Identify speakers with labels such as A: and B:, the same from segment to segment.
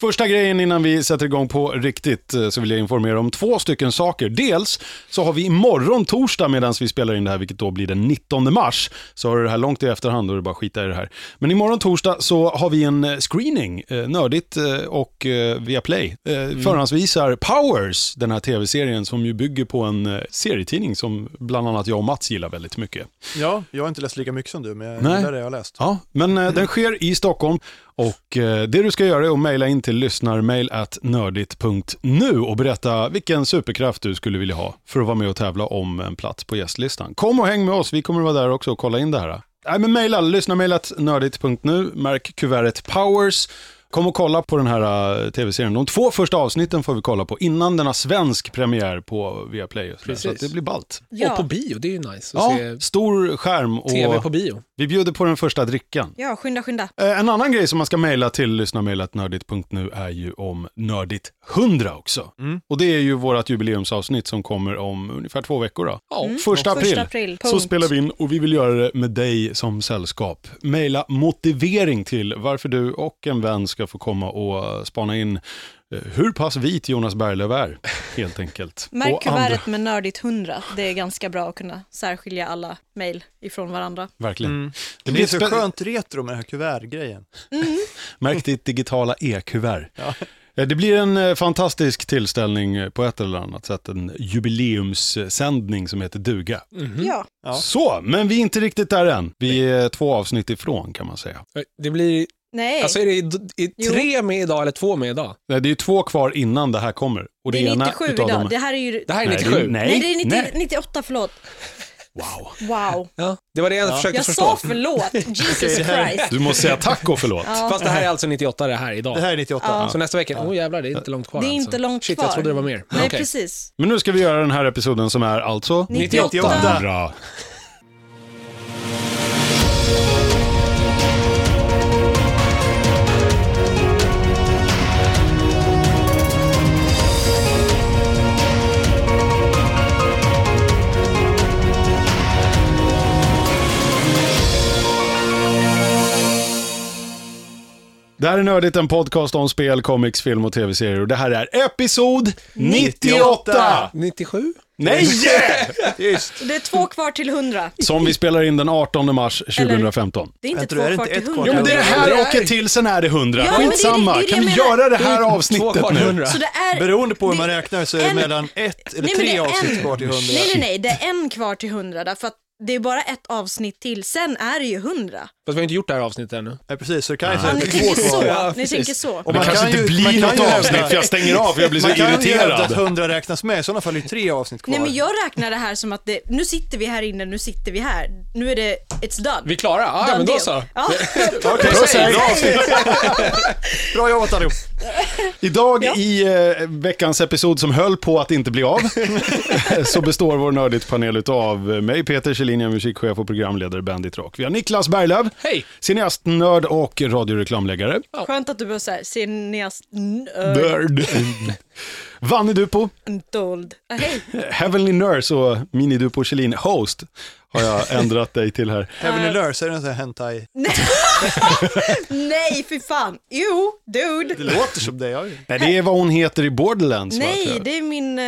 A: Första grejen innan vi sätter igång på riktigt eh, så vill jag informera om två stycken saker. Dels så har vi imorgon torsdag medan vi spelar in det här, vilket då blir den 19 mars. Så har du det här långt i efterhand och det är bara att skita i det här. Men imorgon torsdag så har vi en eh, screening, eh, nördigt eh, och eh, via Play. Eh, Förhandsvisar Powers, den här tv-serien som ju bygger på en eh, serietidning som bland annat jag och Mats gillar väldigt mycket.
B: Ja, jag har inte läst lika mycket som du, men jag
A: Nej.
B: gillar det jag har läst.
A: Ja, men eh, den sker i Stockholm och eh, det du ska göra är att mejla in till lyssnarmail at nördigt.nu och berätta vilken superkraft du skulle vilja ha för att vara med och tävla om en plats på gästlistan. Kom och häng med oss, vi kommer att vara där också och kolla in det här. Nej, men mejla lyssnarmailat nördigt.nu, märk kuvertet Powers. Kom och kolla på den här eh, tv-serien. De två första avsnitten får vi kolla på innan den har svensk premiär på Viaplay. och sådär. Så
C: Precis.
A: att det blir ballt.
C: Och på
D: Ja.
C: bio, det är ju nice att
A: Ja,
C: se
A: stor skärm och
C: tv på bio.
A: vi bjuder på den första drickan.
D: ja, skynda, skynda.
A: Eh, En annan grej som man ska mejla till lyssnarmejlet nördigt.nu är ju om Nördigt 100 också.
B: Mm.
A: Och det är ju vårt jubileumsavsnitt som kommer om ungefär två veckor. Då.
C: Ja,
D: Mm.
A: Första april.
D: Första april.
A: Så
D: punkt.
A: spelar vi in och vi vill göra det med dig som sällskap. Mejla motivering till varför du och en vän ska få komma och eh, spana in eh, hur pass vit Jonas Berglöf är, helt enkelt.
D: Märk
A: och andra,
D: kuvertet med nördigt 100. Det är ganska bra att kunna särskilja alla mejl ifrån varandra.
A: verkligen.
B: Mm.
A: Det
B: Det,
A: blir
B: är så
A: spe-
B: skönt retro med den här kuvertgrejen.
A: Märk ditt digitala e-kuvert.
B: Ja.
A: Eh, Det blir en eh, fantastisk tillställning eh, på ett eller annat sätt. En jubileumssändning som heter duga.
D: Ja.
B: Ja.
A: Så, men vi är inte riktigt där än. Vi är två avsnitt ifrån kan man säga.
C: Det blir,
D: Nej,
C: alltså är det i- i
D: Jo.
C: tre med idag eller två med idag?
A: Nej, det är ju två kvar innan det här kommer. Och
D: det är
A: ena
D: 97
A: utav
D: idag.
A: dem-
D: Det här är ju...
C: Det här är
A: Nej,
C: 97.
A: det är- nej.
D: Nej, det är 90,
A: nej.
D: 98, förlåt.
A: Wow.
D: Wow.
C: Ja, det var det jag
B: Ja.
C: försökte
D: Jag
C: förstå.
D: sa förlåt. Jesus
B: Okej, det här-
D: Christ.
A: Du måste säga tack och förlåt.
D: Ja.
C: Fast det här är alltså 98 det här idag.
B: Det här är 98.
D: Ja.
C: Så nästa vecka, åh oh, jävlar det är inte långt kvar
D: Det är
C: alltså.
D: inte långt
C: Shit,
D: kvar.
C: jag trodde det var mer.
D: Nej,
C: Okej.
D: precis.
A: Men nu ska vi göra den här episoden som är alltså...
D: 98.
B: 98.
A: Bra. Det här är Nördigt, en podcast om spel, comics, film och tv-serier. Och det här är episod 98!
C: 97?
A: Nej!
B: Just.
D: Det är två kvar till 100.
A: Som vi spelar in den 18 mars 2015.
D: Det är inte
B: Vänta,
D: två
B: är det
D: kvar
B: inte
D: till
B: ett kvar
D: 100.
A: Jo men det är det här
C: Det
A: och
C: är-
A: ett till, sen är det 100.
D: Ja, men det är-
A: Skitsamma,
D: det är det
A: kan vi
D: jag menar.
A: göra det här
C: Två
A: avsnittet
C: kvar till
A: nu?
C: 100.
D: Så det är...
B: Beroende på hur
D: det-
B: man räknar så är det
D: en-
B: mellan ett eller
D: Nej,
B: tre
D: men det är
B: avsnitt
D: en.
B: kvar till 100.
D: Nej, nej, nej. Det är en kvar till 100. Därför att det är bara ett avsnitt till. Sen är det ju 100.
C: Fast vi har inte gjort det här avsnittet ännu.
B: Nej, precis. Så det kan ju
D: Ja,
B: säga att
D: ni
B: det är
D: tänker
B: två
D: så.
B: kvar.
C: Ja,
D: ni
C: precis.
D: tänker så.
B: Och
A: Det kanske inte blir något avsnitt för jag stänger av för jag blir så
B: man kan ju hävda att
A: irriterad.
B: 100 räknas med, i sådana fall är det tre avsnitt kvar.
D: Nej men jag räknar det här som att det, nu sitter vi här inne, nu sitter vi här. Nu är det, it's done.
C: Vi är klara? Ah, ja, men då
D: deal.
C: så.
D: Ja.
B: Okej,
A: Puss, hej.
B: bra avsnitt. Bra jobbat allihop.
A: Idag i eh, veckans episod som höll på att inte bli av så består vår Nördigt-panel utav mig, Peter Kjellin, jag är musikchef och programledare Bandit Rock. Vi har Niklas Berglöf,
C: Hej!
A: cineastnörd och radioreklamläggare.
D: Skönt att du börjar såhär, cineast,
A: Nörd. Vanni Dupo,
D: dold. Ah, Hej,
A: Heavenly Nurse och Mini Dupo Kjellin, host, har jag ändrat dig till här.
B: Heavenly Lurse, är det en sån här hentai?
D: nej fy fan, jo,
B: Det
D: dude.
B: låter som det. Jag...
A: Nej, det är vad hon heter i Borderlands. va, tror
D: Nej,
A: jag.
D: det är min, eh,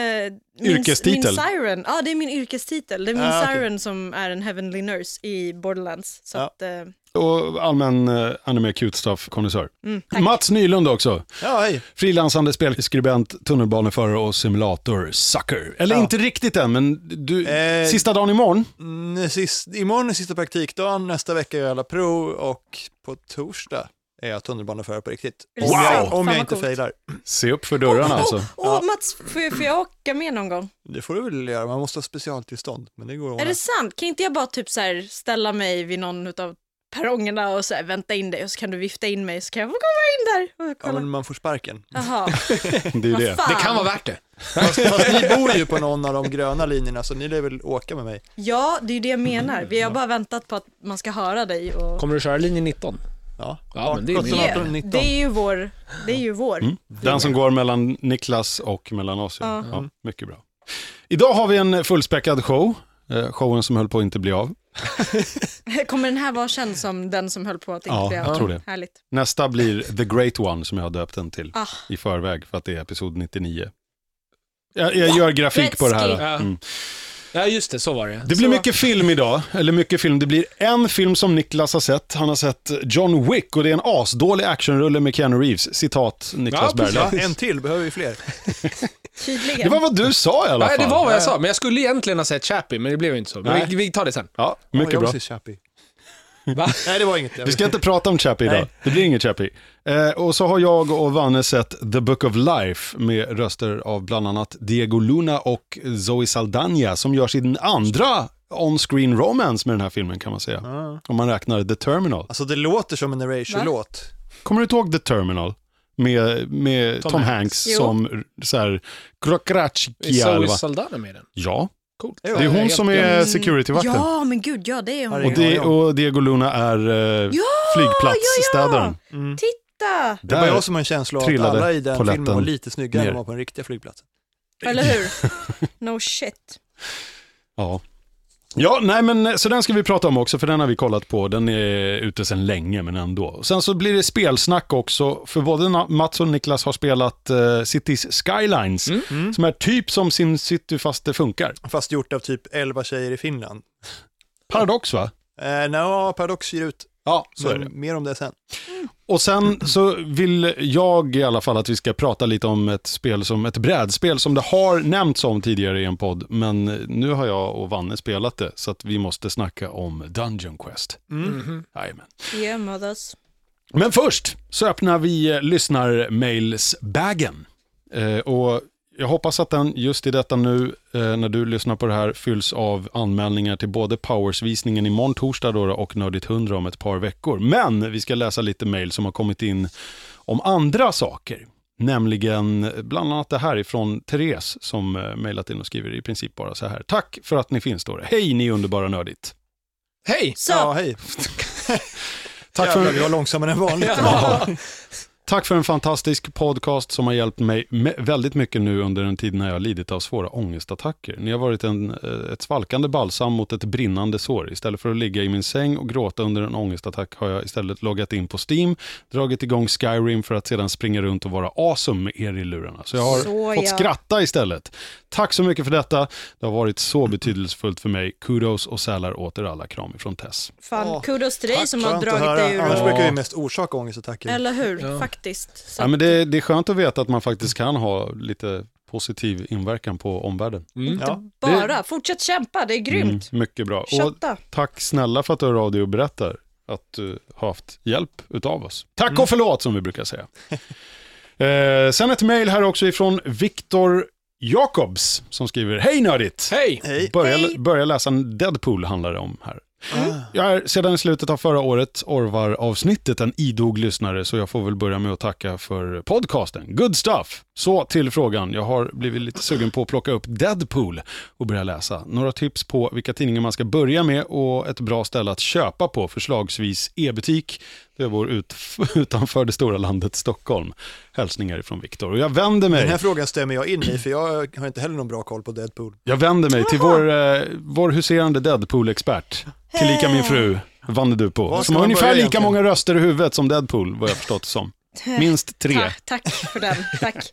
D: min,
A: Yrkestitel.
D: min siren. Ja, det är min yrkestitel. Det är min
B: Ah, okej.
D: siren som är en heavenly nurse i Borderlands. Så
B: Ja.
D: att, eh,
A: Och allmän eh, anime cute stuff konnässör.
D: Mm,
A: Mats Nylund också.
B: Ja, hej.
A: Frilansande spelskribent, tunnelbaneförare och simulator sucker. Eller
B: Ja.
A: inte riktigt än, men du,
B: Eh,
A: sista dagen imorgon.
B: Mm, sist, imorgon är sista praktikdagen, nästa vecka gör jag alla prov och på torsdag är jag tunnelbaneförare på riktigt.
D: Är det
B: Om
D: sant?
B: jag, om
D: Fan,
B: jag
D: vad
B: inte
D: coolt.
B: failar.
A: Se upp för dörrarna
D: oh,
A: alltså.
D: oh, oh, Mats, får jag, får jag åka med någon gång?
B: Det får du väl göra, man måste ha specialtillstånd. Men det går att
D: Är
B: ordna.
D: det sant? Kan inte jag bara typ så här ställa mig vid någon av perrongerna och så här vänta in dig och så kan du vifta in mig så kan jag få komma in där och
B: Ja,
D: kolla.
B: men man får sparken.
D: Jaha,
A: Det är
D: vad
A: det.
D: fan.
C: Det kan vara värt det.
B: Fast, fast ni bor ju på någon av de gröna linjerna så ni lär väl åka med mig.
D: Ja, det är ju det jag menar. Vi har bara väntat på att man ska höra dig och...
C: Kommer du köra linje 19?
B: Ja,
C: Ja, men det är min-
B: 17, 18,
D: Det,
B: 19.
D: det är ju vår, det är ju vår.
A: Mm. Den som går mellan Niklas och mellan oss. Ja.
D: Ja.
A: Ja, mycket bra. Idag har vi en fullspäckad show. Eh, Showen som höll på att inte bli av.
D: Kommer den här vara känd som den som höll på att
A: Ja,
D: inte
A: jag tror det.
D: Härligt.
A: Nästa blir The Great One som jag har döpt den till
D: Ah.
A: i förväg för att det är episod 99. Jag, jag gör grafik på det
D: Gretzky.
A: här.
C: Ja.
A: Mm.
C: Ja, just det, så var det.
A: Det blir
C: så...
A: mycket film idag, eller mycket film. Det blir en film som Niklas har sett. Han har sett John Wick och det är en asdålig actionrulle med Keanu Reeves. Citat Niklas
C: Ja, precis.
A: Berglund.
B: Ja, en till, behöver vi fler?
A: Det
D: Tydligen.
A: var vad du sa i alla
C: Nej,
A: fall.
C: det var vad jag sa, men jag skulle egentligen ha sett Chappie, men det blev inte så.
A: Nej.
C: Men vi, vi tar det sen.
A: Ja,
B: Ja,
A: mycket
B: jag
A: bra.
B: vill se Chappie.
C: Va?
B: Nej, det var inget. Jag
A: Vi
B: vill-
A: ska inte prata om Chappie idag.
B: Nej.
A: Det blir inget Chappie. Eh, och så har jag och Vanne sett The Book of Life med röster av bland annat Diego Luna och Zoe Saldana som gör sin andra on-screen romance med den här filmen kan man säga.
B: Ja.
A: Om man räknar The Terminal.
B: Alltså det låter som en Erasure-låt.
A: Kommer du ihåg The Terminal? Med, med Tom,
C: Tom
A: Hanks,
D: Jo.
A: som så här,
C: Är
A: Krokrachkia eller
C: Zoe
A: vad?
C: Saldana med i den?
A: Ja,
C: Coolt.
B: Det är
A: det är hon som
D: Mm.
A: är securityvakten.
D: Ja, men gud, ja det är hon.
B: Ja,
A: Och, det, och Diego Luna är eh,
D: Ja,
A: flygplatsstädaren.
B: Mm.
D: Titta!
B: Det var jag som har en känsla av att
A: trillade
B: alla i den
A: polletten
B: filmen var lite snyggare
A: ner.
B: än vad på den riktiga flygplatsen.
D: Eller hur? No shit.
A: Ja. Ja, nej men eh, så den ska vi prata om också, för den har vi kollat på. Den är ute sedan länge, men ändå. Sen så blir det spelsnack också, för både Na- Mats och Niklas har spelat eh, Cities Skylines,
C: Mm.
B: Mm.
A: som är typ som SimCity fast det funkar.
B: Fast gjort av typ 11 tjejer i Finland.
A: Paradox va?
B: Eh, Nja, Paradox ger ut,
A: Ja,
B: men mer om det sen.
A: Och sen så vill jag i alla fall att vi ska prata lite om ett spel som ett brädspel som det har nämnts om tidigare i en podd, men eh, nu har jag och Vanne spelat det, så att vi måste snacka om Dungeon Quest.
B: Mm.
C: Mhm.
A: Jajamän.
D: Yeah, mothers.
A: Men först så öppnar vi eh, lyssnarmailsbaggen. Eh, och jag hoppas att den just i detta nu, eh, när du lyssnar på det här, fylls av anmälningar till både Powers-visningen imorgon torsdag då, då, och Nördigt 100 om ett par veckor. Men vi ska läsa lite mail som har kommit in om andra saker. Nämligen eh, bland annat det här ifrån Therese som eh, mejlat in och skriver i princip bara så här. Tack för att ni finns då. Hej ni underbara nördigt.
C: Hej!
D: Så,
B: Ja, hej.
A: Tack för,
B: Jävlar, vi var långsammare än vanligt.
A: Tack för en fantastisk podcast som har hjälpt mig me- väldigt mycket nu under en tid när jag lidit av svåra ångestattacker. Ni har varit en, eh, ett svalkande balsam mot ett brinnande sår. Istället för att ligga i min säng och gråta under en ångestattack har jag istället loggat in på Steam, dragit igång Skyrim för att sedan springa runt och vara awesome med er i lurarna. Så jag har
D: Så
A: fått
D: ja.
A: skratta istället. Tack så mycket för detta. Det har varit så betydelsefullt för mig. Kudos och sälar åter alla kram ifrån Tess.
D: fan,
B: Åh,
D: kudos till dig som har
B: Skönt att
D: dragit
B: höra.
D: dig ur...
B: Annars
C: Ja.
B: brukar vi mest orsaka ångestattacker.
D: Eller hur?
C: Ja.
D: Faktiskt. Så
A: Ja, men det, det är skönt att veta att man faktiskt kan ha lite positiv inverkan på omvärlden.
C: Mm.
B: Ja.
D: bara, fortsätt kämpa, det är grymt.
A: Mm, mycket bra. Och
D: Kötta.
A: tack snälla för att du hör av dig och berättar att du har haft hjälp utav oss. Tack
D: Mm.
A: och förlåt som vi brukar säga. eh, sen ett mejl här också ifrån Viktor Jakobs som skriver Hej nördigt!
C: Hej!
B: Hej.
A: Börja,
D: Hej.
A: börja läsa en Deadpool handlar det om här.
D: Mm.
B: Ah.
A: Jag är sedan i slutet av förra året Orvar-avsnittet en idog lyssnare så jag får väl börja med att tacka för podcasten. Good stuff! Så till frågan. Jag har blivit lite sugen på att plocka upp Deadpool och börja läsa. Några tips på vilka tidningar man ska börja med och ett bra ställe att köpa på, förslagsvis e-butik där jag bor ut, utanför det stora landet Stockholm. Hälsningar ifrån Viktor. Och jag vänder
B: Den
A: mig,
B: här frågan stämmer jag in i, för jag har inte heller någon bra koll på Deadpool.
A: jag vänder mig till vår, eh, vår huserande Deadpool-expert, tillika min fru, Vanne Dupo,
B: Var
A: som
B: ska
A: har
B: man
A: ungefär
B: börja
A: lika
B: egentligen?
A: många röster i huvudet som Deadpool, vad jag förstått det som. Minst tre.
D: Ta, tack för den, tack.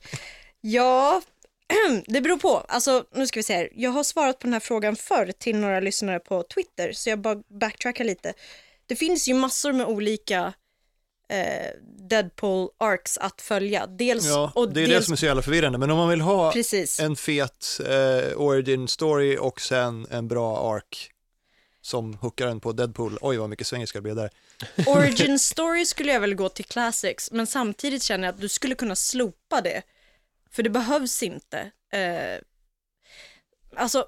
D: Ja, det beror på. Alltså, nu ska vi se här. Jag har svarat på den här frågan förr till några lyssnare på Twitter, så jag bara backtrackar lite. Det finns ju massor med olika eh, Deadpool-arcs att följa. Dels,
B: Ja,
D: och
B: det är det
D: dels,
B: som är så jävla förvirrande, men om man vill ha
D: Precis.
B: en fet eh, origin story och sen en bra ark som hookar en på Deadpool. Oj, vad mycket svengelska det blev där.
D: Origin story skulle jag väl gå till classics, men samtidigt känner jag att du skulle kunna slopa det. För det behövs inte. Eh, alltså,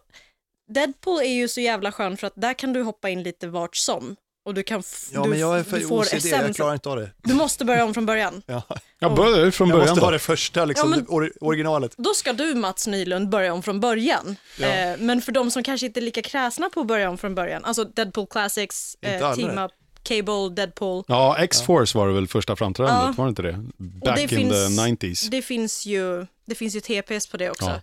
D: Deadpool är ju så jävla skön för att där kan du hoppa in lite vart som. Och du kan f-
B: Ja,
D: du,
B: men jag är
D: f- du
B: för
D: får
B: OCD, jag
D: essensen.
B: klarar inte av det.
D: Du måste börja om från början.
B: Ja.
A: Jag börjar från
B: Jag
A: början
B: måste
A: då.
B: ha det första, liksom,
D: Ja, men-
B: det or- originalet.
D: Då ska du Mats Nylund börja om från början.
B: Ja.
D: Eh, men för de som kanske inte är lika kräsna på att börja om från början, alltså Deadpool Classics,
B: Inte alla
D: eh, Team
B: det.
D: Up, Cable, Deadpool.
A: Ja, X-Force var det väl första framträdandet,
D: Ja.
A: var det inte det? Back
D: det
A: in
D: finns-
A: the 90s.
D: Det finns ju, det finns ju TPS på det också.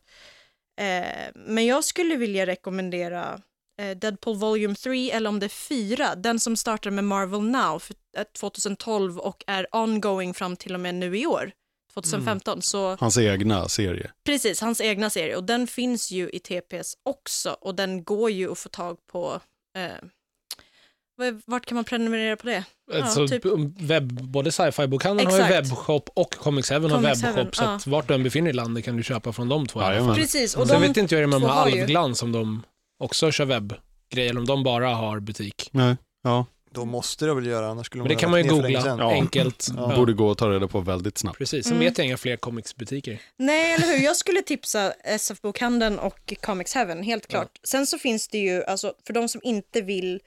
D: Eh, men jag skulle vilja rekommendera eh, Deadpool Volume 3 eller om det är 4, den som startar med Marvel Now för, eh, 2012 och är ongoing fram till och med nu i år, 2015.
C: Mm.
D: Så
A: Hans egna serie.
D: precis, hans egna serie och den finns ju i TPS också och den går ju att få tag på eh, vad- vart kan man prenumerera på det?
C: Alltså,
D: typ.
C: webb, både sci-fi-bokhandeln har ju
D: Exakt.
C: webbshop och Comics Heaven har
D: Comics
C: webbshop.
D: Heaven,
C: så att vart du än befinner dig i landet kan du köpa från de två. i alla fall.
A: Jajamän.
D: Precis, och
C: Mm. Sen
D: de,
C: vet inte jag om de
D: två
C: har
D: har ju-
C: Alvglan som de också kör webbgrejer, eller om de bara har butik.
A: Nej, ja.
B: Då måste det väl göra, annars skulle
C: Men
B: de
C: det
B: ha
C: kan man ju
B: lagt ner för länge
C: googla
B: sedan.
A: Ja.
D: Mm.
C: enkelt. Ja.
A: Borde gå att ta reda på väldigt snabbt.
C: Precis, sen vet jag inga fler comicsbutiker.
D: Nej, eller hur? Jag skulle tipsa SF-bokhandeln och Comics Heaven, helt klart. Sen så finns det ju, alltså, för de som inte vill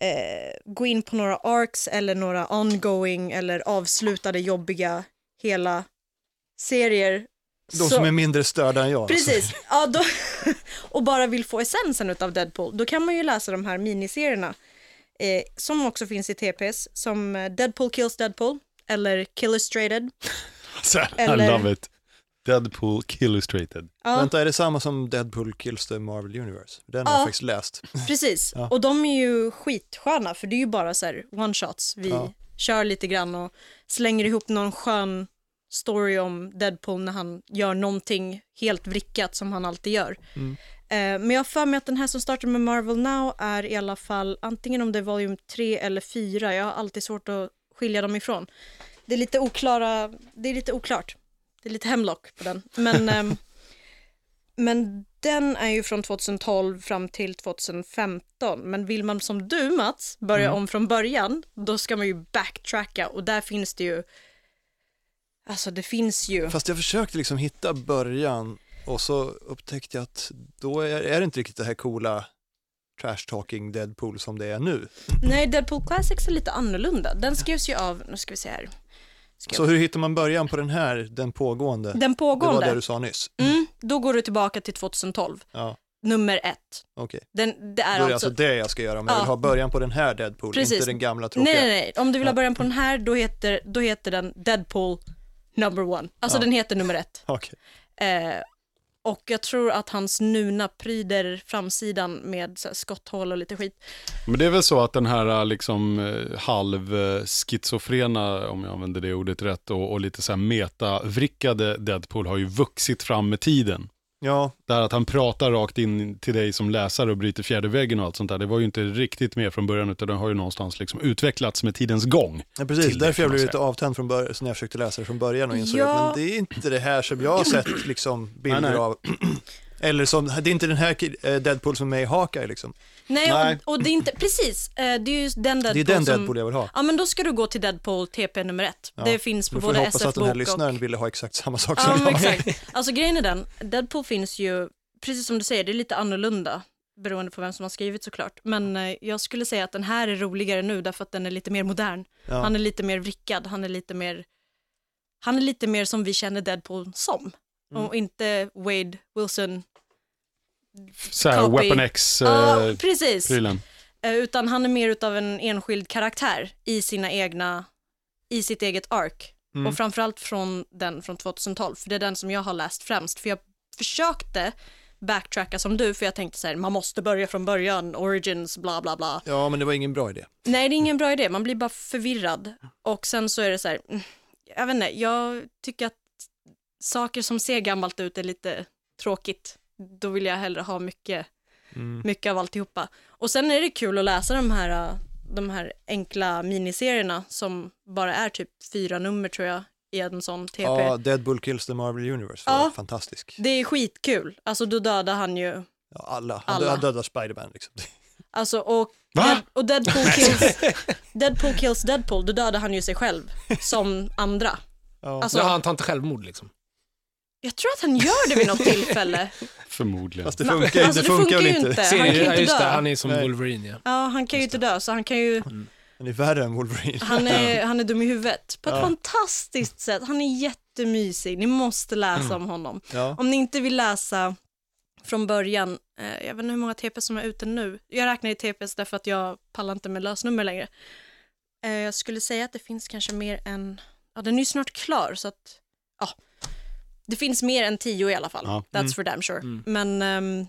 D: eh, gå in på några arcs eller några ongoing eller avslutade jobbiga hela serier.
B: De som är mindre störda än jag. alltså.
D: Precis, ja, då, och bara vill få essensen av Deadpool, då kan man ju läsa de här miniserierna eh, som också finns i TPS, som eh, Deadpool Kills Deadpool eller Killustrated.
A: Så, I
D: Eller-
A: love it. Deadpool Illustrated.
D: Ja.
B: Vänta, är det samma som Deadpool Kills the Marvel Universe? Den har
D: Ja.
B: jag faktiskt läst.
D: Precis,
B: Ja.
D: och de är ju skitsköna för det är ju bara så här one-shots. Vi
B: Ja.
D: kör lite grann och slänger ihop någon skön story om Deadpool när han gör någonting helt vrickat som han alltid gör. Eh, men jag har för mig att den här som startar med Marvel Now är i alla fall antingen om det är volym 3 eller 4. Jag har alltid svårt att skilja dem ifrån. Det är lite oklara, det är lite oklart. Det är lite hemlock på den. Men, ehm, men den är ju från 2012 fram till 2015. Men vill man som du Mats börja om från början, då ska man ju backtracka och där finns det ju, alltså det finns ju.
B: Fast jag försökte liksom hitta början och så upptäckte jag att då är, är det inte riktigt det här coola trash talking Deadpool som det är nu.
D: Nej, Deadpool Classics är lite annorlunda. Den skrevs ju av, nu ska vi se här,
B: Så hur hittar man början på den här, den pågående?
D: den
B: Det var
D: pågående.
B: det du sa nyss.
D: Mm, då går du tillbaka till 2012,
B: Ja,
D: nummer ett.
B: okej.
D: Den, det
B: Då
D: är
B: är det
D: alltså...
B: alltså det jag ska göra, men jag
D: Ja.
B: vill ha början på den här Deadpool,
D: Precis.
B: inte den gamla
D: nej,
B: tråkiga.
D: nej, nej. Om du vill ha början på den här, då heter, då heter den Deadpool number one. Alltså
B: Ja.
D: den heter nummer ett.
B: Okej.
D: Eh, och jag tror att hans nuna pryder framsidan med så här, skotthål och lite skit.
A: Men det är väl så att den här eh, liksom eh, halv eh, schizofrena, om jag använder det ordet rätt, och, och lite så här metavrickade Deadpool har ju vuxit fram med tiden.
B: Ja,
A: Där att han pratar rakt in till dig som läsare och bryter fjärde väggen och allt sånt där. Det var ju inte riktigt med från början utan den har ju någonstans liksom utvecklats med tidens gång.
B: Ja,
A: till
B: precis.
A: det,
B: Därför
A: kan
B: jag
A: man
B: blev
A: säga.
B: lite avtänd från början, så när jag försökte läsa det från början och insåg
D: Ja.
B: att men det är inte det här som jag har sett liksom, bilder
A: Nej, nej.
B: av. Eller som, det är inte den här kid- eh, Deadpool som är med i Hawkeye liksom.
D: Nej,
A: Nej.
D: Och, och det är inte, precis, eh, det är ju den Deadpool
B: Det är den
D: som...
B: Deadpool jag vill ha.
D: Ja, men då ska du gå till Deadpool TP nummer ett. Det finns på
B: Då får
D: både
B: jag hoppas att den här
D: SF-bok och...
B: lyssnaren ville ha exakt samma sak
D: Ja,
B: som
D: men
B: jag.
D: exakt. Alltså grejen är den, Deadpool finns ju, precis som du säger, det är lite annorlunda beroende på vem som har skrivit såklart. Men eh, jag skulle säga att den här är roligare nu därför att den är lite mer modern.
B: Ja.
D: Han är lite mer vrickad, han är lite mer, han är lite mer som vi känner Deadpool som.
B: Mm.
D: Och inte Wade Wilson.
A: Så här,
D: Copy. Ah.
A: Weapon
B: Typ.
A: äh, X-prylen.
D: Ja, precis. Eh, Utan han är mer utav en enskild karaktär i sina egna, i sitt eget ark. Och framförallt från den från 2012, för det är den som jag har läst främst. För jag försökte backtracka som du, för jag tänkte så här, man måste börja från början, origins, bla bla bla.
B: Ja, men det var ingen bra idé.
D: Nej, det är ingen bra idé. Man blir bara förvirrad. Och sen så är det så här, mm, jag vet inte, jag tycker att saker som ser gammalt ut är lite tråkigt. Då vill jag hellre ha mycket, mycket av alltihopa. Och sen är det kul att läsa de här, äh, de här enkla miniserierna som bara är typ fyra nummer tror jag i en sån TP.
B: Ja, Deadpool Kills the Marvel Universe var
D: Ja.
B: fantastisk.
D: Det är skitkul. Alltså då dödar han ju,
B: Ja, alla. Han
D: Alla.
B: dö- dödar Spiderman liksom.
D: alltså och,
A: Va?
D: Dead, och Deadpool, kills, Deadpool kills Deadpool, då dödar han ju sig själv som andra.
B: Ja.
D: Alltså,
C: Så har han tagit självmord liksom.
D: Jag tror att han gör det vid något tillfälle.
A: Förmodligen.
B: Fast det funkar, ju-
D: alltså,
B: det funkar väl inte.
D: Han kan ju
C: ja,
D: inte
C: just det,
D: dö.
C: han är som
B: Nej.
C: Wolverine ja.
D: Ja, han kan ju inte dö, så han kan ju...
B: Han är värre än Wolverine.
D: Han är, han är dum i huvudet. På ett
B: Ja.
D: fantastiskt sätt. Han är jättemysig. Ni måste läsa
B: Mm.
D: om honom.
B: Ja.
D: Om ni inte vill läsa från början, eh, jag vet inte hur många TPS som är ute nu. Jag räknar i TPS därför att jag pallar inte med lösnummer längre. Eh, jag skulle säga att det finns kanske mer än, ja den är ju snart klar så att, ja. Det finns mer än tio i alla fall,
A: Ja. Mm.
C: Mm.
D: that's for damn sure. Men ehm,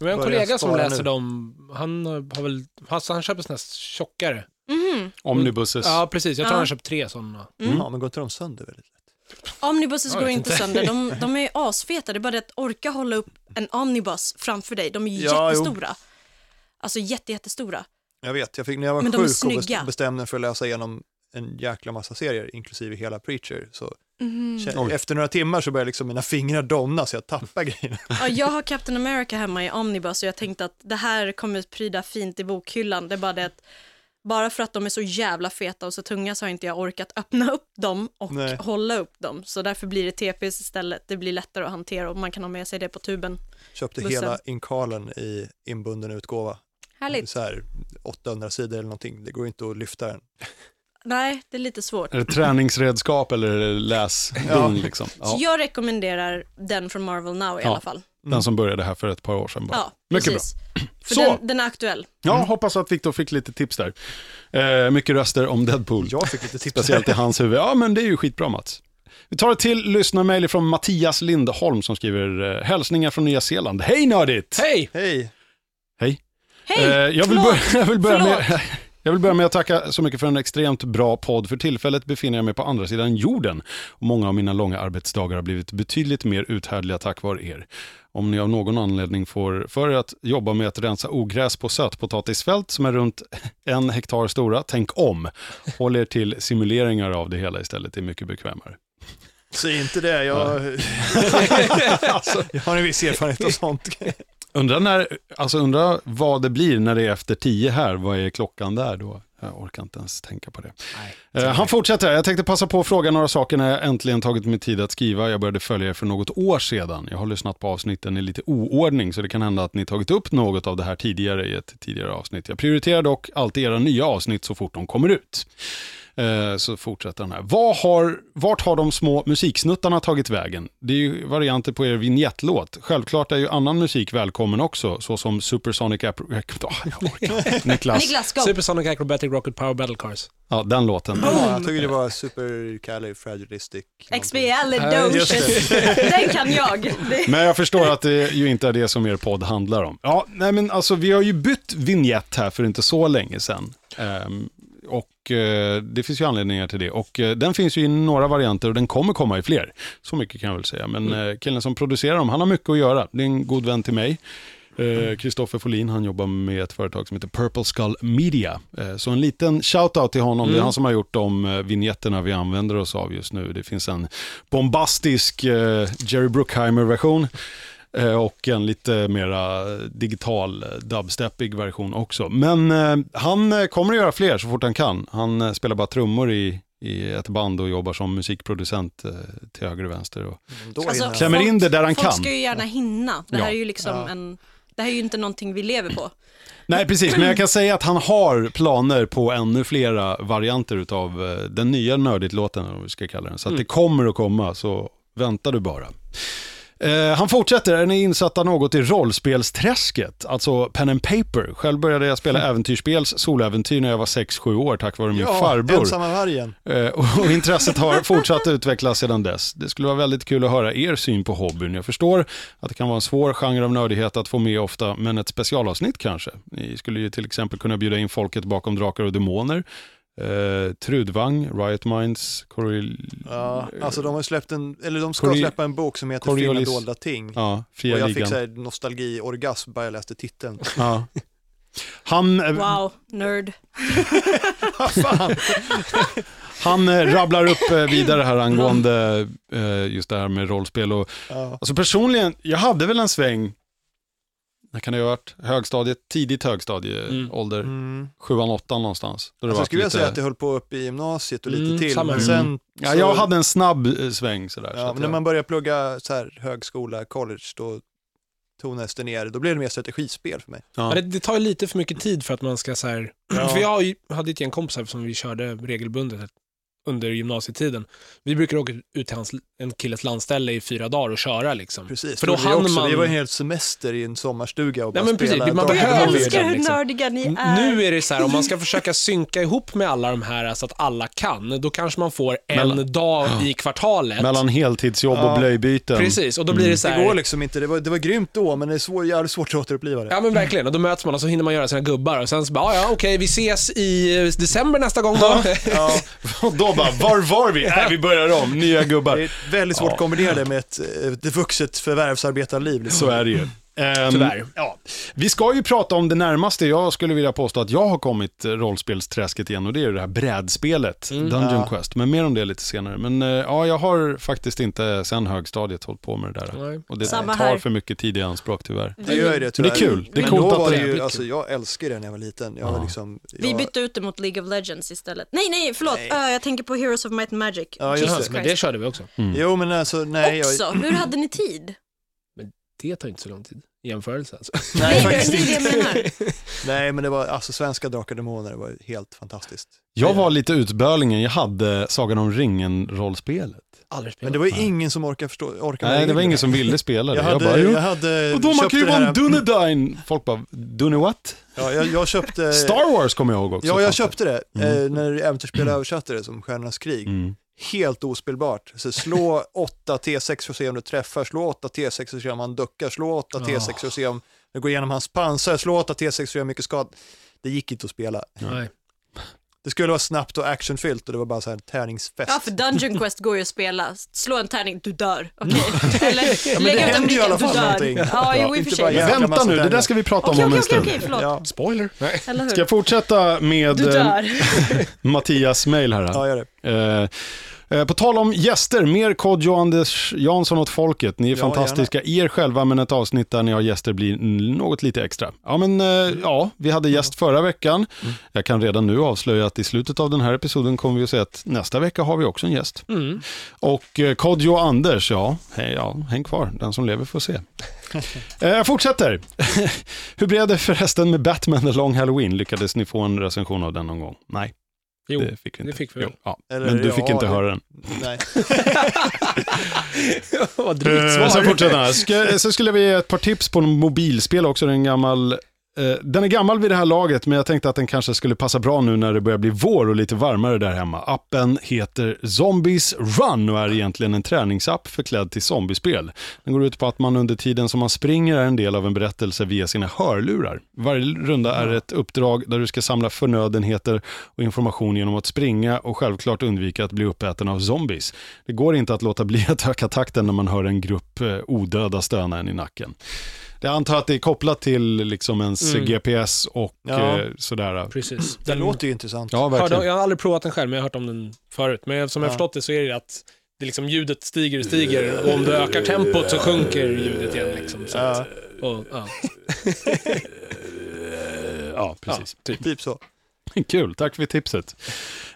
C: Vi har en
B: Börja
C: kollega som
B: spara
C: läser
B: nu.
C: dem. Han har väl, alltså han köper sådana här tjockare.
D: Mhm.
A: Omnibuses.
C: Ja, precis. Jag tror
D: Ja.
C: han har köpt tre sådana.
D: Mm.
B: Ja, men går inte de sönder väldigt lätt?
D: Omnibuses
C: Ja,
D: går
C: jag vet
D: inte
C: inte.
D: sönder, de, de är asfeta. Det är bara det att orka hålla upp en omnibus framför dig. De är ju
B: Ja, jo.
D: jättestora. Alltså jätte, jättestora.
B: Jag vet, jag fick när jag var
D: Men de är
B: sjuk och
D: snygga.
B: best- bestämde mig för att läsa igenom en jäkla massa serier, inklusive hela Preacher, så
D: Mhm.
B: kä-
A: Oj.
B: efter några timmar så började liksom mina fingrar domna så jag tappade grejerna.
D: Ja, jag har Captain America hemma i omnibus och jag tänkte att det här kommer pryda fint i bokhyllan. Det är bara det att bara för att de är så jävla feta och så tunga så har inte jag orkat öppna upp dem och
B: Nej.
D: hålla upp dem. Så därför blir det TPs istället. Det blir lättare att hantera och man kan ha med sig det på tuben.
B: Köpte
D: Bussen.
B: hela Inkalen i inbunden utgåva.
D: Härligt.
B: Så här 800 sidor eller någonting, det går ju inte att lyfta den.
D: Nej, det är lite svårt.
A: Är det träningsredskap eller är det läsdung
B: Ja.
A: liksom? Ja.
D: Så jag rekommenderar den från Marvel Now i
A: Ja.
D: alla fall.
A: Den som började här för ett par år sedan bara.
D: Ja,
A: Mycket
D: precis. För
A: Så.
D: den, den är aktuell.
A: Ja, hoppas att Viktor fick lite tips där. Eh, mycket röster om Deadpool,
B: Jag fick lite tips.
A: speciellt i hans huvud. Ja, men det är ju skitbra Mats. Vi tar ett till lyssnarmail från Mattias Lindholm som skriver eh, hälsningar från Nya Zeeland. Hej nördigt!
C: Hej!
B: Hej!
D: Hej!
A: Eh, jag, vill
D: förlåt.
A: börja, jag, vill börja med,
D: Förlåt.
A: jag vill börja med att tacka så mycket för en extremt bra podd. För tillfället befinner jag mig på andra sidan jorden och många av mina långa arbetsdagar har blivit betydligt mer uthärdliga tack vare er. Om ni av någon anledning får för er att jobba med att rensa ogräs på sötpotatisfält som är runt en hektar stora, tänk om. Håll er till simuleringar av det hela istället, det är mycket bekvämare.
B: Säg inte det, jag, Alltså, jag har en viss erfarenhet av sånt.
A: Undrar när, alltså undra vad det blir när det är efter tio här, vad är klockan där då? Jag orkar inte ens tänka på det. Eh, Han fortsätter, jag tänkte passa på att fråga några saker när jag äntligen tagit mig tid att skriva. Jag började följa er för något år sedan. Jag har lyssnat på avsnitten i lite oordning så det kan hända att ni tagit upp något av det här tidigare i ett tidigare avsnitt. Jag prioriterar dock alltid era nya avsnitt så fort de kommer ut. Eh, Så fortsätter han här. Vad har, vart har de små musiksnuttarna tagit vägen? Det är ju varianter på er vignettlåt. Självklart är ju annan musik välkommen också, såsom Supersonic Appro... Oh, jag orkar inte. Niklas.
D: Niklas, go!
C: Supersonic Acrobatic Rocket Power Battle Cars.
A: Ja, den låten.
B: Ja, jag tycker det var supercalifragilistic. just
D: Expialidocious. Den kan jag. Det-
A: Men jag förstår att det ju inte är det som er podd handlar om. Ja, nej men alltså vi har ju bytt vignett här för inte så länge sedan. Ehm, och eh, det finns ju anledningar till det. Och eh, den finns ju i några varianter och den kommer komma i fler. Så mycket kan jag väl säga. Men eh, killen som producerar dem, han har mycket att göra. Det är en god vän till mig. Eh, Kristoffer Folin, han jobbar med ett företag som heter Purple Skull Media. Eh, Så en liten shout-out till honom. Det är
C: Mm.
A: han som har gjort de eh, vignetterna vi använder oss av just nu. Det finns en bombastisk eh, Jerry Bruckheimer-version eh, och en lite mera digital eh, dubstepig version också. Men eh, han eh, kommer att göra fler så fort han kan. Han eh, spelar bara trummor i, i ett band och jobbar som musikproducent eh, till höger och vänster. Och
B: Då
D: Alltså,
B: innan-
A: klämmer in det där han
D: Folk
A: kan.
D: ska ju gärna hinna. Det här
A: Ja. Äh,
D: är ju liksom
B: Ja.
D: en... Det här är ju inte någonting vi lever på.
A: Nej, precis. Men jag kan säga att han har planer på ännu flera varianter utav eh, den nya Nördigt-låten, om vi ska kalla den. Så att det kommer att komma, så vänta du bara. Eh, han fortsätter, är ni insatta något i rollspelsträsket? Alltså pen and paper. Själv började jag spela äventyrsspels soläventyr när jag var 6-7 år tack vare min farbror.
B: ensamma vargen.
A: Eh, Och intresset har fortsatt utvecklas sedan dess. Det skulle vara väldigt kul att höra er syn på hobbyn. Jag förstår att det kan vara en svår genre av nördighet att få med ofta, men ett specialavsnitt kanske. Ni skulle ju till exempel kunna bjuda in folket bakom Drakar och Demoner, eh, Trudvang, Riot Minds, Coriolis,
B: Ja, alltså de har släppt en, eller de ska
A: Coriolis-
B: släppa en bok som heter
A: Coriolis-
B: Fyra dolda ting.
A: ja,
B: och
A: Fria
B: jag fick
A: Ligan.
B: så här nostalgi-orgasm bara jag läste titeln.
A: Ja. Han, eh,
D: Wow, nörd.
B: Fan.
A: han eh, rabblar upp eh, vidare här angående eh, just det här med rollspel och
B: Ja.
A: Alltså personligen, jag hade väl en sväng, när kan det ha varit? Högstadiet, tidigt högstadieålder,
B: Mm.
A: sjuan, åttan någonstans. Då det
B: Alltså,
A: var
B: skulle jag
A: lite-
B: säga att det höll på upp i gymnasiet och lite
C: Mm,
B: till.
C: samma
B: Men
C: här.
B: sen,
A: ja, jag hade en snabb eh, sväng sådär. så
B: ja,
A: att
B: men när
A: jag-
B: man började plugga så här, högskola, college, då tonades det ner. Då blev det mer strategispel för mig.
A: ja.
C: Men det, det tar ju lite för mycket tid för att man ska så här... För jag har ju- hade ett gäng kompisar som vi körde regelbundet ett under gymnasietiden. Vi brukar åka ut till hans, en killes landställe i fyra dagar och köra liksom.
B: Precis,
C: För då
B: gjorde vi
C: hann
B: också.
C: man-
B: Det var en hel semester i en sommarstuga och
C: Nej,
B: bara
C: men precis.
B: spela
C: Man
B: dagar
D: Jag
C: behöver
B: på
C: leda,
D: älskar
B: leden.
D: hur
C: liksom.
D: nördiga ni
C: N-
D: är.
C: Nu är det så här, om man ska försöka synka ihop med alla de här så att alla kan, då kanske man får en
A: Mellan-
C: dag i kvartalet.
A: Mellan heltidsjobb
B: Ja,
A: och blöjbyten.
C: Precis, och då blir det så här,
B: Det går liksom inte, det var, det var grymt då men det är svår, jävligt svårt att återuppliva det.
C: Ja men verkligen, och då möts man och så hinner man göra sina gubbar och sen så bara, "Ah, ja okej vi ses i eh, december nästa gång då.
B: Ja,
A: Och då bara, var var vi? Nej, vi börjar om, nya
B: det
A: gubbar.
B: är väldigt svårt att kombinera det med ett, eh, ett vuxet förvärvsarbetarliv. Liksom.
A: Så är det ju. Ehm,
C: Tyvärr.
A: Ja. Vi ska ju prata om det närmaste jag skulle vilja påstå att jag har kommit eh, rollspelsträsket igen och det är ju det här brädspelet Dungeon
B: Mm. Ja.
A: Quest. Men mer om det lite senare. Men eh, ja, jag har faktiskt inte sen högstadiet hållit på med det där.
C: Nej.
A: Och det
D: Samma
A: tar
D: här.
A: för mycket tid i anspråk tyvärr.
B: Det gör ju det tyvärr.
A: kul. Det är
B: men
A: coolt
B: då
A: att
B: var
A: det är
B: det ju,
A: jävligt
B: alltså, jag älskar det när jag var liten. Jag var liksom, jag,
D: Vi bytte ut det mot League of Legends istället. Nej, nej, förlåt. Ö, jag tänker på Heroes of Might and Magic.
B: Ja, just
C: Jaha,
D: Jesus
B: det.
C: men det
D: Christ.
C: körde vi också.
A: Mm.
B: Jo men alltså nej, jag,
D: Också, hur hade ni tid?
C: Det tar inte så lång tid i jämförelse alltså.
B: nej,
D: Nej,
B: faktiskt
D: det är det
B: inte.
D: jag menar.
B: Nej men det var, alltså svenska Drakar och Demoner det var helt fantastiskt.
A: Jag var lite utbölingen, jag hade Sagan om ringen-rollspelet.
C: Aldrig
B: Men
C: spelat.
B: det var ju ingen som orkade förstå, orkade
A: Nej,
B: med
A: det var
B: reglerna.
A: ingen som ville spela det.
B: Jag
A: Jag,
B: hade,
A: bara,
B: jag,
A: jo.
B: hade
A: Och då man
B: köpt
A: kan ju
B: det
A: vara
B: här,
A: en Dunedain. Folk bara, Dune what?
B: ja, jag, jag köpte...
A: Star Wars kommer jag ihåg också.
B: Eh, Ja, jag
A: fanns det.
B: köpte det eh, när Äventyrsspel översatte det som Stjärnornas krig.
A: Mm.
B: Helt ospelbart. Så slå 8 T6 för att se om du träffar, slå 8 T6 för att se om han duckar, slå 8 T6
A: Ah.
B: för att se om det går igenom hans pansar, slå 8 T6 för att se hur mycket skada. Det gick inte att spela.
C: Nej.
B: Det skulle vara snabbt och actionfyllt och det var bara så här tärningsfest.
D: Ja, för Dungeon Quest går ju att spela. Slå en tärning, du dör. Okej. Eller
B: men
D: lägg
B: det
D: ut en
B: händer ju i
D: bricka,
B: alla
D: du
B: fall
D: dör.
B: någonting.
D: Ja, jo i och
B: Inte
D: för
B: bara
D: sig.
B: jävla
A: Vänta
B: massa
A: nu, det där
B: tärningar.
A: ska vi prata
D: Okej,
A: om om
D: okej,
A: en
D: okej,
A: stund.
D: okej, förlåt.
B: Ja,
C: Spoiler. Nej.
D: Eller
A: Ska
D: hur?
A: jag fortsätta med
D: Du
A: eh,
D: dör.
A: Mattias mail här?
B: ja, gör det.
A: Eh, eh, på tal om gäster, mer Kodjo och Anders Jansson åt folket. Ni är
B: Ja,
A: fantastiska i er själva, men ett avsnitt där ni har gäster blir n- något lite extra. Ja, men eh, ja, vi hade gäst förra veckan. Jag kan redan nu avslöja att i slutet av den här episoden kommer vi att säga att nästa vecka har vi också en gäst.
C: Mm.
A: Och eh, Kodjo och Anders, ja, hej, ja, häng kvar. Den som lever får se. Eh, Jag fortsätter. Hur blev det förresten med Batman The Long Halloween? Lyckades ni få en recension av den någon gång? Nej,
C: Jo.
A: det fick vi inte.
C: det fick vi
A: Jo,
C: väl.
A: ja.
B: Eller,
A: Men du
B: ja,
A: fick inte
B: det-
A: höra den.
B: Nej.
C: Vad drygt
A: Eh, Sen
C: svar.
A: fortsätter han. Ska- Sen skulle vi ge ett par tips på en mobilspel också. Det är en gammal, eh, den är gammal vid det här laget, men jag tänkte att den kanske skulle passa bra nu när det börjar bli vår och lite varmare där hemma. Appen heter Zombies Run och är egentligen en träningsapp förklädd till zombiespel. Den går ut på att man under tiden som man springer är en del av en berättelse via sina hörlurar. Varje runda är ett uppdrag där du ska samla förnödenheter och information genom att springa och självklart undvika att bli uppäten av zombies. Det går inte att låta bli att öka takten när man hör en grupp eh, odöda stöna en i nacken. Jag antar att det är kopplat till liksom ens
C: Mm.
A: GPS och
B: Ja.
A: eh, sådär.
C: Precis.
B: Den låter ju intressant.
A: Mm. Ja,
C: Hörde,
A: verkligen.
C: jag har aldrig provat den själv, men jag har hört om den förut. Men som jag
B: Ja.
C: förstått det så är det att det liksom, ljudet stiger och stiger och om du ökar tempot så sjunker ljudet igen. Liksom, så att,
B: Ja,
C: och, ja.
A: Ja, precis. typ.
B: typ så.
A: Kul, tack för tipset.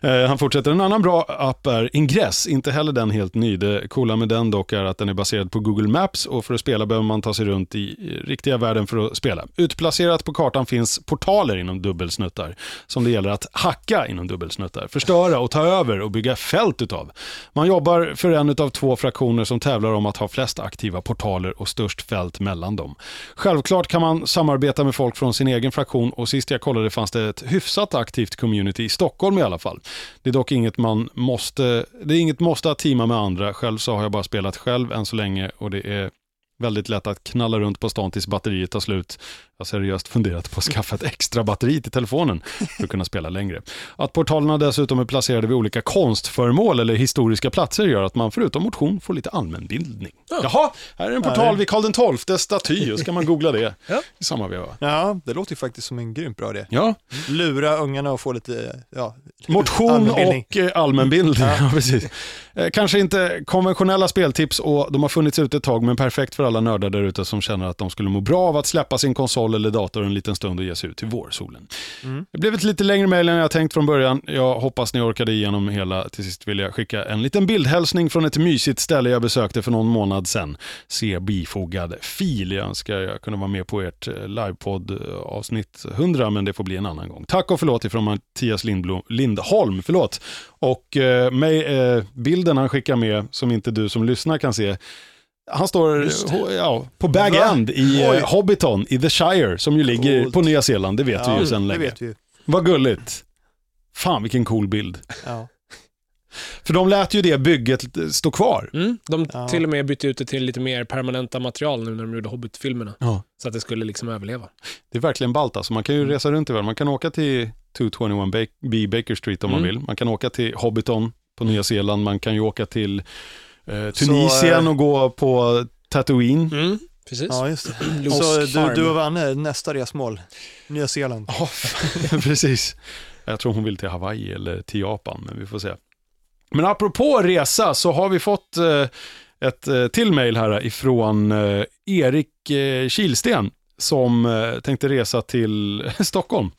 A: Eh, han fortsätter, en annan bra app är Ingress, inte heller den helt ny. Det coola med den dock är att den är baserad på Google Maps och för att spela behöver man ta sig runt i eh, riktiga världen för att spela. Utplacerat på kartan finns portaler inom dubbelsnuttar som det gäller att hacka inom dubbelsnuttar, förstöra och ta över och bygga fält utav. Man jobbar för en utav två fraktioner som tävlar om att ha flest aktiva portaler och störst fält mellan dem. Självklart kan man samarbeta med folk från sin egen fraktion och sist jag kollade fanns det ett hyfsat aktivt community i Stockholm i alla fall. Det är dock inget man måste, det är inget måste att teama med andra. Själv så har jag bara spelat själv än så länge och det är väldigt lätt att knalla runt på stan tills batteriet tar slut. Jag har seriöst funderat på att skaffa ett extra batteri till telefonen för att kunna spela längre. Att portalerna dessutom är placerade vid olika konstföremål eller historiska platser gör att man förutom motion får lite allmänbildning. Jaha, här är en portal vid Karl XII staty, och ska man googla det
C: Ja.
A: i samma veva.
B: Ja, det låter ju faktiskt som en grymt bra idé.
A: Ja,
B: Lura ungarna och få lite, ja,
A: motion
B: allmänbildning.
A: och eh, allmänbildning. Ja. precis. Eh, Kanske inte konventionella speltips och de har funnits ute ett tag, men perfekt för alla nördar där ute som känner att de skulle må bra av att släppa sin konsol eller dator en liten stund och ge sig ut till vårsolen. Det blev ett lite längre mejl än jag tänkt från början. Jag hoppas ni orkade igenom hela. Till sist vill jag skicka en liten bildhälsning från ett mysigt ställe jag besökte för någon månad sedan. Se bifogad fil. Jag önskar jag kunde vara med på ert eh, livepodd eh, avsnitt 100, men det får bli en annan gång. Tack och förlåt ifrån Mattias Lindblom, Lindholm. Förlåt. Och eh, mig, eh, bilden han skickar med, som inte du som lyssnar kan se, han står ho- ja, på Bag
B: Va?
A: End i eh,
B: Oj.
A: Hobbiton i The Shire, som ju ligger
B: Coolt.
A: på Nya Zeeland, det vet vi ju
B: det
A: sedan länge.
B: vet vi ju.
A: Vad gulligt. Fan vilken cool bild.
B: Ja.
A: För de lät ju det bygget eh, stå kvar.
C: Mm, de
B: Ja.
C: till och med bytte ut det till lite mer permanenta material nu när de gjorde Hobbit-filmerna.
A: Ja.
C: Så att det skulle liksom överleva.
A: Det är verkligen ballt alltså. Man kan ju resa runt i världen. Man kan åka till 221B Baker Street om man
C: Mm.
A: vill. Man kan åka till Hobbiton på Nya Zeeland. Man kan ju åka till eh,
B: Så,
A: Tunisien
B: eh,
A: och gå på Tatooine.
C: Mm, precis.
B: ja, just det.
C: Luke's
B: Så
C: farm.
B: du, du och Vanne, är nästa resmål, Nya Zeeland.
A: Ja, precis. Jag tror hon vill till Hawaii eller till Japan, men vi får se. Men apropå resa så har vi fått eh, ett eh, till mejl här ifrån eh, Erik eh, Kilsten som eh, tänkte resa till Stockholm.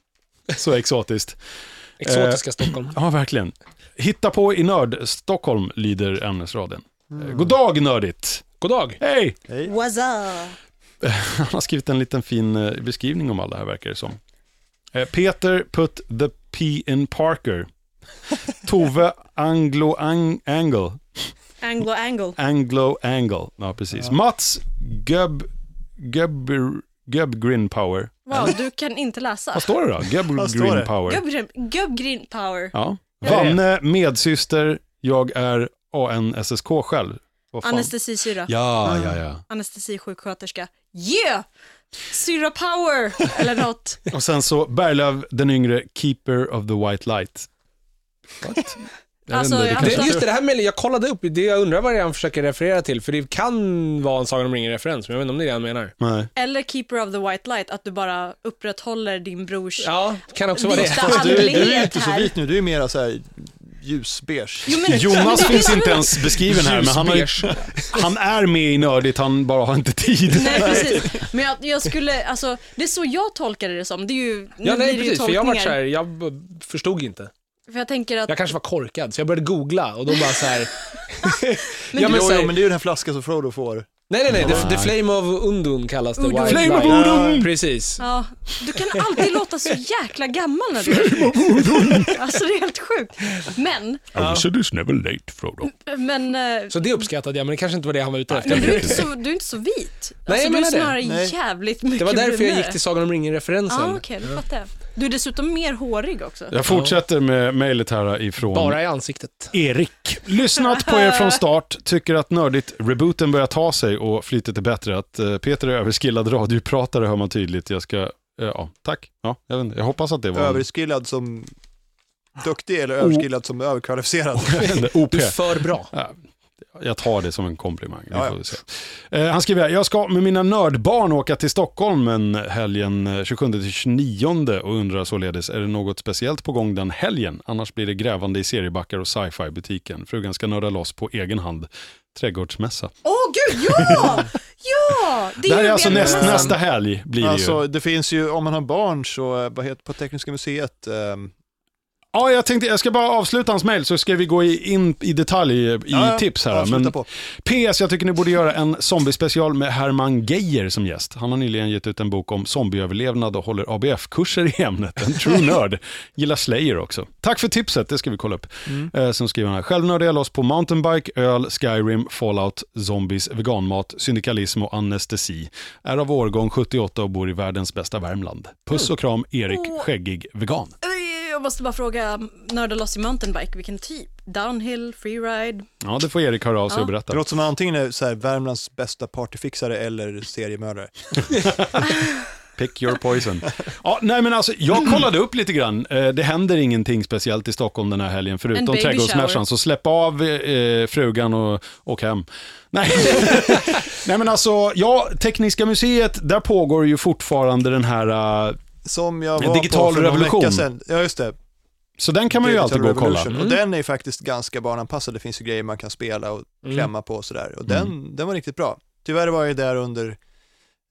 A: Så exotiskt.
B: Eh.
C: Exotiska Stockholm.
A: Ja, verkligen. Hitta på i Nörd-Stockholm lyder ämnesraden. Mm. God dag nördigt!
C: God dag.
A: Hej!
B: Hej.
D: Wazza!
A: Han har skrivit en liten fin eh, beskrivning om alla här verkar det som. Eh, Peter put the P in Parker. Tove Anglo ang, Angle.
D: Anglo angle.
A: Anglo Angle. Ja, precis. Mats Gubb... Gubb... Gubb Grin Power.
D: Wow, du kan inte läsa.
A: Vad står det då? Gubb
B: Vad står
A: Grin
B: det?
A: Power.
D: Gubbgrim- Gubbgreen power.
A: Ja.
C: Ja, det är
A: Vanne, medsyster, jag är ANSSK själv. Vad fan?
D: Anestesisyra.
A: Ja, ja, ja.
D: Anestesisjuksköterska. Yeah! Syra power! Eller något.
A: Och sen så Berglöf den yngre, Keeper of the White Light. What? Jag
D: Alltså,
A: vet inte, det
D: jag
A: kanske-
D: antar-
C: Det, just det, det här mejlet, jag kollade upp, det jag undrar vad det är han försöker referera till, för det kan vara en Sagan om ringen-referens, men jag vet inte om det är det han menar.
A: Nej.
D: Eller keeper of the white light, att du bara upprätthåller din brors...
C: Ja, det kan också vara det.
D: Vita
B: Fast du, du är
D: andlighet
B: inte så
D: här.
B: vit nu, du är mera så här ljusbeige.
D: Jo, men- men
A: Jonas
D: det är
A: finns
D: det som
A: inte
D: är-
A: ens beskriven här, men han, har ju,
C: Ljusbeige.
A: han är med i Nördigt, han bara har inte tid.
D: Nej, precis. Men jag, jag skulle, alltså, det är så jag tolkade det som. Det är ju, nu
C: Ja, nej,
D: blir det ju
C: precis, för jag var
D: tolkningar.
C: så här, jag b- förstod inte.
D: För jag tänker att,
C: Jag kanske var korkad, så jag började googla och då bara så här...
D: Men
C: ja,
B: Jo,
C: men så
B: jo,
C: här,
B: men det är ju den här flaskan som Frodo får.
C: Nej, nej, nej, the, the Flame of Undun kallas det.
D: Undun.
C: Wild
A: Flame of
C: Light.
A: Undun!
C: Precis.
D: ja, du kan alltid låta så jäkla gammal när du Alltså det är helt sjukt. Men,
A: I wish it is never late, Frodo.
D: men, eh,
C: Så det uppskattade jag, men det kanske inte var det han var ute efter.
D: men du, är inte så, du är inte så vit.
C: jag
D: alltså, du
C: menar
D: är
C: det.
D: snarare
B: Nej.
D: jävligt mycket
C: Det var därför jag
D: brunare.
C: gick till Sagan om ringen-referensen.
D: Ja, ah, okej, nu fattar jag. Du är dessutom mer hårig också.
A: Jag fortsätter med mejlet här äh, ifrån
C: Bara i ansiktet.
A: Erik. Lyssnat på er från start, tycker att nördigt rebooten börjar ta sig och flytet är bättre. Att eh, Peter är överskillad radiopratare hör man tydligt. Jag ska, eh, ja, tack. Ja, jag, vet inte. jag hoppas att det var en,
B: Överskillad som duktig eller överskillad som överkvalificerad.
A: OP.
C: Du är för bra.
A: Ja, Jag tar det som en komplimang. Vi
B: Ja, ja.
A: får se. Eh, han skriver här, jag ska med mina nördbarn åka till Stockholm en helgen eh, 27-29 och undrar således, är det något speciellt på gång den helgen? Annars blir det grävande i seriebackar och sci-fi butiken. Frugan ska nörda loss på egen hand. Trädgårdsmässa.
D: Åh gud, ja! Ja! Det
A: Det här
D: ju
A: är alltså
D: en-
A: näst, nästa helg blir det ju.
B: Alltså, det finns ju, om man har barn så, eh, vad heter på Tekniska museet, ehm,
A: Ja, jag tänkte, jag ska bara avsluta hans mejl så ska vi gå i- in i detalj eh, i
B: ja, ja,
A: tips här.
B: ja, sluta
A: men-
B: på.
A: PS, jag tycker ni borde göra en zombiespecial med Herman Geijer som gäst. Han har nyligen gett ut en bok om zombieöverlevnad och håller ABF-kurser i ämnet. En true nörd. Gillar Slayer också. Tack för tipset, det ska vi kolla upp.
D: Mm.
A: Eh, sen skriver han här, själv nördar jag loss på mountainbike, öl, Skyrim, Fallout, zombies, veganmat, syndikalism och anestesi. Är av årgång 78 och bor i världens bästa Värmland. Puss och kram, Erik
D: Åh.
A: Skäggig Vegan.
D: Eh, Jag måste bara fråga, nörda loss i mountainbike, vilken typ? Downhill, freeride?
A: Ja, det får Erik höra av sig
D: Ja.
A: och berätta.
B: Det låter som antingen är så här, Värmlands bästa partyfixare eller seriemördare.
A: Pick your poison. ja, nej, men alltså, jag kollade upp lite grann. Eh, Det händer ingenting speciellt i Stockholm den här helgen,
D: En
A: förutom
D: baby
A: trädgårdsmässan.
D: shower.
A: Så släpp av eh, frugan och åk hem. Nej. nej, men alltså, ja, Tekniska museet, där pågår ju fortfarande den här... eh,
B: Som jag
A: En
B: var
A: digital
B: på för någon
A: revolution.
B: vecka sedan. Ja, just det.
A: Så den kan man ju
B: Digital
A: alltid gå och kolla. Mm.
B: Revolution. Och den är ju
C: Mm.
A: Mm.
B: faktiskt ganska barnanpassad. Det finns ju grejer man kan spela och klämma på och sådär. Och den, den var riktigt bra. Tyvärr var jag där under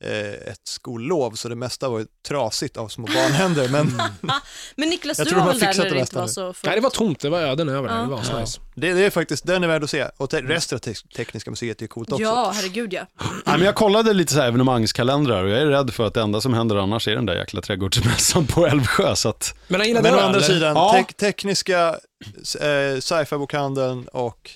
B: eh, ett skollov, så det mesta var ju trasigt av små barnhänder. Men
A: Mm.
D: Men Niklas,
B: Jag
D: du
B: tror de
D: var
B: har
D: väl där
B: fixat
D: när
B: det
D: det inte
B: mesta
D: var
B: nu.
D: så
C: Nej, det var tomt. Det var öden över där. Det
D: Ah.
C: var så
B: Ja.
C: nice.
B: det, det är faktiskt, den är värd att se. Och te- resten av te- Tekniska museet är ju coolt också.
D: Ja, herregud ja.
A: Nej, men jag kollade lite så här evenemangskalendrar och jag är rädd för att det enda som händer annars är den där jäkla trädgårdsmässan på Älvsjö. Så att,
C: Men han gillade
B: Men å
C: öl,
B: andra
C: eller?
B: sidan,
A: Ja.
B: te- Tekniska, eh, Sci-Fi-bokhandeln och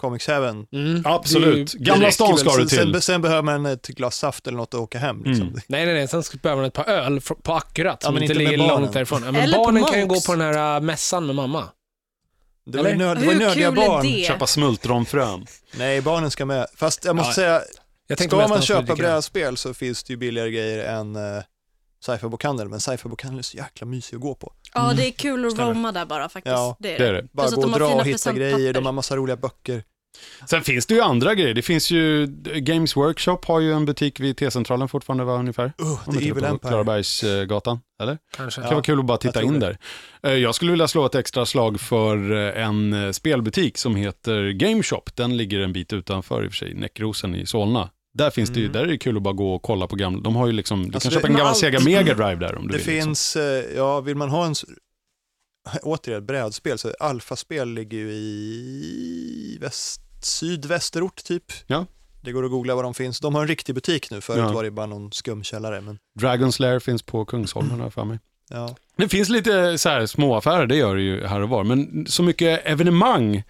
B: Comics Heaven
C: Mm.
A: absolut.
C: Det är ju-
A: Gamla
B: Det räcker
A: stan
B: väl.
A: ska du
B: Sen-
A: till.
B: Sen, sen behöver man ett glas saft eller något att åka hem. Liksom.
A: Mm.
C: Nej, nej, nej. Sen ska- behöver man ett par öl fr- på Akkurat som
B: men
C: inte
B: inte med
C: ligger
B: barnen.
C: långt därifrån. Ja, men
D: Eller på
C: barnen kan ju gå
D: Monks.
C: på den här äh, mässan med mamma.
B: Det var, ju
C: Eller?
B: nörd, det var
D: Hur
B: ju nördiga
D: kul är
B: barn.
D: det?
A: Köpa smultronfrön.
B: Nej, barnen ska med. Fast jag måste
C: Ja, Jag
B: säga,
C: tänkte
B: ska
C: mest
B: man
C: han skulle
B: köpa
C: dricka det.
B: brädspel så finns det ju billigare grejer än uh, sci-fi-bokhandeln. Men sci-fi-bokhandeln är så jäkla mysig att gå på.
D: Ja, det är kul att
C: Stämmer.
D: roama där bara faktiskt.
B: Ja.
D: det är
A: Det
D: det.
A: är det.
B: Bara
D: Plus att
B: gå
D: de
B: och
D: har
B: dra
D: fina
B: och hitta grejer, de
D: presentpapper.
B: har massa roliga böcker.
A: Sen finns det ju andra grejer. Det finns ju, Games Workshop har ju en butik vid T-centralen fortfarande, va, ungefär?
B: Uh,
A: Om
B: The
A: inte det är
B: Evil
A: på
B: Empire.
A: Klarabergsgatan, eller?
C: Kanske.
A: Det kan vara kul att bara titta
B: jag tror
A: in där. Eh, Jag skulle vilja slå ett extra slag för eh, en eh, spelbutik som heter GameShop. Den ligger en bit utanför i och för sig, Näckrosen i Solna. Där finns det ju,
B: Mm.
A: där är det kul att bara gå och kolla på gamla, de har ju liksom, du
B: Alltså,
A: kan
B: det-
A: köpa en gammal
B: allt-
A: Sega Mega Drive där om du
B: Det
A: vill. liksom.
B: finns, eh, ja, vill man ha en, s- återigen brädspel, så alfaspel ligger ju i väst, sydvästerort typ.
A: Ja.
B: Det går att googla var de finns. De har en riktig butik nu, förut
A: Ja.
B: var det bara någon skum källare. Men,
A: Liksom. Dragon's Lair finns på Kungsholmen har jag för mig.
B: ja.
A: Det finns lite så här små affärer, det gör det ju här och var, men så mycket evenemang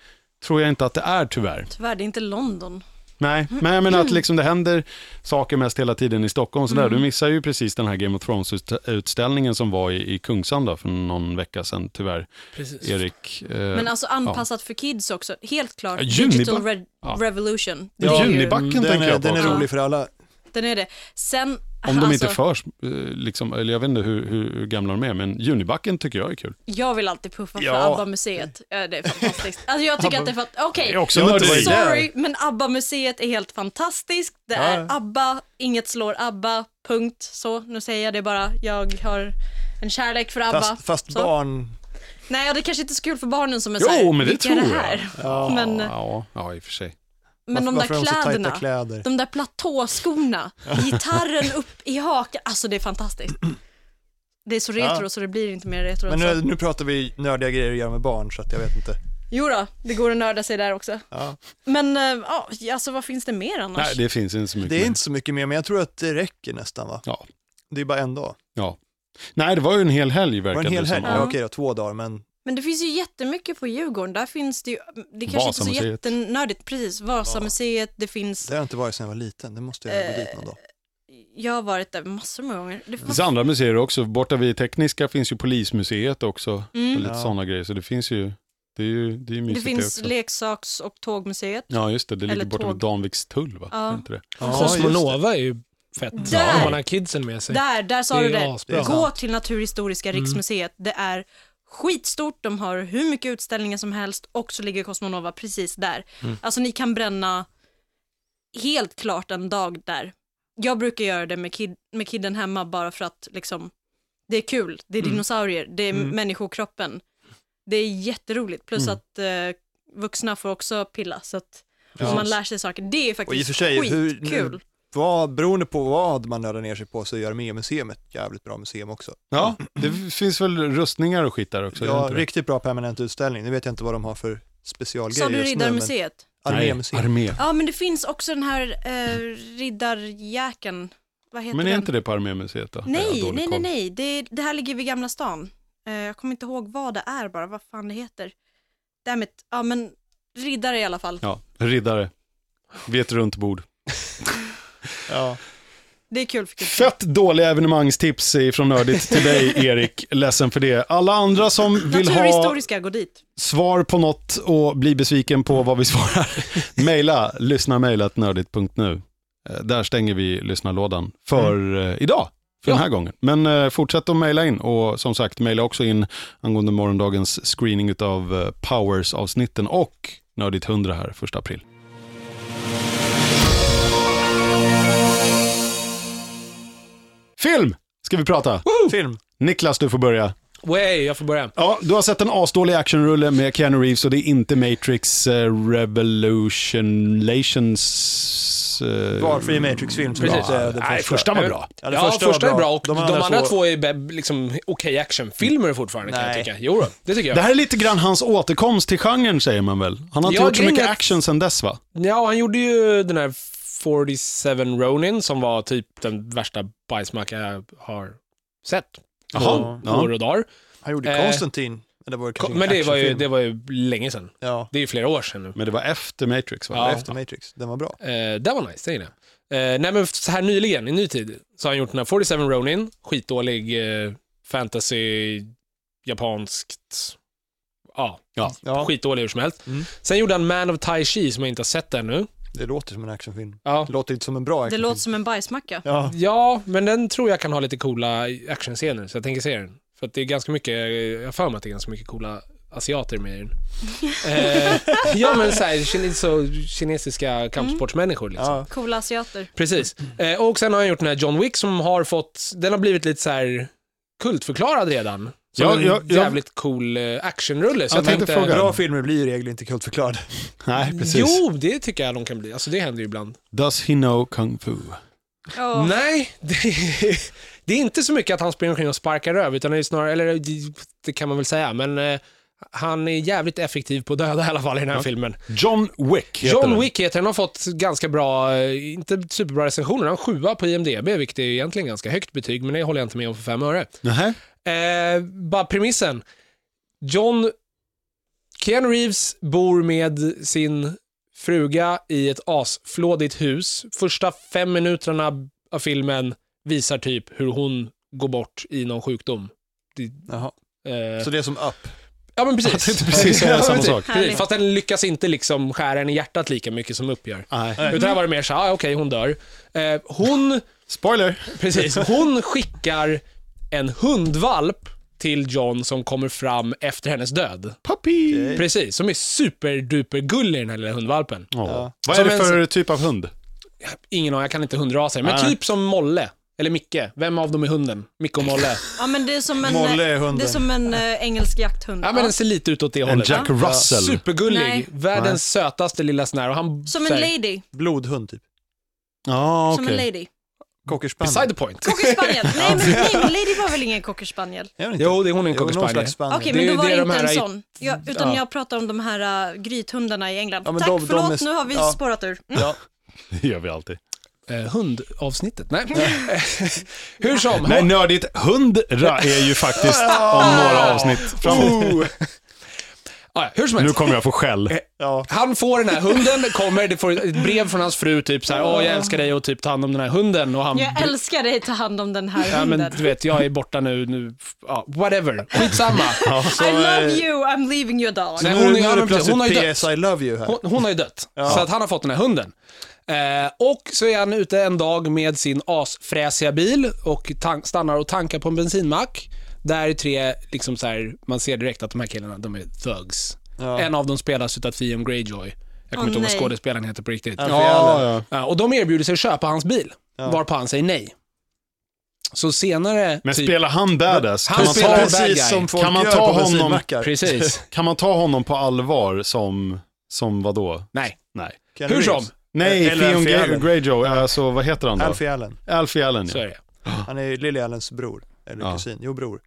A: tror jag inte att det är tyvärr.
D: Tyvärr, det är inte London.
A: Nej, men jag menar att liksom det händer saker mest hela tiden i Stockholm. Så
B: Mm.
A: där. Du missar ju precis den här Game of Thrones-utställningen som var i, i Kungshamn för någon vecka sedan, tyvärr.
C: Precis.
A: Erik. Eh,
D: Men alltså anpassat för kids också. Helt klart,
A: Ja,
D: digital
A: Juniback-
D: re-
A: Ja.
D: revolution. Det
A: ja,
D: är ju-
A: Junibacken
B: Den,
A: tänker
B: är,
A: jag på
B: den är
A: också.
B: rolig för alla.
D: Den är det. Sen,
A: Om de
D: alltså,
A: inte förs, eh, liksom, eller jag vet inte hur, hur gamla de är, men Junibacken tycker jag är kul.
D: jag vill alltid puffa för
B: Ja.
D: ABBA-museet. Ja, det är fantastiskt. Alltså jag tycker att det är fantastiskt.
A: Det
D: Okej,
A: är också
B: Jag har
A: nörderi.
B: inte varit där.
D: sorry, men ABBA-museet är helt fantastiskt. Det
B: Ja,
D: är
B: ja.
D: ABBA, inget slår ABBA, punkt. Så, nu säger jag det bara. Jag har en kärlek för ABBA.
B: Fast, fast
D: Så.
B: barn,
D: Nej, ja, det kanske inte är så kul för barnen som är
A: Jo,
D: så här,
A: men det
D: "Vilka är
A: tror
D: det
A: jag."
D: här?
A: Ja,
D: Men-
A: ja, ja, i och för sig.
D: Men de där
B: varför har de så
D: kläderna,
B: tajta kläder?
D: de där platåskorna, gitarren upp i hakan, alltså det är fantastiskt. Det är så retro
B: Ja.
D: så det blir inte mer retro
B: Men
D: än så.
B: nu, nu pratar vi nördiga grejer att göra med barn, så att jag vet inte.
D: Jo då, det går att nörda sig där också.
B: Ja.
D: Men eh, ja, alltså vad finns det mer annars?
A: Nej, det finns inte så mycket.
B: Det är
A: mer.
B: inte så mycket mer, men jag tror att det räcker nästan va?
A: Ja.
B: Det är bara en dag.
A: Ja. Nej, det var ju en hel helg
B: Det
A: verkar
B: var en hel
A: det som.
B: helg, ja. okej då, två dagar, men
D: Men det finns ju jättemycket på Djurgården. Där finns det ju, det kanske inte är så
A: Vasamuseet.
D: jättenördigt, precis. Vasamuseet, det finns,
B: det har jag inte varit sedan jag var liten. Det måste jag gå dit någon dag.
D: jag har varit där massor med gånger. Det
A: Det finns andra museer också. Borta vid Tekniska finns ju Polismuseet också. Och
D: mm.
A: lite
B: Ja.
A: sådana grejer. Så det finns ju, det är ju, det är ju
D: Det
A: mysigt det,
D: finns
A: också.
D: leksaks och tågmuseet.
A: Ja, just det. Det ligger
D: eller
A: borta vid
D: tåg.
A: Danvikstull, va?
D: Ja.
A: Är Inte det?
C: Kosmonova är ju fett.
D: Där!
C: Om man har kidsen med sig.
D: Där, där sa
C: Det
D: du
C: är
D: det.
C: asbra.
D: Gå till Naturhistoriska
B: Mm.
D: riksmuseet. Det är skitstort, de har hur mycket utställningar som helst och så ligger Cosmonova precis där.
B: Mm.
D: Alltså ni kan bränna helt klart en dag där. Jag brukar göra det med, kid, med kidden hemma bara för att liksom, det är kul, det är
B: Mm.
D: dinosaurier, det är människokroppen. Det är jätteroligt,
B: Mm.
D: plus att eh, vuxna får också pilla så att
B: Ja.
D: man lär sig saker. Det är faktiskt
B: Och i och för sig, hur,
D: skitkul.
B: nu, vad, beroende på vad man nördar ner sig på så gör Armémuseum ett jävligt bra museum också.
A: Ja, det finns väl rustningar och skit där också? är det
B: ja,
A: inte det?
B: riktigt bra permanent utställning. Nu vet jag inte vad de har för specialgrejer
D: Sa du
B: just nu, men-
D: Riddarmuseet?
A: Nej,
B: Armémuseum.
A: armé.
D: Ja, men det finns också den här eh, riddarjäkeln. Vad heter
A: Men är
D: den?
A: inte det på Armémuseet då? Jag har
D: Nej,
A: dålig
D: nej, nej,
A: koll.
D: nej. Det, det här ligger vid Gamla stan. Eh, jag kommer inte ihåg vad det är bara, vad fan det heter. Dammit. Ja, men riddare i alla fall.
A: Ja, riddare. Vid ett runt bord.
B: Ja.
D: Det är kul för kids.
A: Fett dåliga evenemangstips från Nördigt till dig, Erik. Ledsen för det. Alla andra som vill ha
D: Naturhistoriska, gå dit.
A: svar på något och bli besviken på vad vi svarar, mejla lyssnamejlatnördigt.nu. Eh, Där stänger vi lyssnarlådan för eh, idag, för den här gången. Men eh, fortsätt att mejla in och som sagt, mejla också in angående morgondagens screening av Powers-avsnitten och Nördigt 100 här, 1 april. Film ska vi prata.
B: Film.
A: Niklas, du får börja.
C: Way, jag får börja.
A: Ja, du har sett en asdålig actionrulle med Keanu Reeves och det är inte Matrix eh, Revolutionlations... Eh,
B: Valfri Matrix-film som
C: Precis.
B: inte är den
A: Nej, första var bra.
B: Ja, den
C: Ja, första, är bra och de andra, två...
B: två...
C: är be- liksom okej actionfilmer fortfarande kan jag
B: Nej.
C: tycka. Jo då, det tycker jag.
A: Det här är lite grann hans återkomst till genren säger man väl? Han har inte
C: Ja,
A: gjort så
C: grejen
A: mycket
C: är att-
A: action sedan dess va?
C: Ja, han gjorde ju den här 47 Ronin som var typ den värsta bajsmacka jag har sett.
A: Jaha.
C: På år
A: Ja.
C: och dagar.
B: Han gjorde
C: Eh,
B: Konstantin. Men det var, ju kanske
C: Men
B: ingen
C: det var, ju,
B: actionfilm.
C: det var ju länge sedan.
B: Ja,
C: Det är ju flera år sedan nu.
A: Men det var efter Matrix va?
C: Ja.
B: efter Matrix. Den var bra.
C: Eh, det var nice, det gillar jag. Eh, nej men så här nyligen, i ny tid, så har han gjort den här 47 Ronin, skitdålig eh, fantasy, japanskt, ja,
A: Ja.
B: Ja,
C: skitdålig hur som helst.
B: Mm.
C: Sen gjorde han Man of Tai Chi som jag inte har sett ännu.
B: det låter som en actionfilm.
C: Ja.
B: Det låter inte som en bra
E: Det
B: actionfilm.
E: låter som en bajsmacka.
B: Ja,
C: ja, men den tror jag kan ha lite coola actionscener, så jag tänker se den. För att det är ganska mycket, jag har för mig att det är ganska mycket coola asiater med i den. eh, ja men såhär, kines- kinesiska kampsportsmänniskor liksom.
B: ja.
E: Coola asiater.
C: Precis. Eh, och sen har han gjort den här John Wick som har fått, den har blivit lite så här kultförklarad redan. Som
A: Ja,
C: en
A: ja, ja.
C: jävligt cool eh, actionrulle. Så
A: Jag tänkte fråga.
B: Bra filmer blir i regel inte kultförklarade.
A: Nej, precis.
C: Jo, det tycker jag de kan bli. Alltså det händer ju ibland.
A: Does he know kung fu?
E: Ja.
C: Nej, det, det är inte så mycket att han springer omkring och sparkar röv, utan det är snarare, eller det kan man väl säga, men eh, han är jävligt effektiv på att döda i alla fall i den här filmen.
A: John Wick heter
C: John
A: den.
C: Wick heter den, har fått ganska bra, eh, inte superbra recensioner, han har en sjua på IMDB, vilket är egentligen ganska högt betyg, men det håller jag inte med om för fem öre.
A: Nähä.
C: Eh, bara premissen. John Keanu Reeves bor med sin fruga i ett asflådigt hus. Första fem minuterna av filmen visar typ hur hon går bort i någon sjukdom.
B: Jaha.
C: Eh,
B: Så det är som Up.
C: ja men
A: Ja,
C: precis.
A: tänkte precis säga
C: Ja, men
A: samma
C: precis.
A: sak.
C: Precis. Fast den lyckas inte liksom skära en i hjärtat lika mycket som Upp gör.
A: Nej.
C: Utan här var det mer så här, ah, okej hon dör. Eh, hon
A: Spoiler.
C: Precis. Hon skickar en hundvalp till John som kommer fram efter hennes död.
A: Puppy.
C: Precis, som är superduper gullig den här lilla hundvalpen.
A: Ja.
B: Ja.
A: Vad är
C: Som
A: det
C: en-
A: för typ av hund?
C: Ingen aning, jag kan inte hundraser, men
A: Nej.
C: typ som Molle. Eller Micke. Vem av dem är hunden? Micke och Molle.
E: Ja, men det är som en,
B: Molle är hunden.
E: det är som en eh, engelsk jakthund.
C: Ja, men den ser lite ut åt det
A: En
C: hållet.
A: Jack Russell.
C: Supergullig.
E: Nej.
C: Världens sötaste lilla sån här. Och han,
E: Som en
C: så här,
E: lady.
B: Blodhund typ.
A: Ja,
E: Som en lady.
C: Beside
B: Cockerspaniel.
C: the point.
E: Cockerspaniel. nej, men, nej, men lady var väl ingen cockerspaniel?
B: Är det inte?
C: Jo, det är hon är en
B: Jo, någon
C: cockerspaniel.
B: slags spaniel.
E: Okej, men
C: Det är
E: då var
C: ju det
E: det
C: de
E: inte
C: här
E: en
C: i-
E: sån. Ja, utan
C: Ja.
E: jag pratar om de här äh, grythundarna i England.
B: Ja, men
E: Tack,
B: de- de
E: förlåt,
B: är-
E: nu har vi
B: ja.
E: spårat ur. Mm.
B: Ja.
A: Det gör vi alltid.
C: Eh, hundavsnittet. Nej. Hur som.
A: Nej, nördigt. Hundra är ju faktiskt om några avsnitt framåt.
C: Ah, ja, hur som helst.
A: Nu kommer jag få skäll.
B: Ja.
C: Han får den här hunden, kommer, det får ett brev från hans fru, typ så här, åh jag älskar dig och typ ta hand om den här hunden. Och han,
E: Jag älskar dig, ta hand om den här
C: ja, men
E: hunden.
C: du vet, jag är borta nu, nu ja, whatever, skitsamma.
E: I love
B: eh,
E: you, I'm leaving you a dog.
C: Nej,
B: Nu,
C: hon,
B: hon,
C: är-
B: nu är
C: ja,
B: det
C: men precis,
B: plötsligt
C: hon har ju dött.
B: PS I love you här.
C: Hon, hon har ju dött,
B: Ja.
C: så att han har fått den här hunden. Eh, och så är han ute en dag med sin asfräsiga bil och tan- stannar och tankar på en bensinmack. Där är tre, liksom så här, man ser direkt att de här killarna, de är thugs.
B: Ja.
C: En av dem spelas utav Theon Greyjoy. Jag kommer
E: Åh,
C: inte ihåg vad
E: nej.
C: skådespelaren heter på riktigt.
A: Ja, ja.
C: Ja, Och de erbjuder sig att köpa hans bil, varpå han säger nej. Så senare...
A: Men
C: typ-
A: spelar han badass?
C: Han
A: Kan man
C: spelar
A: ta,
C: en bad guy.
B: Precis som folk
A: Kan man
B: gör
A: ta
B: på
A: honom-
B: bensinmackar.
C: Precis.
A: kan man ta honom på allvar som, som vadå?
C: nej.
A: Nej.
B: Keanu
C: Hur som,
B: Reeves.
A: Nej,
B: Eller
A: Theon
B: Alfie
A: Grey-
B: Allen.
A: Greyjoy, alltså vad heter han då?
B: Alfie Allen.
A: Alfie Allen,
C: så
A: ja.
C: är det.
B: Han är ju Lily Allens bror. Eller
A: Ja.
B: kusin. Jo, bror.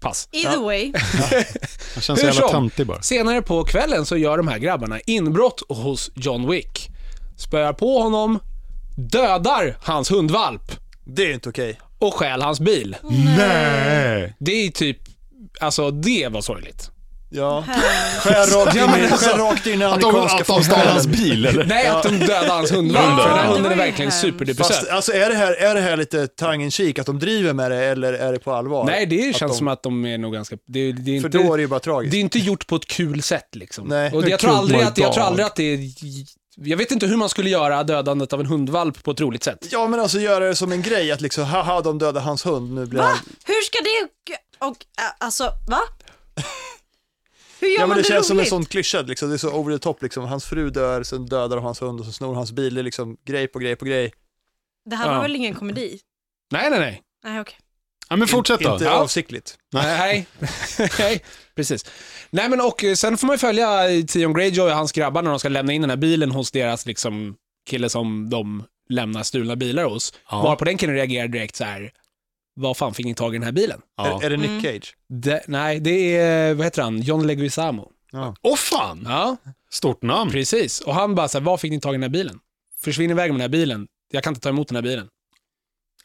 C: Pass.
E: Either way,
A: Han känns så
C: Hur
A: jävla
C: som.
A: töntig bara.
C: Senare på kvällen så gör de här grabbarna inbrott hos John Wick. Spöar på honom, dödar hans hundvalp
B: Det är inte okej.
C: och stjäl hans bil.
A: Nej!
C: Det är typ, alltså det var sorgligt.
B: Ja. Skär rakt in, i-
C: alltså,
B: skär rakt in i
A: Att de, att de stal hans bil eller?
C: Nej, att de dödade hans hundvalp,
A: Hunden.
C: för den här
A: Ja, det
C: hunden är
E: var ju
C: verkligen
E: hemskt.
C: superdupersöt.
B: Fast, alltså är det här, är det här lite tongue in cheek, att de driver med det, eller är det på allvar?
C: Nej, det känns
B: de-
C: som att de är nog ganska... Det, det är
B: För
C: inte,
B: då är det ju bara tragiskt.
C: Det är inte gjort på ett kul sätt liksom.
B: Nej.
C: och
A: Det är
C: jag, tror
A: kul
C: aldrig
A: på
C: att, jag
A: ett
C: tror
A: tag.
C: aldrig att det är... Jag vet inte hur man skulle göra dödandet av en hundvalp på ett roligt sätt.
B: Ja, men alltså göra det som en grej, att liksom, haha, de dödade hans hund, nu blir han...
E: hur ska det... Och, äh, alltså, va? Hur gör
B: Ja,
E: man
B: men det
E: det,
B: känns
E: roligt?
B: som en sån klyscha, liksom. det är så over the top, liksom. hans fru dör, sen dödar de hans hund och så snor hans bil, det är liksom grej på grej på grej.
E: Det här
C: Ja.
E: var väl ingen komedi?
C: Nej, nej, nej.
E: Nej, okej.
A: Ja, men fortsätt då.
B: Inte
C: Ja.
B: avsiktligt.
C: Nej. Nej, precis. Nej, men och eh, sen får man ju följa Tion Greyjoy och hans grabbar när de ska lämna in den här bilen hos deras liksom, kille som de lämnar stulna bilar hos.
A: Ja.
C: Varpå den killen reagerar direkt så här, vad fan fick ni tag i den här bilen?
A: Ja.
B: Är, är det Nick
E: Mm.
B: Cage?
C: Det, nej, det är, vad heter han, John Leguizamo.
A: Åh fan,
C: Ja,
A: stort namn.
C: precis. Och han bara så här, vad fick ni tag i den här bilen? Försvinn iväg med den här bilen. Jag kan inte ta emot den här bilen.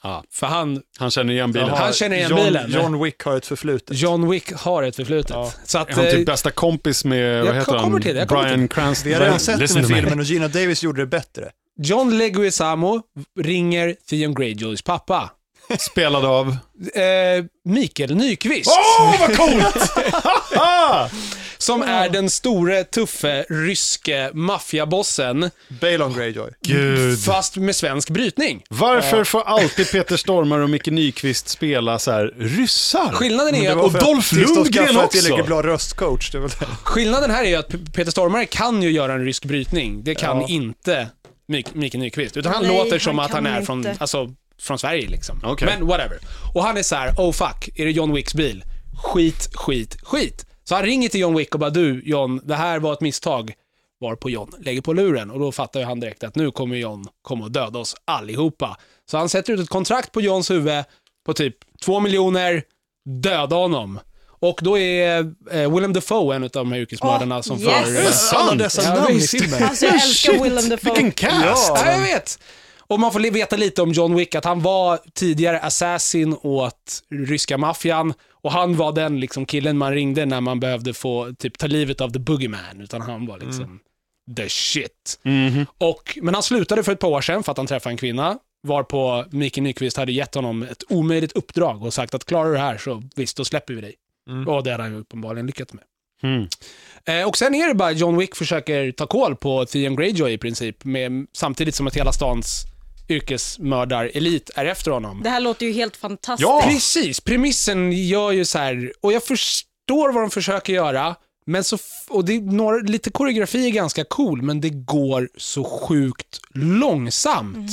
A: Ja.
C: För han,
A: Han känner igen bilen.
B: Jaha,
C: Han känner igen
B: John,
C: bilen.
B: John Wick har ett förflutet.
C: John Wick har ett förflutet.
B: Ja.
C: Så att,
A: Är han
C: eh,
A: typ bästa kompis med, vad
C: Jag
A: heter
C: kommer
A: han,
C: till det, jag kommer
A: Brian Cranston?
B: Vi har redan sett
A: Listen
B: den
A: to me.
B: här filmen och Gina Davis gjorde det bättre.
C: John Leguizamo ringer Theon Greyjoys pappa.
A: Spelad av...
C: Eh, Mikael Nyqvist,
A: Åh, vad coolt!
C: som är den store, tuffe, ryske maffiabossen,
B: Balon Greyjoy.
A: Gud.
C: fast med svensk brytning.
A: Varför får alltid Peter Stormare och Micke Nyqvist spela så här ryssar?
C: Skillnaden,
B: Men det
C: är,
B: var
A: och
B: för att
A: Dolph
B: tills de
A: Lundgren
B: skaffade
A: också.
B: tillräckligt bra röstcoach. Det var det.
C: skillnaden här är ju att P- Peter Stormare kan ju göra en rysk brytning. Det kan
B: Ja.
C: inte Mik- Mikael Nyqvist. Utan han
D: Nej,
C: låter som
D: han
C: att han
D: kan
C: är från,
D: inte.
C: alltså, från Sverige liksom.
A: Okej.
C: Men whatever. Och han är så här: oh fuck, är det John Wicks bil? Skit, skit, skit. Så han ringer till John Wick och bara, du John, det här var ett misstag. Varpå John lägger på luren och då fattar ju han direkt att nu kommer John komma och döda oss allihopa. Så han sätter ut ett kontrakt på Johns huvud på typ 2 miljoner, döda honom. Och då är eh, Willem Dafoe en av de här yrkesmördarna
D: Åh,
C: som
D: yes.
C: för...
A: Är det sant?
B: Alla dessa
C: Ja,
B: namn i
C: visst.
B: filmen.
D: Alltså jag älskar Willem Dafoe.
A: Vilken cast!
C: Ja, jag vet. Och man får li- veta lite om John Wick, att han var tidigare assassin åt ryska maffian och han var den liksom killen man ringde när man behövde få typ ta livet av the boogeyman, utan han var liksom
B: Mm.
C: the shit. Och, men han slutade för ett par år sedan för att han träffade en kvinna, varpå Mikael Nyqvist hade gett honom ett omöjligt uppdrag och sagt att klarar du det här så visst, då släpper vi dig. Och det hade han ju uppenbarligen lyckats med.
A: Mm.
C: Eh, och sen är det bara John Wick försöker ta koll på Theon Greyjoy i princip, med, samtidigt som att hela stans yrkesmördarelit är efter honom.
E: Det här låter ju helt fantastiskt.
A: Ja.
C: Precis, premissen gör ju så här, och jag förstår vad de försöker göra, men så, f- och det är några, lite koreografi är ganska cool, men det går så sjukt långsamt.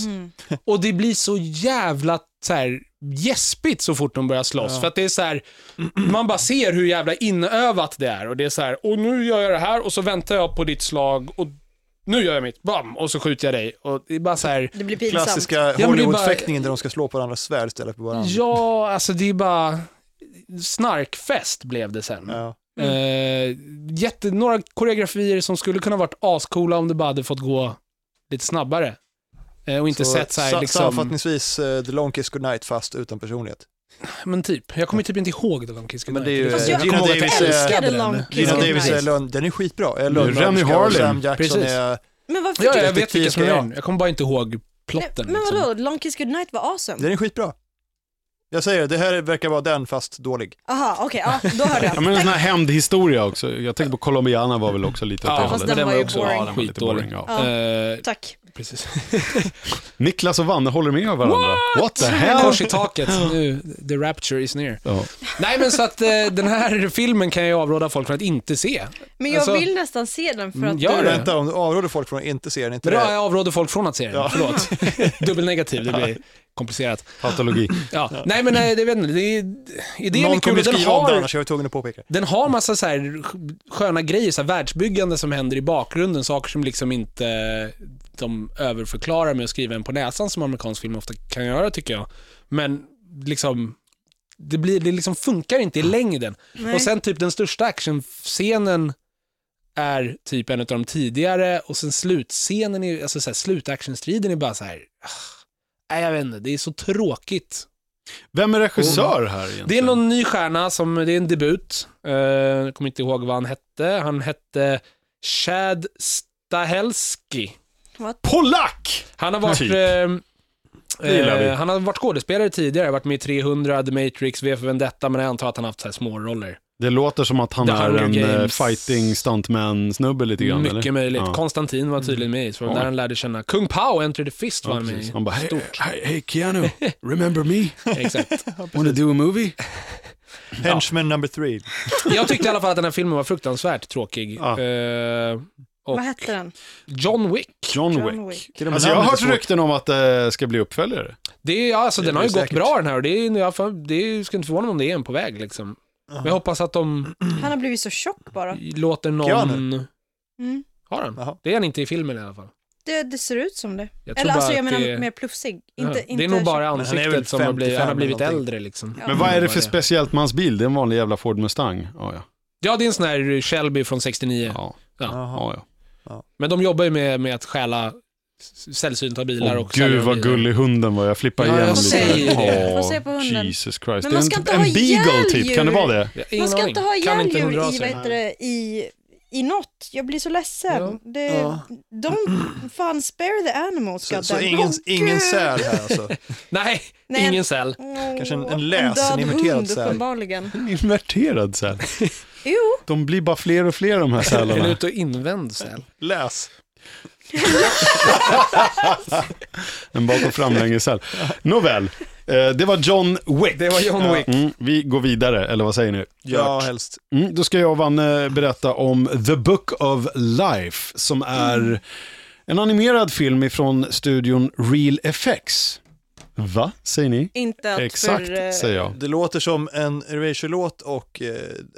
C: Och det blir så jävla så här, gäspigt så fort de börjar slåss. För att det är så här, man bara ser hur jävla inövat det är. Och det är så här, och nu gör jag det här och så väntar jag på ditt slag och nu gör jag mitt, bam, och så skjuter jag dig. Och det är bara så här,
D: Det blir pinsamt.
B: Klassiska
C: bara-
B: Hollywood-fäktningen där de ska slå på varandras svärd istället för varandra.
C: ja, alltså det är bara snarkfest blev det sen.
B: Ja.
C: Eh, jätte, några koreografier som skulle kunna varit ascoola om det bara hade fått gå lite snabbare. Eh, och inte sett så här,
B: sa-
C: liksom,
B: Sammanfattningsvis, eh, The Long Kiss Goodnight fast utan personlighet.
C: men typ. Jag kommer typ inte ihåg det de
B: Men det är ju,
D: Fast jag
B: Gina
D: kommer ihåg att
B: Davis
D: jag
B: är,
D: älskade
C: den.
D: Long
C: Gina
D: Kiss
B: Gina Davis är
D: Goodnight.
B: lön, den är skitbra. Är
A: Rennie
B: lönnmörderska och
A: Harlin.
B: Sam Jackson
C: Precis.
B: är,
D: Men varför
C: Ja,
D: tyckte
C: jag
B: Detektiv
C: vet vilka som
B: ska
C: gör
B: jag.
C: den. Jag kommer bara inte ihåg plotten. liksom.
D: Men vadå, Long Kiss Goodnight var awesome.
B: den är skitbra. Jag säger det, det här verkar vara den fast dålig.
D: Aha, okej, ja, då hörde
A: Ja,
D: jag.
A: men en sån här hämndhistoria också. Jag tänker på Colombiana var väl också lite åt
C: Ja,
A: det
C: fast
A: hållet.
D: den var ju
A: också-
D: boring.
A: Ja, den var lite boring. Ja.
D: Ja.
C: Eh,
D: Tack.
C: precis.
A: Niklas och Vanne håller med varandra. What, the hell?
C: Kors i taket. Nu, the rapture is near.
A: Ja.
C: Nej, men så att eh, den här filmen kan jag ju avråda folk från att inte se.
D: Men jag
C: Alltså-
D: vill nästan se den för
C: Mm,
D: att
C: gör
D: du...
C: det.
B: Vänta, om du avråder folk från att inte se den, inte
C: Men då
B: det.
C: jag avråder folk från att se den.
B: Eh, Ja.
C: Förlåt. Dubbelnegativ, det blir komplicerat.
A: Patologi.
C: Ja. Nej, men nej, det vet inte. Det är, idén är
B: Någon
C: kul.
B: kommer
C: Den
B: skriva om det
C: har,
B: annars, jag var tvungen att påpeka det.
C: den har massa så här sköna grejer, så här världsbyggande som händer i bakgrunden, saker som liksom inte de överförklarar med att skriva en på näsan som amerikansk film ofta kan göra tycker jag. Men liksom, det, blir, det liksom funkar inte i längden.
D: Nej.
C: Och sen typ den största actionscenen är typ en av de tidigare och sen slutscenen, är, alltså så här, slutactionstriden är bara så här, ah, nej jag vet inte, det är så tråkigt
A: Vem är regissör här egentligen?
C: Oh. det är någon ny stjärna, som, det är en debut. Eh, jag kommer inte ihåg vad han hette. Han hette Chad Stahelski.
A: Polack!
C: Han har varit,
A: Typ.
C: eh,
A: Det gillar vi.
C: eh, han har varit skådespelare tidigare, varit med i 300, The Matrix, V för Vendetta, men jag antar att han haft så här små roller.
A: Det låter som att han
C: The
A: är en
C: Hunger
A: eh,
C: Games.
A: fighting stuntman-snubbe lite grann,
C: Mycket
A: eller?
C: möjligt.
A: Ja.
C: Konstantin var tydligen med i, så det var
A: Ja.
C: där han lärde känna. Kung Pao, Enter the Fist var
A: Ja,
C: han med
A: precis.
C: i.
A: Han bara, hey,
C: Stort.
A: hey, hey Keanu, remember me?
C: Exakt.
A: Wanna do a movie?
B: Henchman number three.
C: Jag tyckte i alla fall att den här filmen var fruktansvärt tråkig.
A: Ja.
C: Eh, och
D: Vad hette den?
C: John Wick.
A: John
D: John
A: Wick.
D: Wick.
B: Till och med
A: Alltså jag har
B: namnet är
A: hört
B: svårt.
A: rykten om att det eh, ska bli uppföljare.
C: Det är, alltså,
B: Det
C: den har ju
B: blir
C: gått
B: säkert.
C: bra den här och det, är, jag, får- det är, skulle inte förvåna mig om det är en på väg liksom. Men jag hoppas att de
D: Han har blivit så tjock
C: Mm.
D: bara.
C: låter någon...
B: Keanu.
D: Mm.
C: Har han?
B: Jaha.
C: Det är han inte i filmen i alla fall.
D: Det, det ser ut som det.
C: Jag tror
D: Eller alltså
C: bara
D: jag
C: att
D: menar
C: det,
D: mer plufsig.
C: ja,
D: Inte, inte
C: det är nog bara
B: han är väl
C: ansiktet som har blivit, han har
B: 55
C: blivit
B: eller någonting.
C: äldre liksom.
D: Ja.
A: Men vad är det för
C: Ja.
A: speciellt med hans bil? Det är en vanlig jävla Ford Mustang. Ja, ja.
C: Ja, det är en sån här Shelby från 69.
A: ja, Ah,
B: Jaha.
A: ja, ja.
C: Men de jobbar ju med, med att stjäla s- sällsynta bilar
A: Åh,
C: och sälja
A: gud
C: dem
A: vad
C: vidare.
A: gullig hunden var. Jag flippade
C: Ja,
A: igen
C: jag säger det.
A: Åh,
D: Får se på hunden.
A: Jesus Christ.
D: man
A: det är
D: ska
A: en,
D: inte
A: en
D: ha
A: beagle
D: ihjäl
A: typ, kan det
D: djur.
A: vara det?
C: Jag har
D: Man
C: ingen
D: ska
C: aning.
D: inte ha
C: Kan
D: ihjäl
C: inte
D: djur i, vad
C: hundraser.
D: heter det, i, i något. Jag blir så ledsen.
C: Ja.
D: Det,
B: Ja.
D: Don't fan spare the animals.
B: Så, så
D: goddamn.
B: ingen,
D: Åh,
B: ingen
D: gud.
B: säl här alltså.
C: Nej,
D: Nej.
C: ingen säl.
B: Kanske en- en
D: Åh,
B: läs, en
D: död
B: inverterad
D: hund,
B: säl.
D: uppenbarligen.
A: En inverterad säl.
D: Jo,
A: De blir bara fler och fler de här
C: En
A: sälarna.
C: ut och invänd säl.
B: Läs.
A: En bak och framlängesäl. Nåväl, eh, det var John Wick.
C: Det var John Wick.
A: Mm, vi går vidare, eller vad säger ni?
B: Ja, helst.
A: Mm, då ska jag och Vanne berätta om The Book of Life, som är
D: Mm.
A: en animerad film ifrån studion Real Effects. Va, säger ni?
D: inte att
A: Exakt,
D: för... eh,
A: säger jag.
B: Det låter som en Erasure-låt och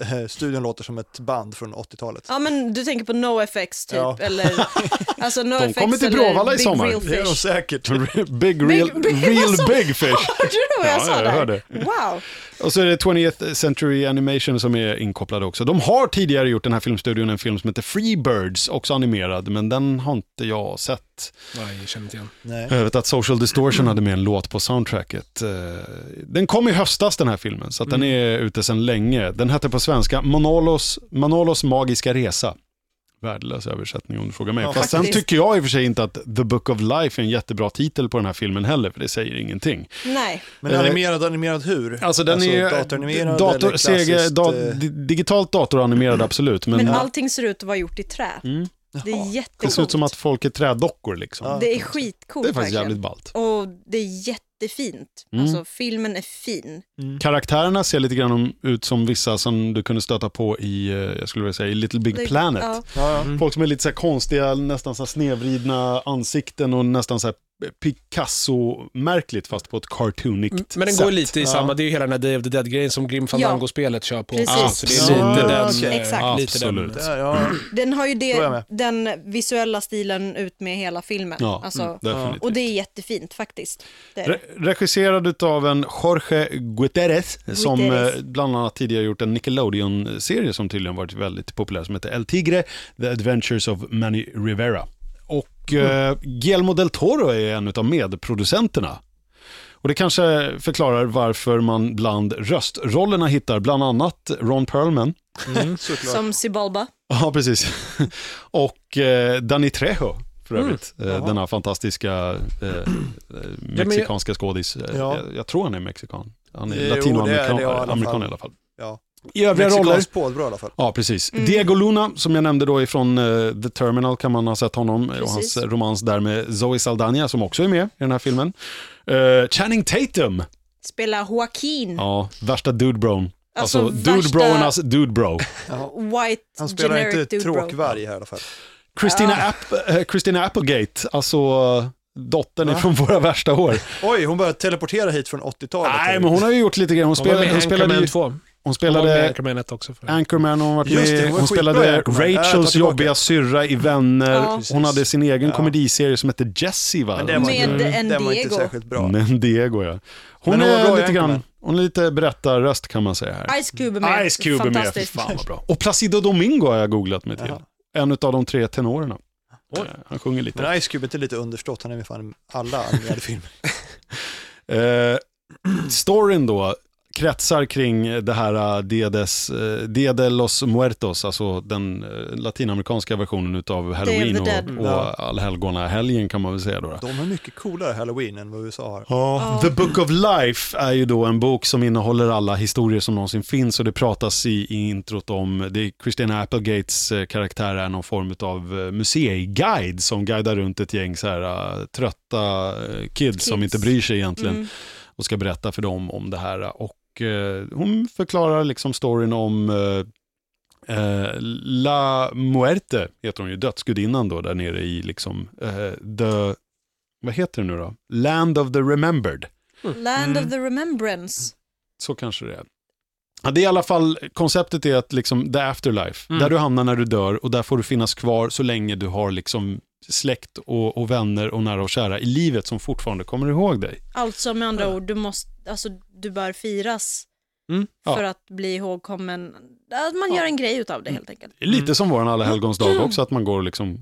B: eh, studion låter som ett band från 80-talet.
D: Ja men du tänker på NoFX typ,
B: Ja.
D: eller alltså
A: De
D: NoFX
A: kommer till
D: eller
A: Bråvalla i
D: Big
A: sommar.
D: Real
B: Det är nog
D: Fish.
B: säkert.
A: Big Real,
D: Big- big-
A: real
D: vad sa-
A: big Fish.
D: Hörde du vad jag
A: Ja,
D: sa
A: jag
D: där?
A: hörde.
D: Wow.
A: Och så är det 20th Century Animation som är inkopplade också. De har tidigare gjort den här filmstudion en film som heter Free Birds, också animerad, men den har inte jag sett.
C: Nej, jag känner inte igen.
B: Nej.
A: Jag vet att Social Distortion hade med en låt på soundtracket. Eh, Den kom i höstas den här filmen, så att
B: Mm.
A: den är ute sedan länge. Den hette på svenska Manolos, Manolos magiska resa. Värdelös översättning om du frågar mig.
B: Ja,
A: Fast sen
D: faktiskt.
A: tycker jag i och för sig inte att The Book of Life är en jättebra titel på den här filmen heller, för det säger ingenting.
D: Nej.
B: Men
A: Eh,
B: animerad, animerad hur?
A: Alltså den är
B: datoranimerad
A: dator,
B: eller klassiskt?
A: CG, da,
B: eh,
A: di- digitalt datoranimerad absolut, men,
D: Men
A: ja,
D: allting ser ut att vara gjort i trä.
A: Mm.
D: Det är
A: det ser
D: jättecoolt.
A: ut som att folk är trädockor liksom.
B: Ja.
D: Det är skitcoolt
A: Det är faktiskt
D: verkligen.
A: jävligt ballt.
D: Och det är jättefint.
A: Mm.
D: Alltså filmen är fin.
A: Karaktärerna ser lite grann om- ut som vissa som du kunde stöta på i, eh, jag skulle vilja säga, i Little Big
D: Det-
A: Planet.
D: Ja.
C: Mm.
B: ja, mm. ja.
A: Folk som är lite så här konstiga, nästan så här snedvridna ansikten och nästan så här Picasso-märkligt fast på ett cartoonigt
C: Mm, Men den
A: sätt.
C: går lite i
B: Ja.
C: samma, det är ju hela den här Day of the Dead-grejen som Grim Fandango-spelet kör på.
D: Precis.
C: Ah, Så det är lite den.
B: Absolut.
C: eh,
D: Exakt.
C: Lite den.
A: Absolut.
B: Där, ja. Mm,
D: Den har ju
B: Då är jag
D: det,
B: med.
D: den visuella stilen ut med hela filmen.
A: Ja, mm,
D: alltså,
A: definitivt.
D: Och det är jättefint faktiskt. Det är det.
A: Re regisserad av en Jorge Guterres, som
D: Guterres.
A: eh, bland annat tidigare gjort en Nickelodeon-serie som tydligen varit väldigt populär som heter El Tigre, The Adventures of Manny Rivera. Och eh, Guillermo del Toro är en av medproducenterna. Och det kanske förklarar varför man bland röstrollerna hittar bland annat Ron Perlman,
B: Mm, såklart.
D: Som Sibalba.
A: Ja, precis. Och eh, Danny Trejo, för övrigt. Eh,
B: Mm, Jaha.
A: den här fantastiska eh, eh, mexikanska skådis. Eh,
B: Ja.
A: jag, jag tror han är mexikan. Han är
B: Jo, det är det,
A: latinoamerikan
B: ja, i alla fall.
A: amerikan i alla fall.
B: Ja. Mm.
A: I övriga roller.
B: Mexikanskt påbrå i alla fall.
A: Ja, precis. Diego Luna, som jag nämnde då ifrån eh, The Terminal, kan man ha sett honom. eh, Och
D: Precis.
A: hans romans där med Zoe Saldana, som också är med i den här filmen. Eh, Channing Tatum,
D: Spelar Joaquin.
A: ja, värsta dude bro. Alltså,
D: Alltså,
A: alltså
D: värsta-
A: dude-broarnas dude bro.
D: White,
B: Han spelar
D: generic
B: inte
D: dude bro.
B: tråkvarg här i alla fall.
A: Christina,
B: Ah.
A: App, eh, Christina Applegate, alltså eh, dottern
B: Va?
A: från våra värsta år.
B: Oj, hon började teleportera hit från 80-talet.
A: Nej, men hon har ju gjort lite grann. Hon
C: Hon var
A: spelade,
C: med i
A: hon spelade,
C: Anchorman
A: ju-
C: 2.
A: hon
C: Hon var med i
A: spelade
C: Anchorman 1 också. För.
A: Anchorman, hon, var
B: Just det,
A: med,
B: hon var
A: hon
B: skitbra i
A: spelade
B: Anchorman. Ja, jag tar
A: Rachels
B: tillbaka.
A: jobbiga syrra i Vänner.
D: Ja.
A: Hon hade sin egen
B: Ja.
A: komediserie som hette Jessie, va?
B: Men den var,
D: Med
B: inte,
D: en
B: den var inte
D: Diego.
B: särskilt bra.
A: Men Diego, ja. Hon
B: Men hon var bra
A: är
B: i
A: lite grann,
B: Anchorman.
A: hon är lite berättarröst kan man säga här.
D: Ice Cube är med.
A: Ice Cube är med, fy
D: Fantastiskt.
A: fan vad bra. Och Placido Domingo har jag googlat mig till.
B: Jaha.
A: En av de tre tenorerna. Eh,
C: Oj.
A: Han sjunger lite.
B: Men Ice Cube är inte lite understått, han är med fan i alla animerade filmer.
A: Eh, storyn då kretsar kring det här eh, Diedes, eh, Dia de los Muertos, alltså den eh, latinamerikanska versionen av Halloween
D: the Dead.
A: och, och allhelgona helgen kan man väl säga då. då.
B: De är mycket coolare halloween än vad USA har.
A: Ja, The Book of Life är ju då en bok som innehåller alla historier som någonsin finns och det pratas i, i introt om, det är Christina Applegates eh, karaktär är någon form av museiguide som guidar runt ett gäng så här, eh, trötta eh, kids, som inte bryr sig egentligen
D: Mm.
A: och ska berätta för dem om det här. Och eh, hon förklarar liksom storyn om eh, eh, La Muerte, heter hon ju, dödsgudinnan då där nere i liksom eh, the, vad heter det nu då? Land of the Remembered.
D: Land of the Remembrance.
A: Så kanske det är. Ja, det är i alla fall, konceptet är att liksom the afterlife,
C: Mm.
A: där du hamnar när du dör och där får du finnas kvar så länge du har liksom släkt och, och vänner och nära och kära i livet som fortfarande kommer ihåg dig.
E: Alltså med andra ord, du, måste, alltså, du bör firas
C: Mm,
A: ja.
E: för att bli ihågkommen. Att man gör en grej utav det
C: Mm.
E: helt enkelt.
A: Lite som vår alla helgons dag
E: Mm.
A: också, att man går och liksom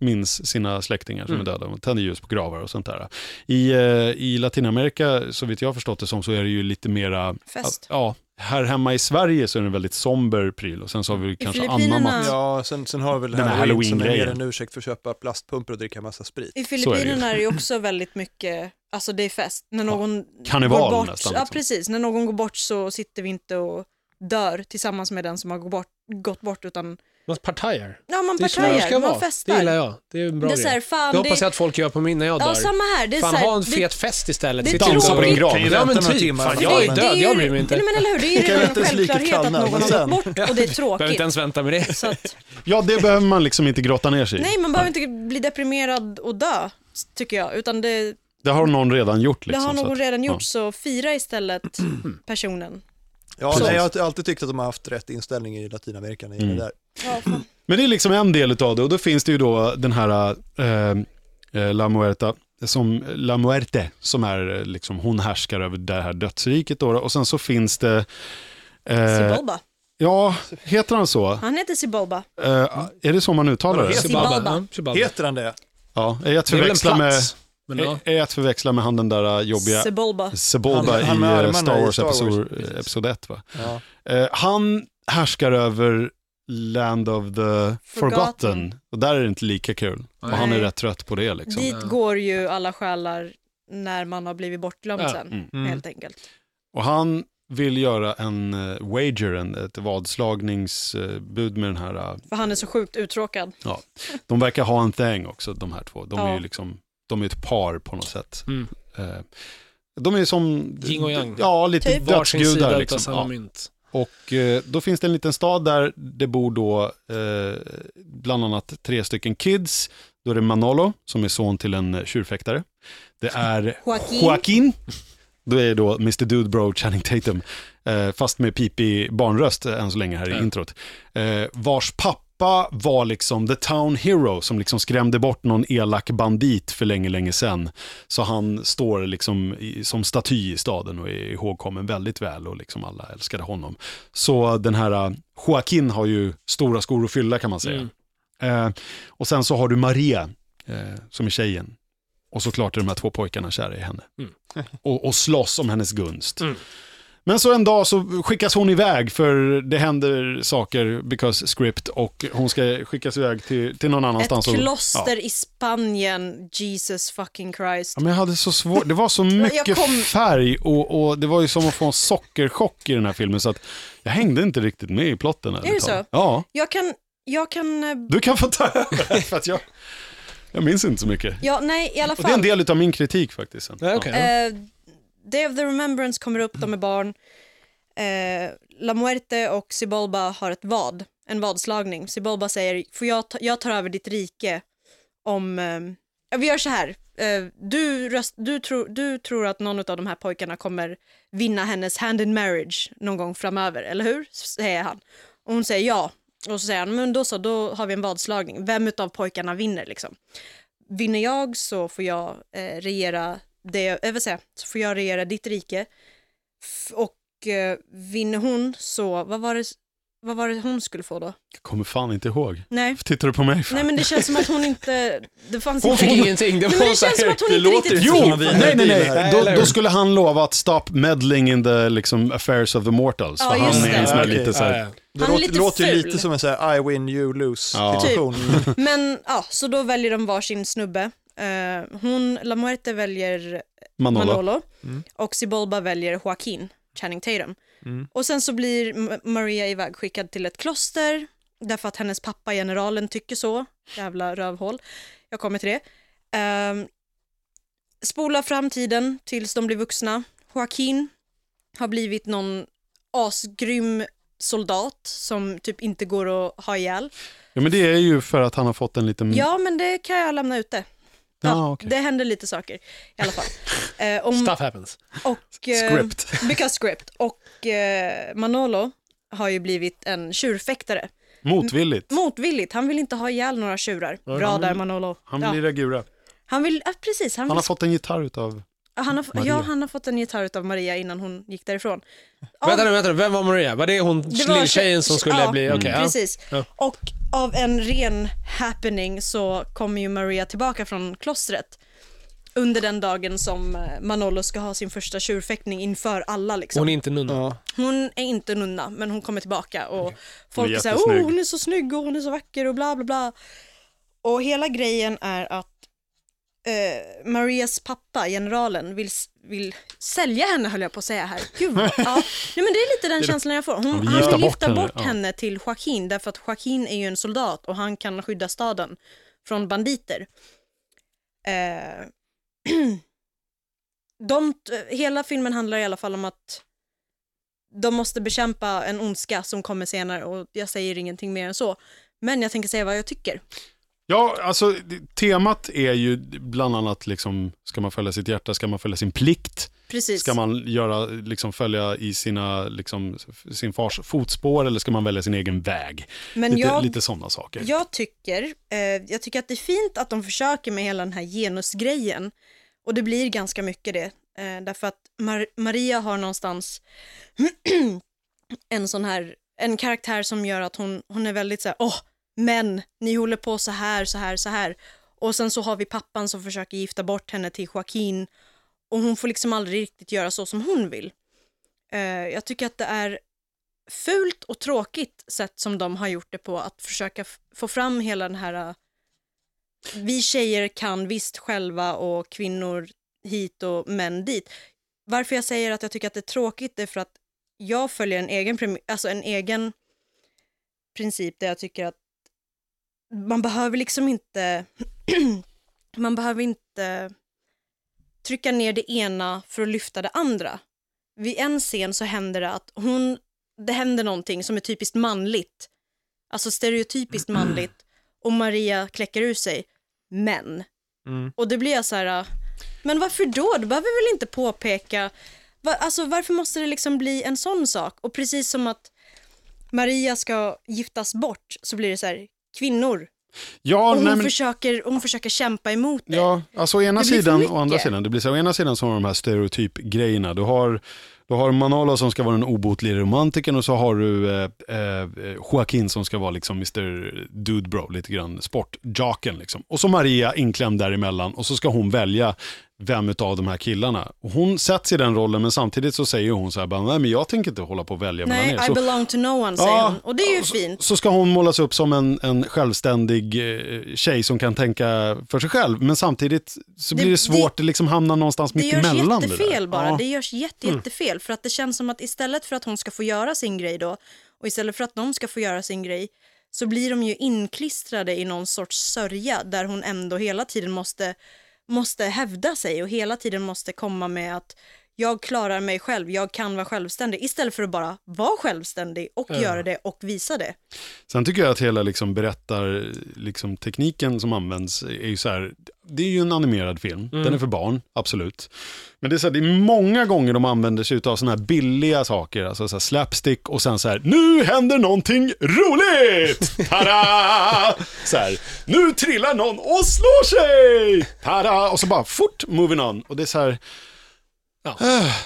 A: minns sina släktingar som
C: Mm.
A: är döda och tänder ljus på gravar och sånt där. I, eh, I Latinamerika, så vitt jag har förstått det som, så är det ju lite mera...
E: Fest.
A: Ja, här hemma i Sverige så är det en väldigt somber pryl och sen så har vi kanske
D: Filippinerna-
A: anammat...
B: Ja, sen, sen har vi väl
A: Den här
B: halloween som är mer
A: Halloween-grejen.
B: en ursäkt för att köpa plastpumpor och dricka massa sprit.
D: I
A: ju.
D: Filippinerna är det ju också väldigt mycket, alltså det är fest. När någon
A: karneval
D: går bort,
A: nästan,
D: Ja,
A: liksom.
D: precis. När någon går bort så sitter vi inte och dör tillsammans med den som har gått bort, gått bort utan,
C: Man partajar.
D: ja man
C: Det är så det ska
D: partajar, man
C: vara. Det
D: festar.
C: gillar jag. Det är en bra
D: Det är
C: grej.
D: så här, fan,
C: det hoppas
D: det-
C: jag att folk gör på min när jag
D: Ja,
C: dör.
D: samma här. Det är
C: Fan,
D: så här,
C: ha en
D: det-
C: fet fest istället.
D: det
C: Sitta
D: är
C: och dansa på en
D: tråkigt.
C: grav.
B: Kan ju
C: Ja, men
B: vänta några
C: typ.
B: timmar.
C: Fan,
B: Fan,
C: jag är
D: det
C: död,
D: ju-
C: jag bryr mig inte.
D: Nej, men eller hur, det är ju
B: kan
D: redan en
B: vänta tills liket
D: självklarhet att
B: kallnar,
D: någon
B: men
D: har
B: sen-
D: gått bort och det är
C: Behöver
D: tråkigt.
C: inte ens vänta med det.
D: Så att,
A: Ja, det behöver man liksom inte grotta ner sig i.
D: nej, man behöver inte bli deprimerad och dö, tycker jag. Utan det,
A: Det har någon redan gjort. Liksom,
D: det har
A: så
D: någon
A: att-
D: redan
A: ja.
D: gjort, så fira istället personen.
B: Ja,
A: Precis. Mm.
B: nej, jag har alltid tyckt att de har haft rätt inställning i Latinamerika när det gäller det där.
D: Ja, fan.
A: Men det är liksom en del av det och då finns det ju då den här eh, eh, La Muerta, som, La Muerte, som är eh, liksom, hon härskar över det här dödsriket då, och sen så finns det eh,
D: Sibolba.
A: Ja, heter han så?
D: Han heter Sibolba.
A: Eh, är det så man uttalar det?
B: Heter-
D: Zimbabwe.
C: Ja, Zimbabwe.
B: Heter han det?
A: Ja, är jag att
C: Det är väl en
A: förväxla med,
C: plats. Men ja.
A: är jag att förväxla med han den där eh, jobbiga
D: Sibolba.
A: Sebulba
B: Han-
A: i
B: han med
A: eh,
B: armarna
A: Star
B: i
A: Wars,
B: Star Wars,
A: episod,
B: precis.
A: episod 1 va?
B: Ja.
A: Eh, han härskar över Land of the Forgotten.
D: Forgotten.
A: Och där är det inte lika kul. Och
C: Nej.
A: han är rätt trött på det liksom.
D: Dit går ju alla själar när man har blivit bortglömd
C: Ja,
D: sen,
A: mm.
B: Mm.
D: helt enkelt.
A: Och han vill göra en eh, wager, en, ett vadslagningsbud med den här. eh,
D: För han är så sjukt uttråkad.
A: de verkar ha en thing också, de här två. De är
D: Ja.
A: ju liksom, de är ett par på något sätt.
C: Mm.
A: Eh, de är som...
C: Yin och yang.
A: Ja, lite
D: Typ.
C: Varsin sida
A: dödsgudar
C: utav
A: liksom.
C: samma
A: Ja.
C: mynt.
A: Och eh, då finns det en liten stad där det bor då eh, bland annat tre stycken kids. Då är det Manolo som är son till en eh, tjurfäktare. Det är
D: Joaquin.
A: Joaquin. Då är det då Mr Dudebro Channing Tatum. Eh, fast med pipig barnröst eh, än så länge här i
C: Ja.
A: introt. Eh, vars pappa var liksom the town hero som liksom skrämde bort någon elak bandit för länge, länge sedan. Så han står liksom i, som staty i staden och är ihågkommen väldigt väl och liksom alla älskade honom. Så den här eh, Joaquin har ju stora skor att fylla kan man säga.
C: Mm.
A: Eh, och sen så har du Maria eh, som är tjejen. Och såklart är de här två pojkarna kära i henne.
C: Mm.
A: Och, och slåss om hennes gunst.
C: Mm.
A: Men så en dag så skickas hon iväg för det händer saker because script och hon ska skickas iväg till, till någon annanstans.
D: Ett
A: och-
D: kloster
A: Ja.
D: i Spanien, Jesus fucking Christ.
A: Ja, men jag hade så svårt, det var så mycket
D: kom-
A: färg och, och det var ju som att få en sockerchock i den här filmen så att jag hängde inte riktigt med i plotten. Är
D: det så?
A: Ja,
D: Jag kan, jag kan, eh,
A: du kan få ta över för att jag, jag minns inte så mycket.
D: ja nej i alla
A: Och det är en
D: fall.
A: del av min kritik faktiskt. sen.
C: Ja, okej.
D: Eh, Day of the Remembrance kommer upp, de är barn. Eh, La Muerte och Sibolba har ett vad, en vadslagning. Sibolba säger, får jag, ta, jag tar över ditt rike om, eh, ja, vi gör så här. Eh, du, röst, du, tror- du tror att någon av de här pojkarna kommer vinna hennes hand in marriage någon gång framöver, eller hur? Säger han. Och hon säger ja. Och så säger han, men då så, då har vi en vadslagning. Vem av pojkarna vinner liksom? vinner jag så får jag eh, regera det jag, eh, vad säger, jag? så får jag regera ditt rike. F- och eh, vinner hon så, vad var, det, vad var det hon skulle få då?
A: Jag kommer fan inte ihåg.
D: Nej.
A: Tittar du på mig? för?
D: Nej men det känns som att hon inte, det fanns
C: Hon
D: inte
C: fick
D: riktigt-
C: ingenting. Det
D: Nej,
C: var
D: men det
C: så här-
D: känns som att hon
C: det
D: inte
C: låter
D: riktigt-
A: Jo,
B: Som
A: nej,
B: en vinare
A: nej,
B: deal
A: nej.
B: här.
A: Då,
C: Eller
A: då
C: hur?
A: skulle han lova att stop meddling in the liksom, affairs of the mortals.
D: Ja,
A: för han
D: just
A: är en
D: det.
A: sån här
B: Okej.
A: lite så
C: Ja,
A: här,
C: ja.
B: Det
D: Han är
B: låter,
D: lite
B: låter ju
D: ful. Typ.
B: lite som en så här I win, you lose
A: Ja.
B: situation.
D: Men ja, så då väljer de varsin snubbe. Eh, hon, La Muerte väljer
A: Manolo. Mm.
D: Manolo, och Sibolba väljer Joaquin, Channing Tatum.
A: Mm.
D: Och sen så blir M- Maria ivägskickad till ett kloster därför att hennes pappa, generalen, tycker så. Jävla rövhål. Jag kommer till det. Ehm, spola framtiden tills de blir vuxna. Joaquin har blivit någon asgrym soldat som typ inte går att ha ihjäl.
A: Ja, men det är ju för att han har fått en liten...
D: Ja, men det kan jag lämna ute.
A: Ja,
D: Ja,
A: Mm. okej.
D: Det händer lite saker i alla fall. Eh, om,
C: Stuff happens.
D: och, eh,
A: Script.
D: Because script. Och eh, Manolo har ju blivit en tjurfäktare.
A: Motvilligt.
D: Motvilligt, han vill inte ha ihjäl några tjurar. Bra
A: han vill-
D: där Manolo.
A: Han
D: ja.
A: blir Agura.
D: han vill, ja, precis, han,
A: Han har
D: vill,
A: fått en gitarr utav...
D: han har,
A: Maria.
D: ja, han har fått en gitarr av Maria innan hon gick därifrån.
C: Vänta nu, vänta nu. Vem var Maria? Var det hon
D: Det var
C: lilla tjejen som skulle
D: ja, mm,
C: bli... Okej, ja.
D: Precis.
C: Ja.
D: Och av en ren happening så kommer ju Maria tillbaka från klostret under den dagen som eh, Manolo ska ha sin första tjurfäktning inför alla. Liksom.
C: Hon är inte nunna.
B: Ja.
D: Hon är inte nunna, men hon kommer tillbaka och folk
A: är
D: är såhär,
A: jättesnygg.
D: oh hon är så snygg och hon är så vacker och bla bla bla. Och hela grejen är att eh, Marias pappa, generalen, vill, s- vill sälja henne höll jag på att säga här. Gud, vad- ja. Nej, men det är lite den känslan jag får. Hon,
A: vill
D: han vill
A: gifta
D: lyfta
A: bort
D: bort,
A: henne,
D: henne,
A: ja.
D: till Joaquin därför att Joaquin är ju en soldat och han kan skydda staden från banditer. Eh, de, t- hela filmen handlar i alla fall om att de måste bekämpa en ondska som kommer senare och jag säger ingenting mer än så. Men jag tänker säga vad jag tycker.
A: Ja, alltså det- temat är ju bland annat liksom, ska man följa sitt hjärta, ska man följa sin plikt,
D: Precis.
A: ska man göra, liksom, följa i sina, liksom, sin fars fotspår eller ska man välja sin egen väg?
D: Men
A: lite
D: jag,
A: lite sådana saker.
D: jag, tycker, eh, jag tycker att det är fint att de försöker med hela den här genusgrejen. Och det blir ganska mycket det. Eh, därför att Mar- Maria har någonstans en sån här, en karaktär som gör att hon, hon är väldigt så här, åh, men ni håller på så här, så här, så här. Och sen så har vi pappan som försöker gifta bort henne till Joaquin. Och hon får liksom aldrig riktigt göra så som hon vill. Eh, jag tycker att det är fult och tråkigt sätt som de har gjort det på att försöka f- få fram hela den här eh, vi tjejer kan visst själva och kvinnor hit och män dit. Varför jag säger att jag tycker att det är tråkigt är för att jag följer en egen, premi- alltså en egen princip där jag tycker att man behöver liksom inte man behöver inte trycka ner det ena för att lyfta det andra. Vid en scen så händer det att hon det händer någonting som är typiskt manligt. Alltså stereotypiskt
A: Mm.
D: manligt. Och Maria kläcker ur sig män.
B: Mm.
D: Och det blir jag så här, äh, men varför då? Du behöver väl inte påpeka. Va, alltså varför måste det liksom bli en sån sak? Och precis som att Maria ska giftas bort så blir det så här, kvinnor.
A: Ja,
D: Och hon,
A: nej, men,
D: försöker, hon försöker kämpa emot det.
A: ja, alltså å ena
D: Det blir för
A: sidan
D: mycket.
A: och andra sidan. Det blir så, här, å ena sidan så har du de här stereotypgrejerna. Du har, du har Manolo som ska vara den obotliga romantikern och så har du eh, eh, Joaquin som ska vara liksom Mr Dude Bro, lite grann sportjaken. Liksom. Och så Maria inklämd däremellan och så ska hon välja vem av de här killarna. Och hon sätts i den rollen men samtidigt så säger hon så här, bara, nej men jag tänker inte hålla på och välja mellan
D: Nej,
A: er.
D: I
A: Så,
D: belong to no one, säger
A: Ja,
D: hon. Och det är ju fint.
A: så ska hon målas upp som en, en självständig eh, tjej som kan tänka för sig själv. Men samtidigt så
D: Det-
A: blir det svårt, det, liksom hamnar någonstans
D: Det
A: mitt
D: görs
A: emellan.
D: jättefel
A: där.
D: bara.
A: Ja. Mm.
D: Det görs jätte, jättefel. För att det känns som att istället för att hon ska få göra sin grej då och istället för att de ska få göra sin grej så blir de ju inklistrade i någon sorts sörja där hon ändå hela tiden måste, måste hävda sig och hela tiden måste komma med att jag klarar mig själv, jag kan vara självständig istället för att bara vara självständig och göra det och visa det.
A: Sen tycker jag att hela liksom berättar, liksom tekniken som används är ju så här, det är ju en animerad film, den är för barn, absolut. Men det är, så här, det är många gånger de använder sig av sådana här billiga saker, alltså så här slapstick och sen så här, nu händer någonting roligt! Tada! Så här, nu trillar någon och slår sig! Tada! Och så bara fort, moving on. Och det är så här,
C: Ja.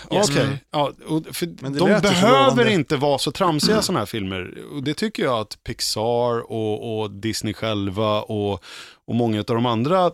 A: Okej,
C: Yes.
A: ja, och för
B: Men det
A: de
B: lät ju
A: behöver
B: förlovande.
A: inte vara så tramsiga sådana här filmer. Och det tycker jag att Pixar och, och Disney själva och, och många av de andra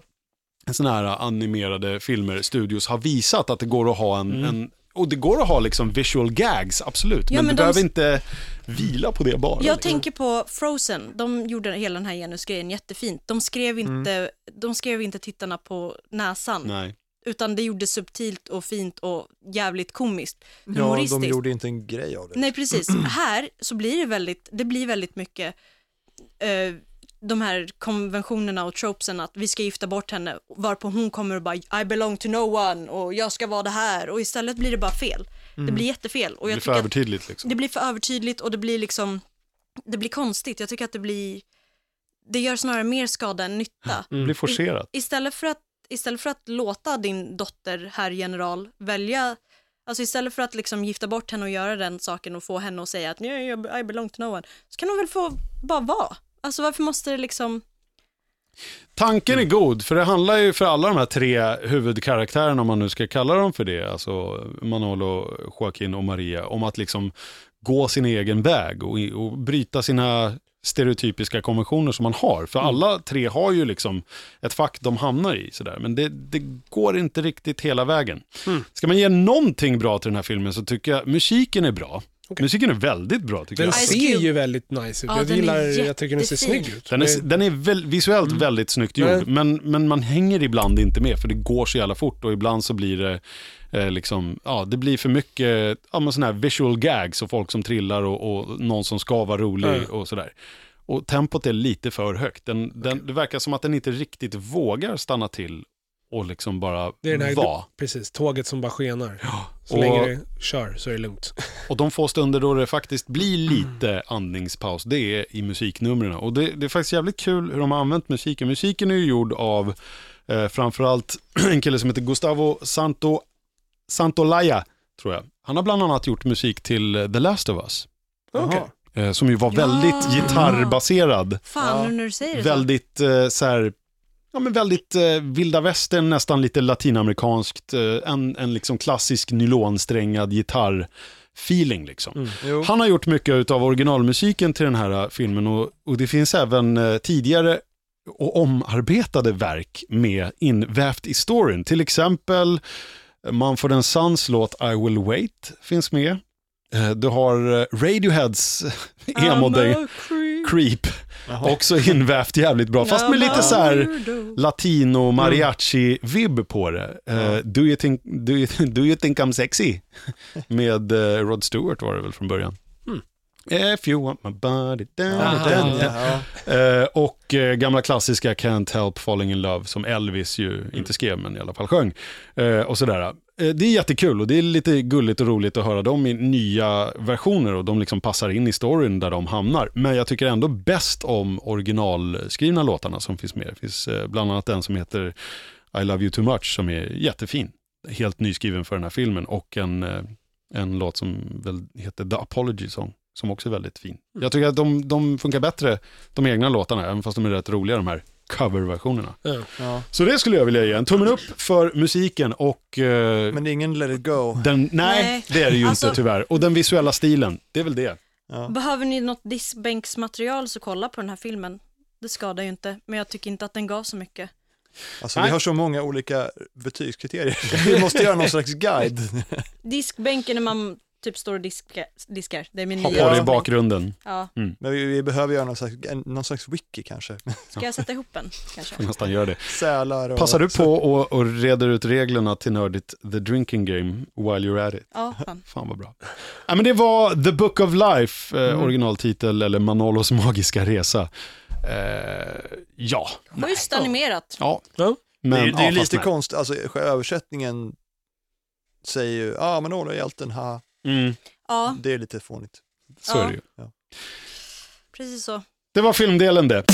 A: sådana här animerade filmer, studios, har visat att det går att ha en,
B: Mm.
A: en och det går att ha liksom visual gags, absolut.
D: Ja,
A: men, du
D: men de-
A: behöver inte vila på det bara.
D: Jag tänker på Frozen, de gjorde hela den här genusgrejen jättefint. De skrev
A: Mm.
D: inte, de skrev inte tittarna på näsan.
A: Nej.
D: utan det gjordes subtilt och fint och jävligt komiskt.
B: ja,
D: Humoristiskt.
B: de gjorde inte en grej av det.
D: Nej, precis. här så blir det väldigt, det blir väldigt mycket eh, de här konventionerna och tropesen att vi ska gifta bort henne, varpå hon kommer och bara I belong to no one och jag ska vara det här och istället blir det bara fel. Det blir jättefel och
A: Mm. Det blir för
D: jag tycker att
A: övertydligt liksom.
D: det blir för övertydligt och det blir liksom, det blir konstigt. Jag tycker att det blir, det gör snarare mer skada än nytta.
A: Mm. Det blir forcerat.
D: Istället för att
E: istället för att låta din dotter, herr general, välja, alltså istället för att liksom gifta bort henne och göra den saken och få henne att säga att "Nej, jag- I belong to no one, så kan hon väl få bara vara. Alltså varför måste det liksom,
A: Tanken är
C: Mm.
A: god, för det handlar ju för alla de här tre huvudkaraktärerna, om man nu ska kalla dem för det, alltså Manolo, Joaquin och Maria, om att liksom gå sin egen väg och, och bryta sina stereotypiska konventioner som man har.
C: Mm.
A: För alla tre har ju liksom ett fack de hamnar i, sådär. men det, det går inte riktigt hela vägen.
C: Mm.
A: Ska man ge någonting bra till den här filmen så tycker jag musiken är bra. Musiken är väldigt bra tycker
C: Den
A: jag.
E: Ice
C: ser ju
E: Cube.
C: väldigt nice ut.
E: Ja,
C: jag
E: den är
C: gillar, jag tycker den ser
E: jättefin.
C: snygg ut.
A: Den är, den är väl, visuellt
C: Mm.
A: väldigt snyggt gjord, men, men man hänger ibland inte med för det går så jävla fort och ibland så blir det eh, liksom, ja det blir för mycket ja, men sån här visual gags och folk som trillar och, och någon som ska vara rolig
C: Mm.
A: och sådär. Och tempot är lite för högt. Den, den, det verkar som att den inte riktigt vågar stanna till och liksom bara
C: Det är den här
A: vara.
C: Precis, tåget som bara skenar. Så
A: och-
C: länge det kör så är det lugnt.
A: Och de få stunder då det faktiskt blir lite andningspaus, det är i musiknumren. Och det, det är faktiskt jävligt kul hur de har använt musiken. Musiken är ju gjord av eh, framförallt en kille som heter Gustavo Santo, Santolaya, tror jag. Han har bland annat gjort musik till eh, The Last of Us,
C: Okej.
A: eh, som ju var
E: Ja.
A: väldigt gitarrbaserad.
E: fan
B: Ja.
E: nu när du säger det så.
A: Väldigt eh, så här, ja men väldigt eh, vilda västern, nästan lite latinamerikanskt. Eh, en, en liksom klassisk nylonsträngad gitarr-feeling liksom.
C: Mm.
B: Jo.
A: Han har gjort mycket av originalmusiken till den här eh, filmen och, och det finns även eh, tidigare och omarbetade verk med invävt i storyn. Till exempel eh, Mumford and Sons låt I will wait finns med. Eh, Du har eh, Radioheads
E: I'm
A: emo-däng
E: a creep.
A: Creep
B: Jaha.
A: också invävt jävligt bra, fast med lite så här latino mariachi vibb på det. Eh,
B: Ja.
A: do, you think, do, you, do you think I'm sexy? Med eh, Rod Stewart var det väl från början.
C: Mm.
A: If you want my body down,
C: Ah,
A: down, down.
B: Ja,
A: Eh, och eh, gamla klassiska Can't Help Falling In Love som Elvis ju inte skrev men i alla fall sjöng. Eh, och sådär. Eh, det är jättekul och det är lite gulligt och roligt att höra dem i nya versioner och de liksom passar in i storyn där de hamnar. Men jag tycker ändå bäst om originalskrivna låtarna som finns med. Det finns eh, bland annat den som heter I Love You Too Much som är jättefin. Helt nyskriven för den här filmen och en, eh, en låt som väl heter The Apology Song som också är väldigt fin. Jag tycker att de, de funkar bättre de egna låtarna, även fast de är rätt roliga de här coverversionerna.
B: ja.
A: Så det skulle jag vilja ge en tummen upp för musiken och eh,
B: Men det är ingen let it go.
A: den, nej,
E: Nej.
A: det är det ju
E: Alltså-
A: inte tyvärr. Och den visuella stilen, det är väl det.
B: Ja.
E: Behöver ni något diskbänksmaterial så kolla på den här filmen. Det skadar ju inte, men jag tycker inte att den gav så mycket.
B: Alltså, vi
A: Nej.
B: har så många olika betygskriterier. Vi måste göra någon slags guide.
E: Diskbänken när man typ står och diska, diskar, det är min
A: Ha
E: nya
A: på det i
E: diskbänk.
A: bakgrunden.
E: Ja,
B: Men vi, vi behöver göra någon slags, en- någon slags wiki kanske.
E: ska jag sätta ihop en kanske?
A: Får nästan göra det.
B: Sälar och...
A: Passar du på och, och reder ut reglerna till nördigt The Drinking Game while you're at it?
E: Ja, fan.
A: Fan vad bra. Ja, men det var The Book of Life, eh,
B: Mm.
A: originaltitel, eller Manolos magiska resa. Eh, ja,
E: Schysst animerat.
A: ja.
C: Ja.
A: Men,
B: det är, ju- det är
A: ja,
B: ju
A: fast
B: lite
A: nej.
B: konstigt, alltså själva översättningen säger ju, ja ah, men Ola är hjälten, ha.
A: Mm,
E: Ja,
B: Det är lite fånigt.
A: så är det ju.
E: precis så.
A: Det var filmdelen det.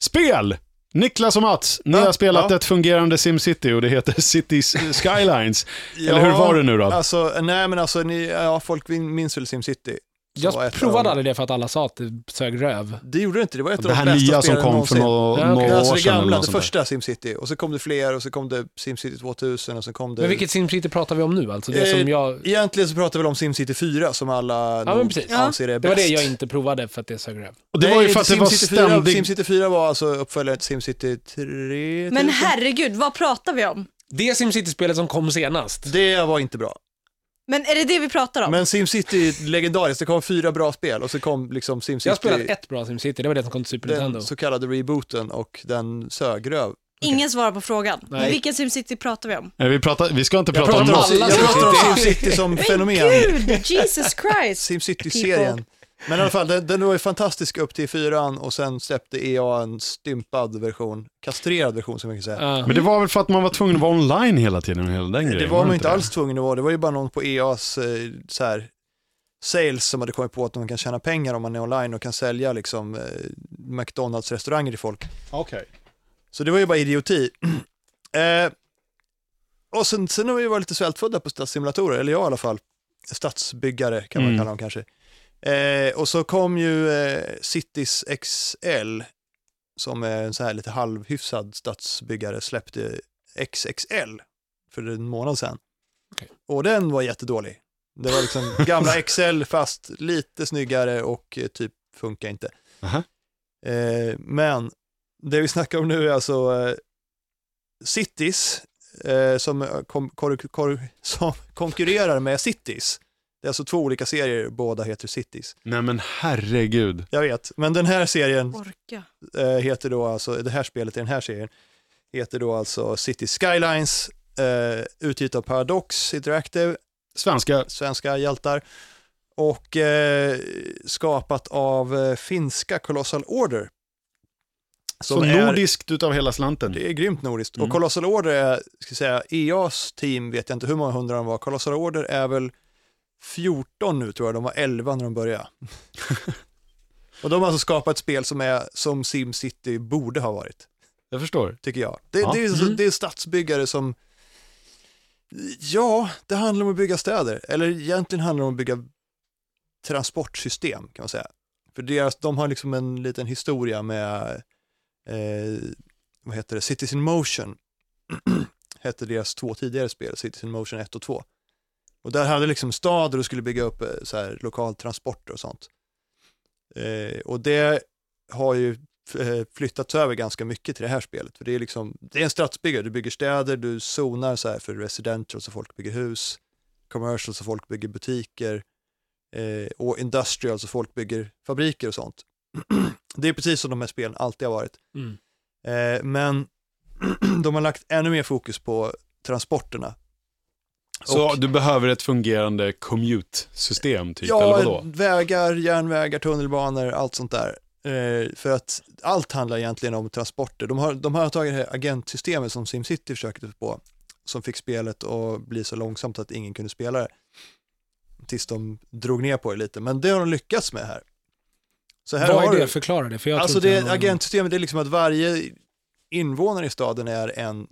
A: Spel! Niklas och Mats, ni
B: Ja,
A: har spelat
B: ja.
A: ett fungerande SimCity och det heter Cities Skylines. Eller hur var det nu då?
B: Alltså, nej men alltså, ni, ja, folk vin- minns väl SimCity? Som var
C: Jag
B: ett av
C: provade
B: de-
C: aldrig det för att alla sa att det sög röv.
B: Det gjorde det inte, det var ett av
A: Det här
B: de bästa
A: nya som
B: spelen
A: kom för
B: någonsin.
A: några
C: Ja, okej.
A: några
B: Alltså
A: år
B: det
A: sedan. eller
B: gamla,
A: något
B: det
A: sånt där.
B: första SimCity, och så kom det fler och så kom det SimCity 2000 och så kom det...
C: Men vilket SimCity pratar vi om nu alltså? Det som
B: Eh,
C: jag...
B: Egentligen så pratar vi väl om SimCity 4 som alla
C: Ja, men
B: nog
C: precis.
B: anser är bäst.
C: Det var det jag inte provade för att det sög röv.
A: Och det
B: Nej,
A: var ju för
B: inte
A: att det var
B: SimCity 4.
A: ständig...
B: SimCity 4 var alltså uppföljaren till SimCity 3.
E: Men
B: typ.
E: herregud, vad pratar vi om?
C: Det SimCity-spelet som kom senast.
B: Det var inte bra.
E: Men är det det vi pratar om?
B: Men SimCity är legendariskt, det kom fyra bra spel och så kom liksom SimCity,
C: Jag har spelat ett bra SimCity, det var det som kom till Super Nintendo.
B: den så kallade rebooten och den sögröv.
E: Ingen svarar på frågan.
C: Nej.
E: Vilken SimCity pratar vi om?
A: Nej, vi, pratar, vi ska inte prata om
C: pratar om
A: något.
C: alla
B: Jag pratar om
C: SimCity.
B: SimCity som fenomen.
E: Gud, Jesus Christ!
B: SimCity-serien. Men i alla fall, den, den var ju fantastisk upp till fyran och sen släppte EA en stympad version, kastrerad version som man kan säga.
C: Ja.
A: Men det var väl för att man var tvungen att vara online hela tiden. Hela den
B: Det
A: grejen,
B: var man ju
A: det?
B: inte alls tvungen att vara, det var ju bara någon på EAs eh, E så här, sales som hade kommit på att de kan tjäna pengar om man är online och kan sälja liksom, eh, McDonalds-restauranger till folk.
A: Okej.
B: Så det var ju bara idioti. eh, och sen, sen har vi ju varit lite svältfödda på stadssimulatorer, eller jag i alla fall. Stadsbyggare kan man
A: Mm.
B: kalla dem kanske. Eh, och så kom ju eh, Cities XL, som är en så här lite halvhyfsad stadsbyggare, släppte XXL för en månad sedan.
C: Okej.
B: Och den var jättedålig. Det var liksom gamla XL fast lite snyggare och eh, typ funkar inte.
A: Aha.
B: Eh, men det vi snackar om nu är alltså eh, Cities eh, som, eh, kom, kor, kor, som konkurrerar med Cities. Det är alltså två olika serier, båda heter Cities.
A: Nej men herregud.
B: Jag vet, men den här serien
E: Orka.
B: eh, heter då alltså, det här spelet i den här serien heter då alltså Cities Skylines, eh, utgivet av Paradox Interactive,
A: Svenska.
B: svenska hjältar, och eh, skapat av eh, finska Colossal Order.
A: Så
B: Som är-
A: nordiskt utav hela slanten.
B: Det är grymt nordiskt.
A: Mm.
B: Och Colossal Order är, ska jag säga, EAs team vet jag inte hur många hundra de var. Colossal Order är väl 14 nu tror jag, de var 11 när de började. och de har alltså skapat ett spel som är som SimCity borde ha varit,
A: Jag förstår.
B: tycker jag. Det,
A: Ja.
B: det, är, så-
C: Mm.
B: det är stadsbyggare som, ja, det handlar om att bygga städer. Eller egentligen handlar det om att bygga transportsystem kan man säga. För deras, de har liksom en liten historia med, eh, vad heter det, Cities in Motion. hette deras två tidigare spel, Cities in Motion 1 och 2. Och där hade liksom stader och skulle bygga upp eh, så här, lokal transport och sånt. Eh, och det har ju eh, flyttats över ganska mycket till det här spelet. För det är liksom, det är en stadsbyggare, du bygger städer, du zonar så här för residential så folk bygger hus, commercial så folk bygger butiker eh, och industrial så folk bygger fabriker och sånt. det är precis som de här spelen alltid har varit.
C: Mm.
B: Eh, men de har lagt ännu mer fokus på transporterna.
A: Så
B: Och-
A: du behöver ett fungerande commute-system typ, eller
B: ja,
A: vadå?
B: vägar, järnvägar, tunnelbanor, allt sånt där. Eh, för att allt handlar egentligen om transporter. De har, de har tagit det här agentsystemet som SimCity försökte sig på, som fick spelet att bli så långsamt att ingen kunde spela det. Tills de drog ner på det lite, men det har de lyckats med här. Så här
C: Vad
B: har
C: är det?
B: du-
C: Förklara det. För jag
B: alltså
C: tror inte
B: det
C: jag har någon-
B: agentsystemet, det är liksom att varje invånare i staden är en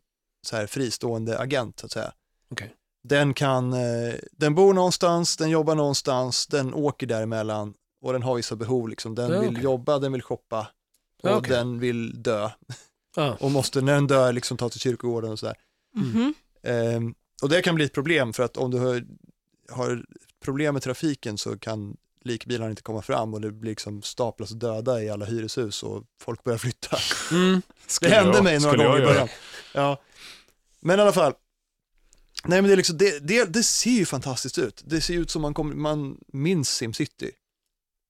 B: så här fristående agent så att säga.
C: Okej.
B: Den kan, eh, den bor någonstans, den jobbar någonstans, den åker däremellan och den har vissa behov liksom. Den
C: Ja,
B: vill
C: okej.
B: jobba, den vill shoppa och
C: Ja, okej.
B: den vill dö
C: Ja.
B: och måste när den dör liksom ta till kyrkogården och sådär.
C: Mm,
E: Mhm.
B: Ehm, och det kan bli ett problem för att om du har, har problem med trafiken så kan likbilarna inte komma fram och det blir liksom staplas döda i alla hyreshus och folk börjar flytta.
C: Mm.
B: Det
A: Skulle
B: hände
A: jag-
B: mig några
A: skulle jag
B: gånger i
A: göra.
B: början. Ja. Men i alla fall. Nej men det, är liksom, det, det, det ser ju fantastiskt ut. Det ser ut som man, kommer, man minns SimCity.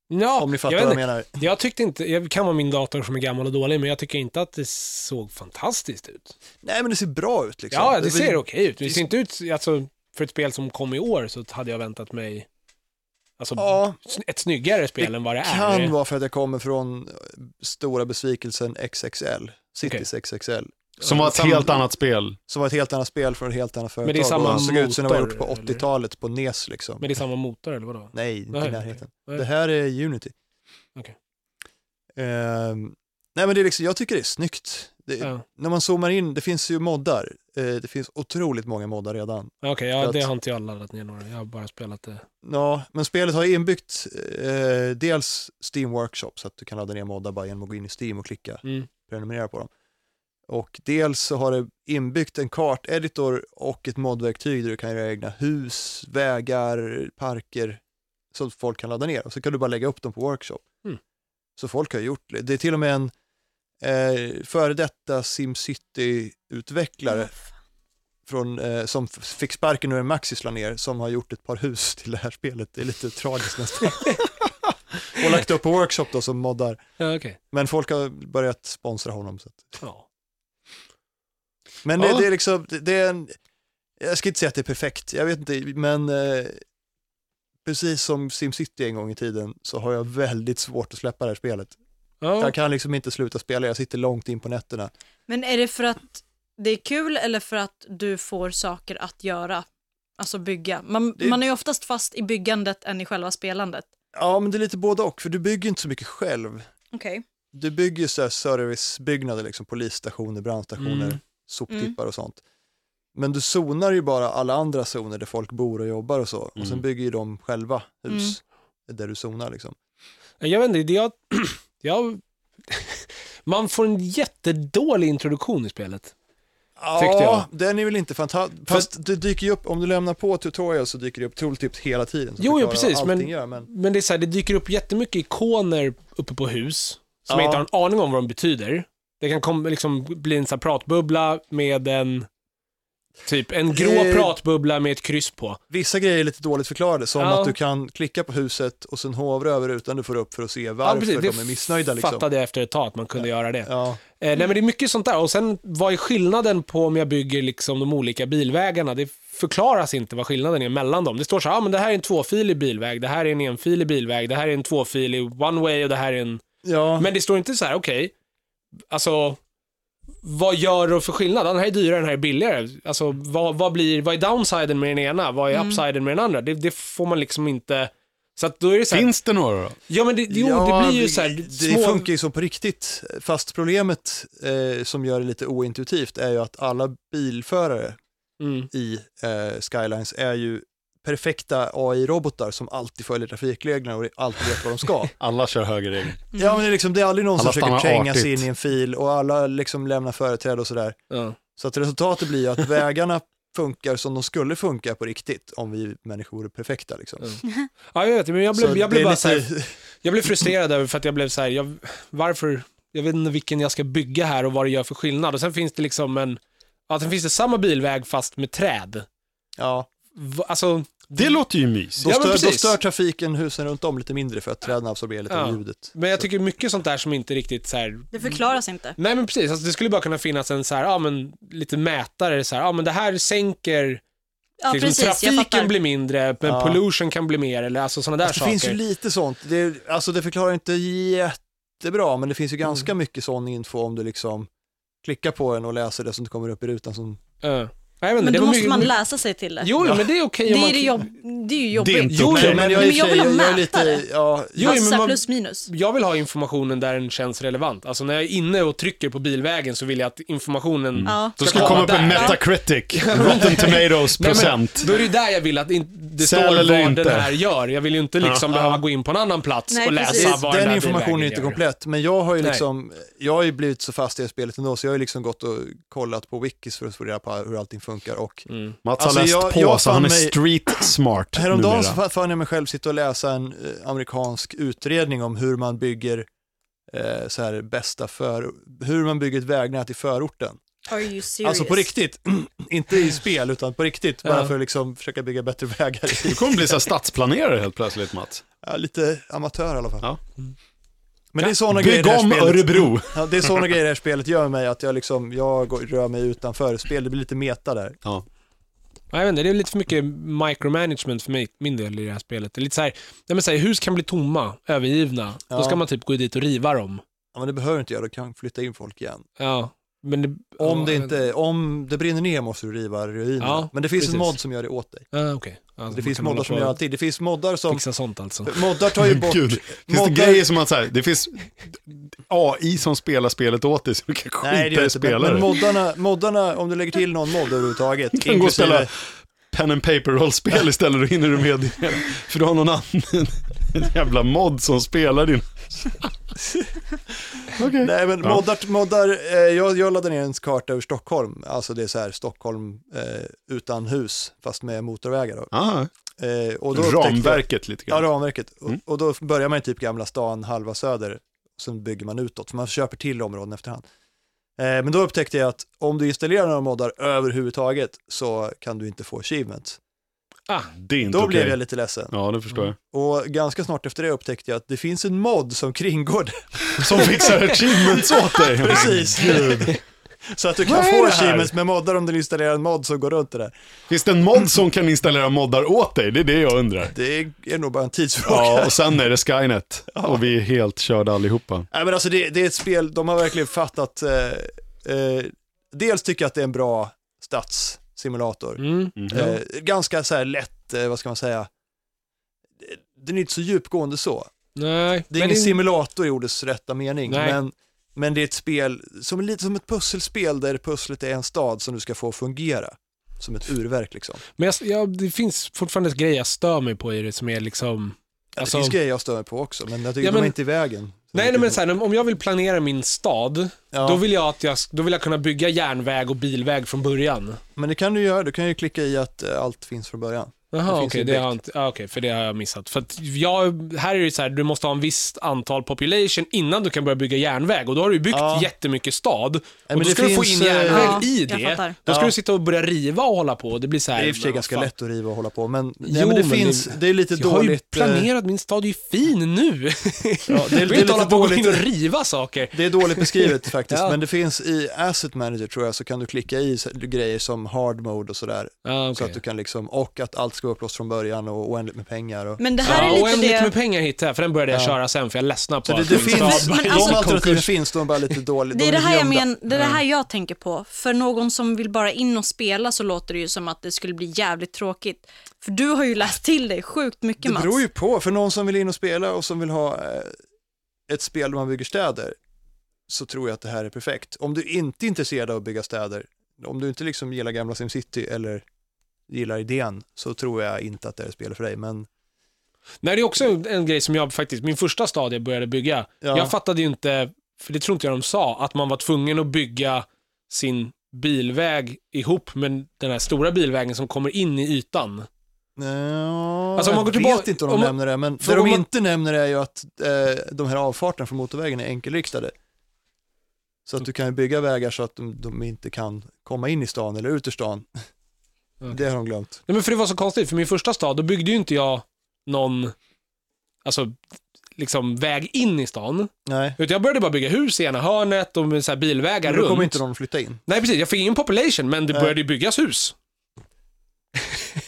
C: Ja,
B: Om ni fattar
C: jag,
B: vad
C: vet
B: jag
C: inte.
B: menar.
C: jag tyckte inte, jag kan vara min dator som är gammal och dålig, men jag tycker inte att det såg fantastiskt ut.
B: Nej men det ser bra ut liksom.
C: Ja, det
B: blir-
C: ser okej ut. Det
B: det-
C: ser inte ut, alltså, för ett spel som kom i år så hade jag väntat mig, alltså,
B: Ja,
C: sn- ett snyggare spel
B: Det
C: än vad det är.
B: kan vara för att jag kommer från eh, stora besvikelsen XXL. Cities XXL.
A: Som var ett
B: Sam-
A: helt annat spel.
B: Som var ett helt annat spel från ett helt annat företag.
C: Men det är samma
B: och såg ut som det var
C: motor,
B: gjort på
C: eller?
B: 80-talet på NES liksom.
C: Men det är samma motor, eller vadå?
B: Nej, inte
C: Nej,
B: i närheten.
C: okej.
B: Det här är Unity.
C: Okej.
B: Ehm, nej men det är liksom, jag tycker det är snyggt. Det,
C: Ja.
B: När man zoomar in, det finns ju moddar. Eh, det finns otroligt många moddar redan.
C: Ja, Okej, ja,
B: För
C: det
B: att-
C: har inte jag laddat ner några. Jag har bara spelat det.
B: Ja, men spelet har inbyggt eh, dels Steam Workshop så att du kan ladda ner moddar bara genom att gå in i Steam och klicka
C: Mm.
B: prenumerera på dem. Och dels så har det inbyggt en karteditor och ett modverktyg där du kan göra egna hus, vägar, parker som folk kan ladda ner och så kan du bara lägga upp dem på workshop.
C: Mm.
B: Så folk har gjort det. Det är till och med en eh, före detta
D: Mm.
B: SimCity-utvecklare från, eh, som f- fick sparken nu när Maxis la ner som har gjort ett par hus till det här spelet. Det är lite tragiskt nästan. och lagt upp på workshop då som moddar.
C: Ja, okej.
B: Men folk har börjat sponsra honom. Så. att-
C: Ja.
B: Men det,
A: Ja.
B: det är liksom, det, det är en, jag ska inte säga att det är perfekt, jag vet inte, men eh, precis som SimCity en gång i tiden så har jag väldigt svårt att släppa det här spelet.
C: Ja.
B: Jag kan liksom inte sluta spela, jag sitter långt in på nätterna.
E: Men är det för att det är kul eller för att du får saker att göra? Alltså bygga. Man,
B: Det-
E: man är ju oftast fast i byggandet än i själva spelandet.
B: Ja, men det är lite både och, för du bygger inte så mycket själv.
E: Okej.
B: Du bygger ju så här servicebyggnader, liksom polisstationer, brandstationer,
C: Mm.
B: soptippar och sånt. Men du zonar ju bara alla andra zoner där folk bor och jobbar och så, och sen
A: Mm.
B: bygger ju de själva hus
C: Mm.
B: där du zonar liksom.
C: Jag vet inte, det jag, jag, man får en jättedålig introduktion i spelet. Tyckte jag.
B: den är väl inte fantastisk. Fast det dyker ju upp, om du lämnar på tutorial så dyker det upp tooltips hela tiden. som
C: Jo, jo,
B: förklarar
C: precis,
B: allting
C: men-
B: Gör, men...
C: Men det är så här, det dyker upp jättemycket ikoner uppe på hus, som jag
B: Ja.
C: inte har en aning om vad de betyder. Det kan komma, liksom, bli en så här pratbubbla med en, typ en grå
B: Eh.
C: pratbubbla med ett kryss på.
B: Vissa grejer är lite dåligt förklarade, som
C: Ja.
B: att du kan klicka på huset och sen hovra över rutan du får upp för att se varför de är missnöjda. Liksom.
C: fattade jag efter ett tag att man kunde göra det.
B: Ja.
C: Eh, nej men det är mycket sånt där. Och sen vad är skillnaden på om jag bygger liksom de olika bilvägarna? Det förklaras inte vad skillnaden är mellan dem. Det står så här, ah, men det här är en tvåfilig bilväg, det här är en enfilig bilväg, det här är en tvåfilig one way och det här är en...
B: Ja.
C: Men det står inte så här, okej, alltså vad gör de för skillnad? Den här är dyrare, den här är billigare. Alltså vad, vad, blir, vad är downsiden med den ena? Vad
B: Mm.
C: är upsiden med den andra? Det, det får man liksom inte... Så att då är det så här,
A: Finns det några då?
C: ja men det, jo,
B: Ja,
C: det blir ju
B: det-
C: så här,
B: Det
C: små...
B: funkar ju så på riktigt, fast problemet eh, som gör det lite ointuitivt är ju att alla bilförare
C: Mm,
B: i eh, Skylines är ju perfekta AI-robotar som alltid följer trafikreglerna och alltid vet vad de ska.
A: Alla kör höger egen.
C: Mm.
B: Ja men det är, liksom, det är aldrig någon
A: Alla
B: som försöker
A: stannar
B: tränga sig
A: artigt.
B: in i en fil och alla liksom lämnar företräde och sådär.
C: ja.
B: Så att resultatet blir ju att vägarna funkar som de skulle funka på riktigt om vi människor är perfekta. Liksom.
C: Mm. ja, jag vet, men jag blev,
B: Så
C: jag blev
B: det är
C: bara så här,
B: lite-
C: Jag blev frustrerad över för att jag blev så här, jag, varför, jag vet inte vilken jag ska bygga här och vad det gör för skillnad. Och sen finns det liksom en, ja sen finns det samma bilväg fast med träd.
B: Ja,
C: Va- Alltså,
A: Det låter ju mys.
B: då,
C: Ja, men
B: stör, då
C: precis.
B: stör trafiken husen runt om lite mindre för att träden absorberar lite
C: Ja.
B: av ljudet.
C: men jag tycker mycket sånt där som inte riktigt så här,
E: Det förklaras inte.
C: nej men precis, alltså, det skulle bara kunna finnas en så här, ja men lite mätare så här, ja men det här sänker,
E: Ja,
C: liksom,
E: precis. jag fattar.
C: trafiken blir mindre, men
B: Ja.
C: pollution kan bli mer eller alltså sådana där
B: Alltså, det
C: saker.
B: finns ju lite sånt, det, är- alltså det förklarar inte jättebra, men det finns ju
C: Mm.
B: ganska mycket sån info om du liksom klickar på den och läser det som kommer upp i rutan som
C: Ja. Nej, men
E: Men
C: det
E: då
C: var
E: måste
C: mycket-
E: man läsa sig till det.
C: Jo, jo, men det är okej
E: det,
C: om man...
E: är det, jobb, det är ju jobbigt.
A: Det är inte
C: Jo,
A: okej.
C: jo,
B: men
C: men...
B: jag,
E: men jag vill ha
B: jag är
E: mätare.
B: lite, ja,
C: Jo, men
E: Massa
C: man-
E: plus minus.
C: Jag vill ha informationen där den känns relevant. Alltså när jag är inne och trycker på bilvägen så vill jag att informationen...
D: Mm.
E: Ja.
A: Då ska det komma upp en Metacritic, Rotten Tomatoes
C: Nej, men
A: procent.
C: Då är det ju där jag vill att in, det
A: Sälj
C: står
A: eller
C: vad
A: inte.
C: den här gör. Jag vill ju inte liksom
A: Ja.
C: behöva gå in på en annan plats
D: Nej,
C: och läsa
D: precis.
C: vad den,
B: den
C: här
B: informationen är
C: bilvägen
B: inte
C: gör.
B: komplett, men jag har ju
C: Nej.
B: liksom, jag har ju blivit så fast i det spelet ändå, så jag har ju liksom gått och kollat på wikis för att få reda på hur allting funkar och
C: Mm.
A: Mats
B: Alltså,
A: har läst
B: jag-
A: på,
B: jag
A: så han är
B: fann mig-
A: street smart
B: Häromdagen
A: numera.
B: så fa- fann jag mig själv sitta och läsa en eh, amerikansk utredning om hur man bygger eh, så här bästa för, hur man bygger ett vägnät i förorten.
D: Are you serious?
B: Alltså på riktigt, inte i spel utan på riktigt, bara
C: Ja.
B: för att liksom försöka bygga bättre vägar.
A: Du
B: i-
A: kommer bli så här stadsplanerare helt plötsligt Mats.
B: Ja, lite amatör i alla fall.
A: Ja.
B: Men det är sådana grejer i
A: Bygg
B: det här
A: om
B: spelet.
A: Örebro.
B: Ja, det är sådana grejer det här spelet gör med mig, att jag, liksom, jag går, rör mig utanför spel, det blir lite meta där.
A: Ja.
C: Ja, Jag vet inte, det är lite för mycket micromanagement för mig, min del i det här spelet. Det är lite så här, nej men så här, hus kan bli tomma, övergivna. Då
B: Ja.
C: ska man typ gå dit och riva dem.
B: Ja, men det behöver inte göra, du kan flytta in folk igen.
C: Ja, men det...
B: Om,
C: ja,
B: det,
C: jag vet
B: inte, om det brinner ner måste du riva ruinerna.
C: Ja,
B: men det finns
C: precis.
B: en mod som gör det åt dig.
A: Alltså,
C: Ja, okej. Ja,
B: det
C: man
B: finns
C: kan hålla
B: moddar som
C: på
B: gör
C: och
B: alltid, det finns moddar som,
C: Fixa sånt alltså.
B: moddar tar ju bort,
A: Gud. Finns det
B: moddar-
A: grejer som att så här, det finns AI som spelar spelet åt dig så du kan
B: Nej, det
A: skita
B: gör
A: i
B: inte, men, men
A: spelare.
B: moddarna, moddarna, om du lägger till någon mod överhuvudtaget,
A: kan gå och spela pen and paper-rollspel istället, då hinner du med det. För du har någon annan en jävla mod som spelar din... Okej.
B: Nej men
A: Ja.
B: moddar, moddar eh, jag, jag laddade ner en karta ur Stockholm, alltså det är så här Stockholm eh, utan hus, fast med motorvägar då.
A: Ah,
B: Eh, och då upptäckte jag-
A: ramverket lite
B: Ja,
A: grann.
B: ramverket.
A: Mm.
B: Och, och då börjar man i typ Gamla stan, halva söder, sen bygger man utåt, för man köper till områden efterhand. Eh, men då upptäckte jag att om du installerar några moddar överhuvudtaget så kan du inte få achievement.
A: Det är inte
B: Då
A: Mm, okej.
B: blev jag lite ledsen.
A: Ja, det förstår jag.
B: Och ganska snart efter det upptäckte jag att det finns en mod som kringgår det.
A: Som fixar achievements åt dig.
B: Mm. Precis. Så att du kan
A: Vad är
B: få
A: det här?
B: achievements med moddar om du installerar en mod som går runt det där.
A: Finns det en mod som kan installera moddar åt dig? Det är det jag undrar.
B: Det är nog bara en tidsfråga.
A: Ja, och sen är det Skynet. Och vi är helt körda allihopa.
B: Nej, men alltså det, det är ett spel, de har verkligen fattat, eh, eh, dels tycker jag att det är en bra stads simulator.
C: Mm.
B: Eh, ganska så här lätt, eh, vad ska man säga, den är inte så djupgående så.
C: Nej.
B: Det är
C: men
B: ingen simulator i ordets rätta mening,
C: Nej.
B: men, men det är ett spel som är lite som ett pusselspel där pusslet är en stad som du ska få att fungera. Som ett urverk liksom.
C: Men jag, jag, det finns fortfarande ett grej jag stör mig på i det som är liksom...
B: Alltså,
C: Alltså-
B: det finns grejer jag stör mig på också, men jag tycker
C: Ja,
B: de är
C: men-
B: inte i vägen.
C: Nej, nej men så här, om jag vill planera min stad,
B: Ja,
C: då, vill jag att jag, då vill jag kunna bygga järnväg och bilväg från början.
B: Men det kan du göra, du kan ju klicka i att eh, allt finns från början. Det
C: Jaha,
B: finns
C: okej,
B: ju
C: det har jag
B: direkt.
C: inte, ah, okej, för det har jag missat. För att jag, här är det ju så här, du måste ha en visst antal population innan du kan börja bygga järnväg och då har du ju byggt
B: Ja.
C: jättemycket stad
B: men
C: och då
B: det
C: ska du få
B: finns,
C: in järnväg
E: eh,
C: i
E: Ja, jag
C: det.
E: fattar.
C: Då ska
B: Ja.
C: du sitta och börja riva och hålla på och det blir så
B: Det
C: här.
B: är i och för sig
C: vad
B: ganska
C: fan.
B: lätt att riva och hålla på, men,
C: Jo,
B: nej, men det
C: men
B: finns,
C: det-
B: det är lite
C: Jag har ju
B: dåligt. eh,
C: planerat, min stad är ju fin nu.
B: Ja, det, är-
C: Jag
B: det
C: vill
B: är
C: inte
B: lite
C: hålla på och gå in och
B: dåligt.
C: riva saker.
B: Det är dåligt beskrivet faktiskt,
C: Ja.
B: men det finns i Asset Manager tror jag, så kan du klicka i så- grejer som hard mode och sådär.
C: Ah,
B: Så
C: okej.
B: att du kan liksom, och att allt ska vara upplåst från början och oändligt med pengar. Och,
E: Men det här
C: ja,
E: är
C: oändligt
E: lite
C: med
E: det,
C: pengar hittade jag, för den började jag
B: Ja.
C: köra sen för jag ledsnade på
B: så det,
C: att
B: det
C: min
B: finns,
C: stad
E: Men
B: de
E: alltså-
B: alternativen
C: konkurs.
B: finns, de är bara lite dåligt
E: det är det här jag
B: gömda.
E: men, det är det här jag tänker på. För någon som vill bara in och spela så låter det ju som att det skulle bli jävligt tråkigt. För du har ju läst till dig sjukt mycket
B: Det
E: Mats.
B: beror ju på, för någon som vill in och spela och som vill ha eh, ett spel där man bygger städer så tror jag att det här är perfekt. Om du inte är intresserad av att bygga städer, om du inte liksom gillar gamla SimCity eller gillar idén så tror jag inte att det här är spelet för dig, men
C: Nej, det är också en, en grej som jag faktiskt, min första stad jag började bygga,
B: Ja.
C: jag fattade ju inte, för det tror inte jag de sa, att man var tvungen att bygga sin bilväg ihop med den här stora bilvägen som kommer in i ytan.
B: Nja,
C: Alltså, om man går
B: eh, jag
C: tillbaka-
B: vet inte om de
C: om man-
B: nämner det, men
C: för
B: det de
C: om man-
B: inte nämner är ju att eh, de här avfarterna från motorvägen är enkelriktade. Så att du kan ju bygga vägar så att de, de inte kan komma in i stan eller ut ur stan.
C: Okej.
B: Det har de glömt.
C: Nej, men för det var så konstigt, för min första stad, då byggde ju inte jag någon, alltså, liksom väg in i stan.
B: Nej,
C: Utan jag började bara bygga hus i ena hörnet och med så här bilvägar
B: men då
C: runt.
B: kommer inte de att flytta in.
C: Nej, precis, jag fick ingen population, men det
B: Nej.
C: började ju byggas hus.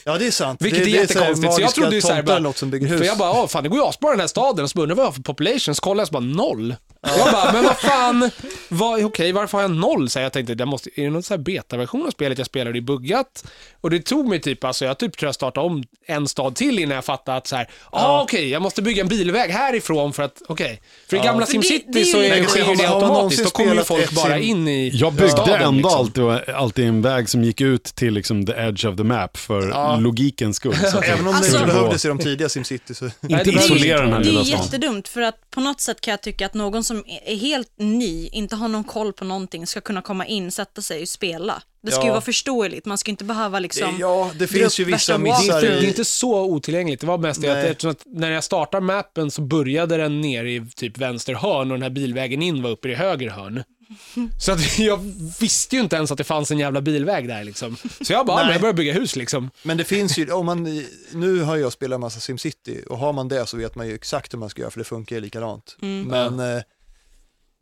B: Ja, det är sant.
C: Vilket
B: det, det
C: är jättekonstigt,
B: Så
C: så jag trodde ju så här bara-
B: något som bygger hus.
C: För jag bara, "Åh, fan det går ju asbra i den här staden, och så undrar jag vad jag har för population, så kollar jag så bara noll. Jag bara, men vad fan, vad, okej varför har jag noll? Så här, jag tänkte, det måste, är det någon så här betaversion av spelet jag spelar, det är buggat. Och det tog mig typ, alltså jag typ tror jag startade om en stad till innan jag fattade att så här, ah, okej jag måste bygga en bilväg härifrån för att, okej. För i gamla
E: För det-
C: SimCity
E: det är ju
C: så är
E: lite-
C: det, sker
B: Har
C: det
B: man
C: automatiskt,
B: någonsin
C: då kommer ju
B: spelat
C: folk
B: ett
C: bara
B: sim-
C: in i
A: Jag byggde
C: staden,
A: ändå
C: liksom.
A: alltid, alltid en väg som gick ut till liksom, the edge of the map för
B: Ja.
A: logikens skull. Så att
B: Även om det
E: Alltså-
B: inte behövdes i de tidiga SimCity så...
C: Nej,
A: inte
C: det är ju-
A: isolera den här
E: Det är
A: lilla
E: ju
A: stan.
E: jättedumt för att på något sätt kan jag tycka att någon som är är helt ny, inte har någon koll på någonting, ska kunna komma in, sätta sig och spela. Det ska ju
B: Ja.
E: vara förståeligt, man ska inte behöva liksom...
B: ja, det finns ju
E: Grupp
B: vissa
E: värsta
C: Det är,
B: missar
C: inte, det är
B: i...
C: inte så otillgängligt. Det var mest det att,
B: Nej.
C: eftersom att när jag startar mappen så började den ner i typ vänster hörn och den här bilvägen in var uppe i höger hörn. Så att jag visste ju inte ens att det fanns en jävla bilväg där liksom. Så jag bara,
B: Nej.
C: men jag började bygga hus liksom.
B: Men det finns ju, om man, nu har jag spelat en massa SimCity och har man det så vet man ju exakt hur man ska göra för det funkar ju likadant.
C: Mm.
B: Men, eh,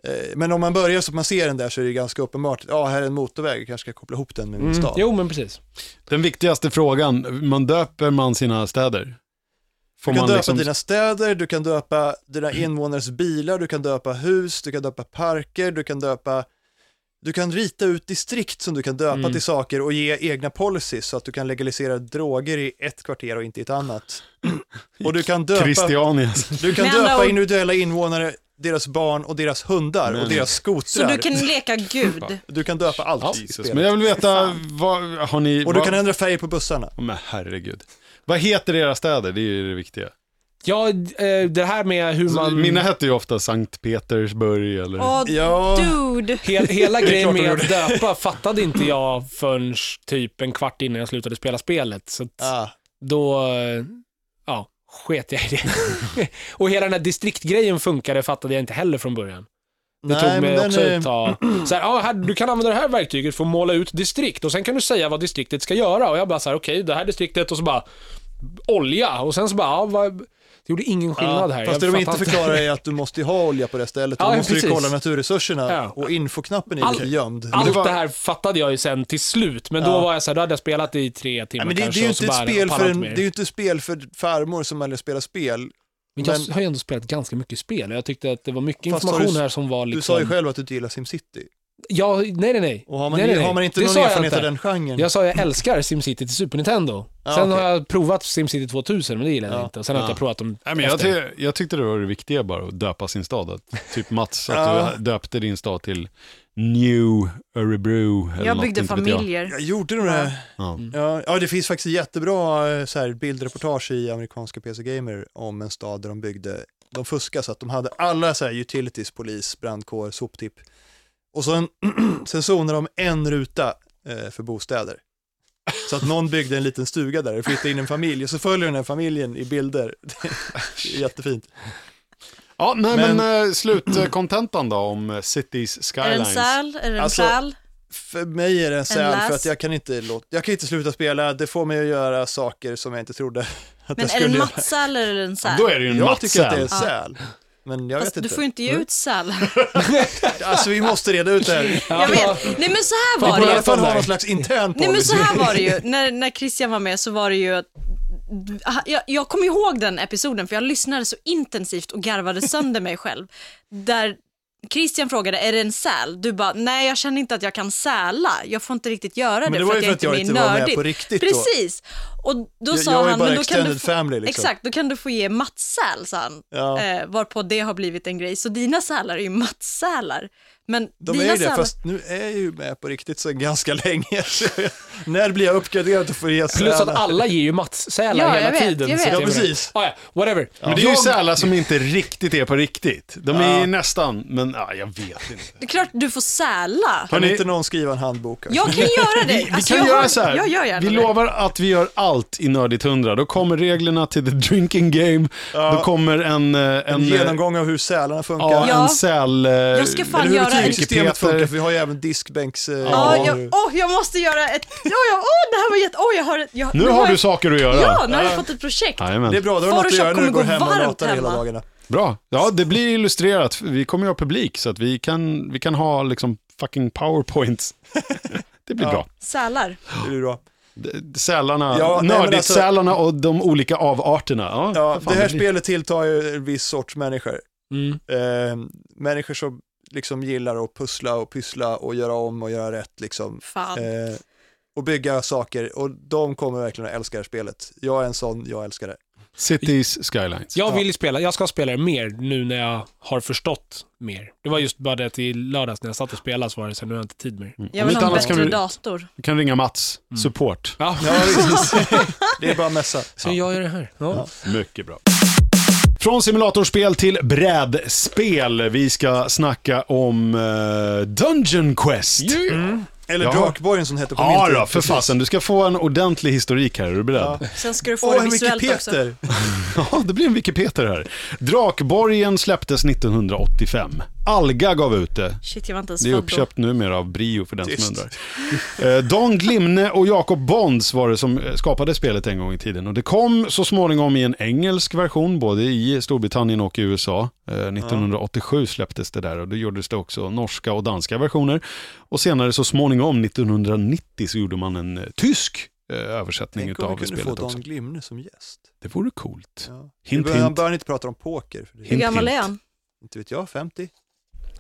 B: eh, men om man börjar så att man ser den där så är det ganska uppenbart, ja här är en motorväg, jag kanske ska koppla ihop den med min stad.
C: Mm. Jo, men precis.
A: Den viktigaste frågan, man döper man sina städer? Får
B: Du kan
A: man
B: döpa
A: liksom...
B: dina städer, du kan döpa dina invånares bilar, du kan döpa hus, du kan döpa parker, du kan döpa du kan rita ut distrikt som du kan döpa
A: Mm.
B: till saker och ge egna policies så att du kan legalisera droger i ett kvarter och inte i ett annat. Och du kan döpa...
A: Christiania.
B: Du kan
E: Med andra
B: döpa
E: ord-
B: individuella invånare, deras barn och deras hundar och deras
E: Så
B: skotrar.
E: du kan leka gud.
B: Du kan döpa allt i
A: Jesus.
B: spelet.
A: Men jag vill veta, vad har ni...
B: Och du
A: vad-
B: kan ändra färg på bussarna.
A: Men herregud. Vad heter era städer? Det är ju det viktiga.
C: Ja, eh, det här med hur
A: Så
C: man...
A: Mina hette ju ofta Sankt Petersburg eller...
E: Och
B: Alltså, Ja.
E: dude,
C: He- hela grejen
B: klart de
C: med
B: gjorde.
C: att döpa fattade inte jag förrän typ en kvart innan jag slutade spela spelet. Så att...
B: Ah.
C: då, eh, ja, sket jag i det. och hela den här distriktgrejen funkade fattade jag inte heller från början. Det
B: Nej,
C: tog
B: men
C: mig
B: den
C: också
B: är-
C: ett tag. Så här, ja, här, du kan använda det här verktyget för att måla ut distrikt och sen kan du säga vad distriktet ska göra. Och jag bara så här, okej, det här distriktet och så bara olja och sen så bara, ja, vad, det gjorde ingen skillnad här.
B: Fast det
C: Jag
B: de
C: fattar
B: inte förklarar är att du måste ju ha olja på det stället och
C: Ja,
B: då
C: ja,
B: måste du
C: precis.
B: kolla naturresurserna
C: Ja.
B: och infoknappen är
C: Allt-
B: lite gömd.
C: Allt det,
A: var-
C: här fattade jag ju sen till slut, men då
B: Ja.
C: var jag så här, då hade jag spelat i tre timmar
B: Nej, men det, det
C: kanske
B: är ju
C: och så
B: inte ett
C: bara,
B: spel
C: jag
B: för,
C: pallar
B: en, det
C: inte mer.
B: är ju inte ett spel för farmor som aldrig spelar spel.
C: Men jag
B: men-
C: har ju ändå spelat ganska mycket spel och jag tyckte att det var mycket
B: Fast har
C: information
B: du-
C: här som var liksom...
B: Du sa ju själv att du inte gillar SimCity.
C: Ja, nej, nej, nej.
B: Och har man,
C: nej, nej, nej.
B: Har man inte
C: Det
B: någon
C: sa jag
B: erfarenhet av
C: inte.
B: den genren?
C: Jag sa jag älskar SimCity till Super Nintendo.
B: Ja,
C: sen
B: okej.
C: har jag provat SimCity 2000, men det gillar jag
B: Ja.
C: inte. Och sen har
A: Ja.
C: jag inte provat dem
A: Nej, men jag,
C: efter.
A: ty- jag tyckte det var det viktiga bara att döpa sin stad. Att, typ Mats, att
B: Ja.
A: du döpte din stad till New Örebro. Eller
E: Jag
A: något,
E: byggde
A: inte vet jag.
E: familjer.
B: Jag gjorde nog det.
A: Ja.
B: Ja, ja, det finns faktiskt jättebra eh, så här, bildreportage i amerikanska PC Gamer om en stad där de byggde, de fuskade så att de hade alla så här, utilities, polis, brandkår, soptipp. Och sen, sen zonade de en ruta eh, för bostäder. Så att någon byggde en liten stuga där och flyttade in en familj och så följer den här familjen i bilder. Det är Jättefint.
A: Ja, nej, men,
B: Men-
A: eh, slutkontentan då om eh, Cities
E: Är det en
A: Skylines.
E: säl? Är det en
B: Alltså,
E: präl?
B: För mig är det en säl
E: läs.
B: för att jag kan, inte låta, jag kan inte sluta spela, det får mig att göra saker som jag inte trodde
E: Men
B: att jag
E: är det
B: skulle
E: en
B: göra.
E: mattsäl eller är det en säl?
A: Då är det ju en
B: Jag tycker att det är
A: Mats-säl.
B: en säl. Men jag
E: Fast
B: vet
E: du
B: inte.
E: får ju inte ge ut säl.
B: Alltså vi måste reda ut det här.
C: Ja.
E: Jag vet. Nej men så här
B: Vi
E: var
B: borde i
E: det
B: alla
E: ju.
B: fall ha någon slags intern
E: Nej men så
B: policy.
E: här var det ju. När, när Christian var med så var det ju att jag, jag kommer ihåg den episoden för jag lyssnade så intensivt och garvade sönder mig själv. Där Christian frågade, är det en säl? Du bara, nej jag känner inte att jag kan säla. Jag får inte riktigt göra det,
B: Men det var
E: för
B: ju
E: att jag inte är
B: inte
E: nördig.
B: var med på riktigt då.
E: Precis. Och då
B: Jag-
E: sa
B: jag är
E: han,
B: bara
E: men då kan du
B: extended
E: få,
B: family, liksom."
E: Exakt, då kan du få ge mattsäl, sa han.
B: Ja.
E: Eh, varpå det har blivit en grej. Så dina sälar är ju mattsälar. Men
B: De
E: dina
B: är ju det,
E: sälar...
B: fast nu är jag ju med på riktigt sedan ganska länge. Så jag, när blir jag uppgraderad och får ge
C: Plus att
B: sälar?
C: alla ger ju Mats-sälar
E: Ja, jag
C: hela
E: vet,
C: tiden.
E: jag
C: så
E: vet.
C: det är
B: Ja,
C: väl-
B: precis.
C: Ah, ja, whatever.
A: Men det är ju sälar som inte riktigt är på riktigt. De är ju nästan, men ja, jag vet inte.
E: Det är klart du får säla.
B: Kan
A: Hörni-
B: inte någon skriva en handbok? här?
E: Jag kan göra det.
A: Vi kan
E: Alltså, jag
A: göra
E: har-
A: så här.
E: Jag gör gärna
A: vi
E: det.
A: lovar att vi gör allt i Nördigt 100. Då kommer reglerna till The Drinking Game. Då kommer en... eh, En,
B: En genomgång av hur sälarna funkar.
A: Ja,
E: Ja.
A: en säl... eh,
E: Jag ska fan
B: Eller hur
E: göra en...
B: betygssystemet
A: Wikipedia.
B: funkar, för vi har ju även diskbänks... eh,
E: Ja,
B: och-
E: jag, åh, jag måste göra ett... Ja, ja, åh, det här var jätte... Åh, jag har ett... Jag,
A: Nu har
E: jag,
A: du saker att göra.
E: Ja, nu har jag fått ett projekt.
A: Jajamän.
B: Det är bra, då har du något att
E: Photoshop
B: göra när du
E: kommer
B: går
E: gå
B: hem och
E: varmt
B: latar hela
E: hemma.
B: dagarna.
A: Bra. Ja, det blir illustrerat. Vi kommer ju ha publik så att vi kan, vi kan ha liksom fucking powerpoints. Det blir
B: Ja.
A: bra.
E: Sälar.
B: Det blir bra.
A: D- Sälarna,
B: Ja, nej, men alltså-
A: nördigt-sälarna och de olika avarterna. Ja,
B: Ja,
A: vad fan,
B: det här
A: blir-
B: spelet tilltar ju en viss sorts människor.
C: Mm.
B: eh, människor som liksom gillar att pussla och pyssla och göra om och göra rätt liksom.
E: Fan.
B: Eh, och bygga saker och de kommer verkligen att älska det här spelet. Jag är en sån, jag älskar det.
A: Cities Skylines.
C: Jag vill ju spela, jag ska spela det mer nu när jag har förstått mer. Det var just bara det att i lördags när jag satt och spelade så var det så här, nu har jag inte tid mer.
B: Mm.
E: Jag
A: Om
E: vill
A: inte
E: ha en
A: annars kan
E: bättre
A: vi-
E: dator.
A: Du kan ringa Mats, support.
C: Ja,
B: Det är bara att mässa.
C: så jag gör det här. Ja.
A: Mycket bra. Från simulatorspel till brädspel. Vi ska snacka om eh, Dungeon Quest.
B: Eller
A: Ja.
B: Drakborgen som hette på
A: Mm. Ja
B: min tid.
A: då, för fasen. Du ska få en ordentlig historik här. Är du beredd?
E: Sen ska du få
B: Åh,
E: det
B: en
E: visuellt också.
B: Wikipeter!
A: Ja, det blir en Wikipeter här. Drakborgen släpptes 1985. Alga gav ut det.
E: Shit, jag var inte ens
A: Det är
E: född då.
A: uppköpt numera av Brio för den
B: Tyst.
A: som undrar. Eh, Don Glimne och Jakob Bonds var det som eh, skapade spelet en gång i tiden. Och det kom så småningom i en engelsk version, både i Storbritannien och i USA. Eh, 1987 släpptes det där och då gjordes det också norska och danska versioner. Och senare så småningom, 1990, så gjorde man en eh, tysk eh, översättning
B: Tänk om vi
A: utav
B: kunde få
A: spelet också.
B: Dan Glimne som gäst.
A: Det vore coolt.
B: Ja.
A: Hint,
B: vi bör,
A: hint.
B: bör inte prata om poker, för det,
E: Hur
A: Hint,
E: gammal
A: hint.
E: är han?
B: inte vet jag, 50?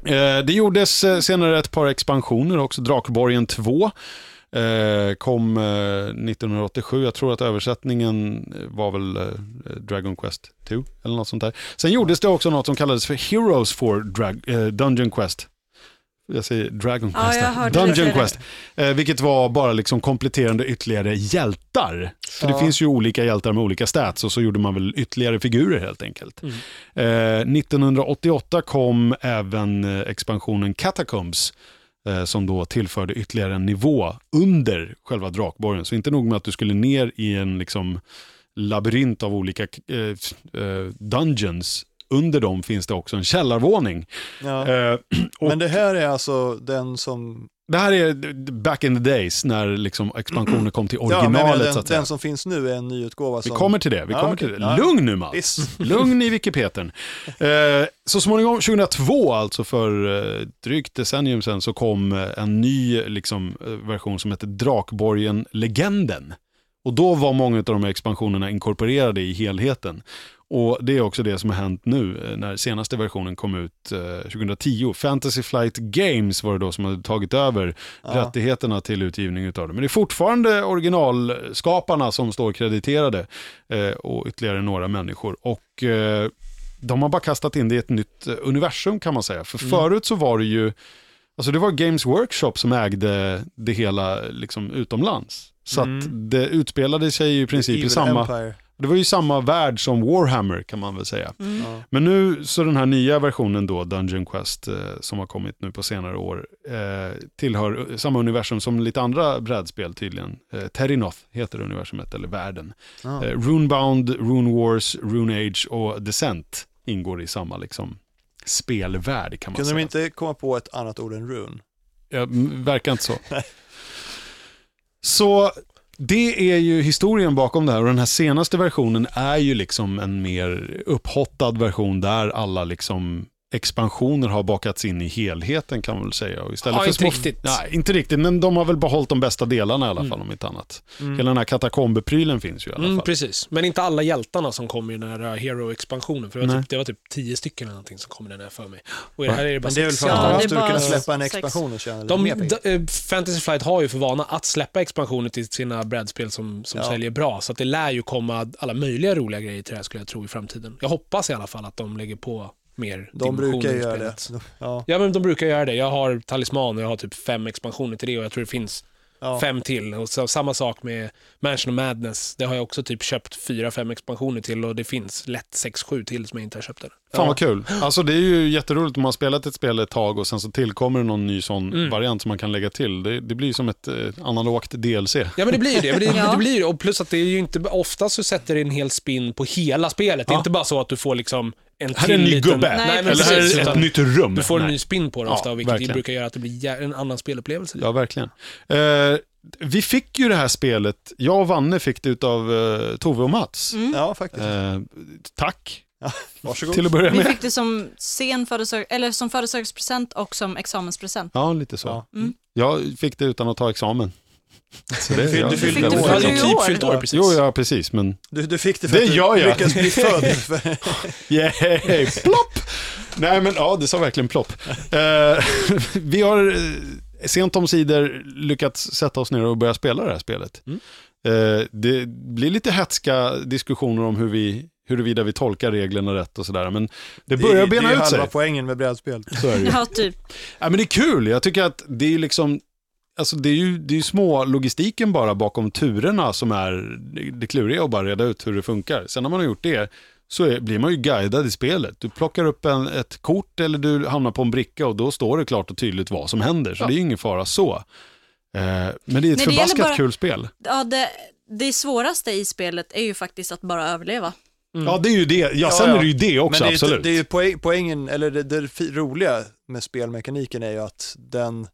A: Eh, Det gjordes eh, senare ett par expansioner också. Drakborgen 2 eh, kom eh, 1987. Jag tror att översättningen eh, var väl eh, Dragon Quest 2 eller något sånt där. Sen gjordes det också något som kallades för Heroes for Drag- eh, Dungeon Quest. Jag säger Dragon
E: Ja,
A: Quest.
E: jag
A: här.
E: hörde det
A: Dungeon
E: tidigare.
A: Quest. Eh, vilket var bara liksom kompletterande ytterligare hjältar. För det
B: Ja.
A: finns ju olika hjältar med olika stats och så gjorde man väl ytterligare figurer helt enkelt.
B: Mm.
A: Eh, 1988 kom även eh, expansionen Catacombs eh, som då tillförde ytterligare en nivå under själva Drakborgen. Så inte nog med att du skulle ner i en liksom labyrint av olika eh, eh, dungeons. Under dem finns det också en källarvåning.
B: Ja.
A: Eh, och-
B: Men det här är alltså den som...
A: det här är back in the days när liksom expansionen kom till
B: Ja, men jag menar,
A: originalet. så
B: den,
A: att säga.
B: den som finns nu är en nyutgåva
A: Vi
B: som...
A: kommer till det. Vi
B: Ja,
A: kommer
B: okej.
A: till
B: Ja.
A: det. Lugn nu Mats.
B: Visst.
A: Lugn i Wikipetern. Eh, så småningom, 2002 alltså för eh, drygt decennium sedan, så kom eh, en ny liksom, eh, version som hette Drakborgen-legenden. Och då var många av de här expansionerna inkorporerade i helheten. Och det är också det som har hänt nu eh, när senaste versionen kom ut eh, 2010. Fantasy Flight Games var det då som hade tagit över
B: Ja.
A: rättigheterna till utgivning utav det. Men det är fortfarande originalskaparna som står krediterade eh, och ytterligare några människor. Och eh, de har bara kastat in det i ett nytt eh, universum kan man säga. För
B: Mm.
A: förut så var det ju, alltså det var Games Workshop som ägde det hela liksom utomlands. Så
B: Mm.
A: att det utspelade sig ju i princip i
B: Evil
A: samma,
B: Empire.
A: det var ju samma värld som Warhammer kan man väl säga.
E: Mm.
B: Ja.
A: Men nu så den här nya versionen då, Dungeon Quest, eh, som har kommit nu på senare år, eh, tillhör eh, samma universum som lite andra brädspel tydligen. Eh, Terinoth heter universumet, eller världen.
B: Ja.
A: Eh, Runebound, Rune Wars, Rune Age och Descent ingår i samma liksom spelvärld kan man
B: Kunde
A: säga.
B: de inte komma på ett annat ord än rune?
A: Ja, m- verkar inte så. så det är ju historien bakom det här och den här senaste versionen är ju liksom en mer upphottad version där alla liksom expansioner har bakats in i helheten kan man väl säga. Och istället
C: Ja,
A: för
C: inte riktigt.
A: Nej, inte riktigt, men de har väl behållit de bästa delarna i alla fall om inte annat. Hela den här katakombeprylen finns ju i alla
C: Mm,
A: fall.
C: precis. Men inte alla hjältarna som kom i den här eh, Hero-expansionen. För det var,
A: Nej.
C: typ, det var typ tio stycken eller någonting som kom i den här för mig. Och i det här är det bara
B: Men det är väl
C: sex.
B: för
E: Ja,
B: att
E: det
B: de
E: är
B: skulle kunna
E: bara
B: släppa en
E: sex.
B: expansion och tjäna lite
C: De,
B: mer pengar.
C: d- eh, Fantasy Flight har ju för vana att släppa expansioner till sina brädspel som, som
B: Ja.
C: säljer bra, så att det lär ju komma alla möjliga roliga grejer till det här skulle jag tro i framtiden. Jag hoppas i alla fall att de lägger på mer
B: De
C: dimensioner
B: brukar
C: i
B: göra det.
C: spelet.
B: De- Ja,
C: Ja, men de brukar göra det. Jag har talisman och jag har typ fem expansioner till det och jag tror det finns
B: ja.
C: fem till. Och så, samma sak med Mansion of Madness. Det har jag också typ köpt fyra, fem expansioner till och det finns lätt sex, sju till som jag inte har köpt än.
A: Fan vad kul. Alltså det är ju jätteroligt om man har spelat ett spel ett tag och sen så tillkommer det någon ny sån
C: Mm.
A: variant som man kan lägga till. Det, det blir ju som ett eh, analogt DLC.
C: Ja men det blir ju det. Men det,
E: Ja.
C: det blir ju det. Och plus att det är ju inte, oftast så sätter det en hel spinn på hela spelet. Det är
A: Ja.
C: inte bara så att du får liksom en
A: Här är en ny
C: liten-
A: gubbe.
C: Nej, men
A: Eller här
C: precis,
A: är ett
C: utan
A: nytt rum.
C: Du får en
A: Nej.
C: ny spinn på det
A: Ja,
C: ofta, vilket ju
A: verkligen.
C: brukar göra att det blir jä- en annan spelupplevelse.
A: Ja, verkligen. Eh, vi fick ju det här spelet, jag och Vanne fick det av eh, Tove och Mats.
E: Mm.
B: ja, faktiskt.
A: Eh, tack,
B: Varsågod.
A: till att börja
E: Vi
A: med.
E: fick det som sen födelsedag- eller som födelsedagspresent och som examenspresent.
A: Ja, lite så.
B: Ja.
E: Mm.
A: Jag fick det utan att ta examen. Så det,
B: Du fyll-
A: jag-
B: du fyllde
E: Du
C: Du
E: fyllde
C: har ju
E: ju år.
C: typ fyllt år precis.
A: Jo, ja, precis, men
B: Du, du fick det för
A: Det
B: att du
A: gör jag.
B: lyckades bli född. För-
A: Yay, plopp! Nej men ja, det sa verkligen plopp. Eh, vi har eh, sent omsider lyckats sätta oss ner och börja spela det här spelet.
C: Mm.
A: Eh, det blir lite hetska diskussioner om hur vi, huruvida vi tolkar reglerna rätt och sådär, men det börjar
B: det är
A: bena
B: ju
A: ut sig.
B: halva poängen med brädspel.
A: Så är det ju.
E: Ja, typ.
A: Ja, men det är kul, jag tycker att det är ju liksom Alltså det är ju, det är ju små logistiken bara bakom turerna som är det kluriga och bara reda ut hur det funkar. Sen när man har gjort det så är, blir man ju guidad i spelet. Du plockar upp en, ett kort eller du hamnar på en bricka och då står det klart och tydligt vad som händer. Så
C: Ja.
A: det är ju ingen fara så. Eh, men det är ett
E: det
A: förbaskat
E: gäller bara-
A: kul spel.
E: Ja, det, det svåraste i spelet är ju faktiskt att bara överleva.
C: Mm.
A: Ja, det är ju det. Ja, sen
B: ja.
A: är det ju det
B: Men
A: också,
B: det är, ju-
A: absolut.
B: det är ju poäng, poängen, eller det, det fi- roliga med spelmekaniken är ju att den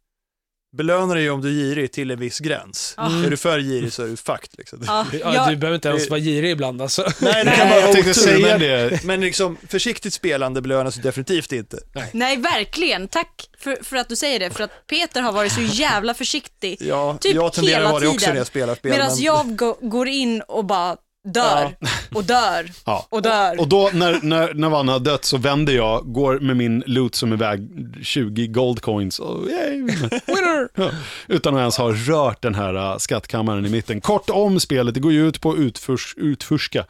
B: belönar dig om du är girig till en viss gräns.
E: Ja.
A: Mm.
B: Är du för girig så är du fucked. Liksom.
E: Ja,
C: Ja, Du
E: jag,
C: behöver inte ens vara girig ibland alltså.
B: Nej, det kan
A: Nej,
B: vara
A: jag tänkte
B: otur,
A: säga
B: men-
A: det.
B: Men liksom, försiktigt spelande belönas ju definitivt inte.
E: nej, verkligen. Tack för, för att du säger det, för att Peter har varit så jävla försiktig.
B: Ja,
E: Typ
B: jag tenderar
E: hela
B: att vara det också
E: tiden.
B: när jag spelar spel.
E: Medan
B: men-
E: jag gå, går in och bara dör och dör
A: Ja.
E: och dör.
A: Och då när, när, när Vanna har dött så vänder jag, går med min loot som är väg 20 gold coins och yay, winner! Ja, Utan att ens ha rört den här äh, skattkammaren i mitten. Kort om spelet, det går ju ut på att utfors, utforska,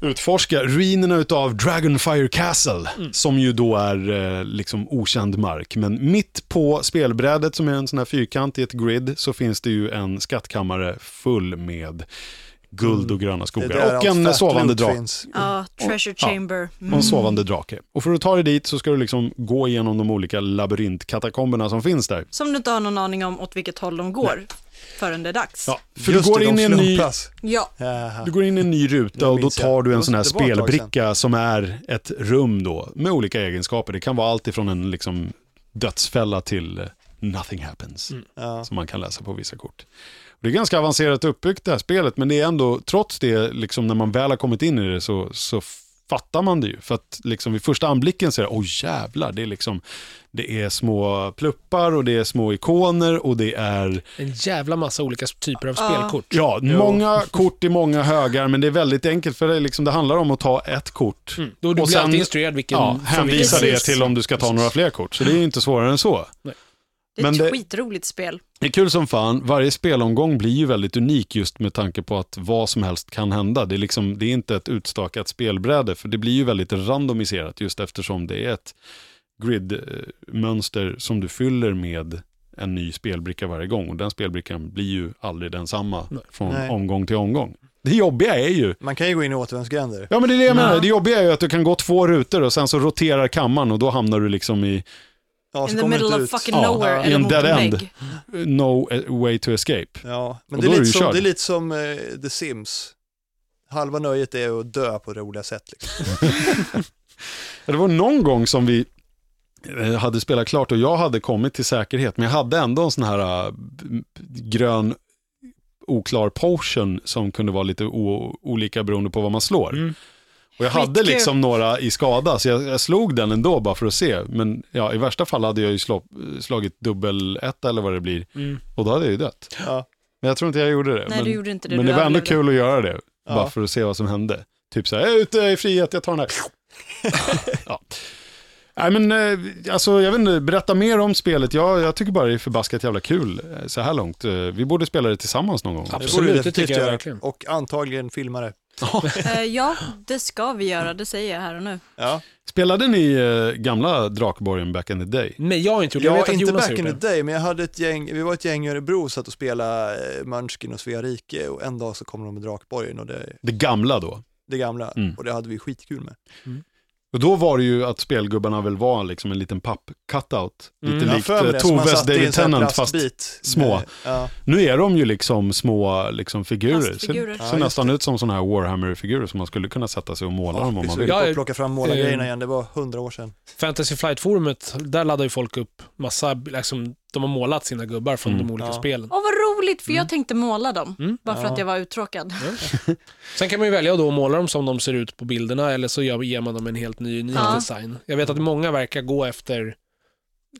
A: utforska ruinerna utav Dragonfire Castle,
B: Mm.
A: som ju då är eh, liksom okänd mark. Men mitt på spelbrädet som är en sån här fyrkant i ett grid så finns det ju en skattkammare full med guld och gröna
B: Mm. Det
A: skogar.
B: är där
A: och
B: allt
A: en
B: fat
A: sovande
B: loot
A: drake.
B: finns.
E: Ja, treasure
A: Ja.
E: chamber. Mm.
A: Och
B: Mm.
A: en sovande drake. Och för att ta dig dit så ska du liksom gå igenom de olika labyrintkatakomberna som finns där.
E: Som du inte har någon aning om åt vilket håll de går förrän det är dags.
A: Ja, för
B: Just
A: du går,
B: det,
A: in
B: de
A: i en ny,
B: slumpas.
E: Ja.
B: Jaha.
A: du går in i en ny ruta
B: Nu
A: och då
B: minns jag.
A: tar du en sån här
B: Det var ett tag
A: spelbricka som är ett rum då, med olika egenskaper. Det kan vara allt ifrån en liksom dödsfälla till eh, nothing
B: Mm.
A: happens,
B: Ja.
A: som man kan läsa på vissa kort. Och det är ganska avancerat uppbyggt det här spelet, men det är ändå, trots det, liksom när man väl har kommit in i det så, så fattar man det ju. För att liksom vid första anblicken så är det, åh jävlar, det är liksom, det är små pluppar och det är små ikoner och det är,
C: En jävla massa olika typer av
E: Ja.
C: spelkort.
A: ja, många kort i många högar, men det är väldigt enkelt för det, är liksom, det handlar om att ta ett kort.
C: Mm. Då du
A: Och
C: blir
A: sen-
C: alltid instruerad vilken...
A: Ja,
C: från
A: hänvisa
C: vilken-
A: det till om du ska ta några fler kort, så det är ju inte svårare än så.
E: Det är
A: Men
E: ett
A: det-
E: skitroligt spel.
A: Det är kul som fan. Varje spelomgång blir ju väldigt unik just med tanke på att vad som helst kan hända. Det är, liksom, det är inte ett utstakat spelbräde, för det blir ju väldigt randomiserat just eftersom det är ett gridmönster som du fyller med en ny spelbricka varje gång och den spelbrickan blir ju aldrig densamma
C: Nej.
A: från
B: Nej.
A: omgång till omgång. Det jobbiga är ju
B: Man kan ju gå in i återvändsgränder.
A: Ja men det är det jag
E: Ja.
A: menar, det jobbiga är ju att du kan gå två rutor och sen så roterar kammaren och då hamnar du liksom i
B: Ja, så
E: In the
B: kommer du
E: middle
B: inte
E: of
B: ut.
E: fucking
A: Ja,
E: nowhere
B: ja.
A: I
E: eller
A: en
E: mot
A: dead
E: en
A: end.
E: vägg.
A: eh, no way to escape.
B: Ja, men
A: Och
B: det är,
A: då är
B: lite
A: du
B: som,
A: körd.
B: det är lite som eh, The Sims. Halva nöjet är att dö på roliga sätt. Liksom.
A: Ja, Det var någon gång som vi eh, hade spelat klart och jag hade kommit till säkerhet, men jag hade ändå en sån här eh, b- b- grön oklar potion som kunde vara lite o- olika beroende på vad man slår.
C: Mm.
A: Och jag hade
E: Skitkul.
A: liksom några i skada, så jag, jag slog den ändå bara för att se. Men ja, i värsta fall hade jag ju slå, slagit dubbel ett eller vad det blir,
C: Mm.
A: och då hade jag ju dött.
B: Ja.
A: Men jag tror inte jag gjorde det.
E: Nej,
A: men
E: du gjorde inte det.
A: men
E: du
A: det var ändå
E: överlevde.
A: kul att göra det,
B: Ja.
A: bara för att se vad som hände. Typ så här, jag är ute i frihet, jag tar den här. ja. Nej men, eh, alltså jag vet inte, berätta mer om spelet. Jag, jag tycker bara det är förbaskat jävla kul eh, så här långt. Eh, Vi borde spela det tillsammans någon gång.
C: Absolut.
B: borde vi
C: det
B: definitivt
C: tycker jag
B: göra.
C: verkligen.
B: Och antagligen filma det.
E: Eh, ja, det ska vi göra, det säger jag här och nu.
B: Ja.
A: Spelade ni eh, gamla Drakborgen back in the day?
C: Nej, jag har inte gjort det. Jag
B: Jag
C: vet
B: är
C: att
B: inte
C: Jonas
B: back
C: har gjort
B: in the
C: det.
B: day, men jag hade ett gäng, vi var ett gäng i Örebro och satt och spelade eh, Munchkin och Svea rike och en dag så kom de med Drakborgen och det,
A: Det gamla då.
B: det gamla
A: Mm.
B: och det hade vi skitkul med.
A: Och då var det ju att spelgubbarna väl var liksom en liten papp-cutout.
C: Mm.
A: Lite
C: Jag
A: likt
B: Jag har för mig
A: eh,
B: det, som man
A: Toves
B: satt i en
A: David
B: sån här
A: Tennant fast
B: plastbit.
A: små.
B: Eh, Ja.
A: nu är de ju liksom små liksom, figurer.
E: Plastfigurer.
A: Ser,
B: Ja,
A: ser
B: just
A: nästan ut som sådana här Warhammer-figurer som man skulle kunna sätta sig och måla
B: Ja,
A: dem om
B: vi
A: man
B: skulle
A: vill.
C: Ja.
B: på att plocka fram målargrejerna
C: eh,
B: igen, det var hundra år sedan.
C: Fantasy Flight-forumet, där laddar ju folk upp massa, liksom, de har målat sina gubbar från
A: Mm.
C: de olika
B: Ja.
C: spelen.
E: Åh, vad roligt, för
C: Mm.
E: jag tänkte måla dem.
C: Mm.
E: Bara för
B: Ja.
E: att jag var uttråkad.
C: Sen kan man ju välja då att måla dem som de ser ut på bilderna, eller så gör- ger man dem en helt ny, ny
E: Ja.
C: design. Jag vet att många verkar gå efter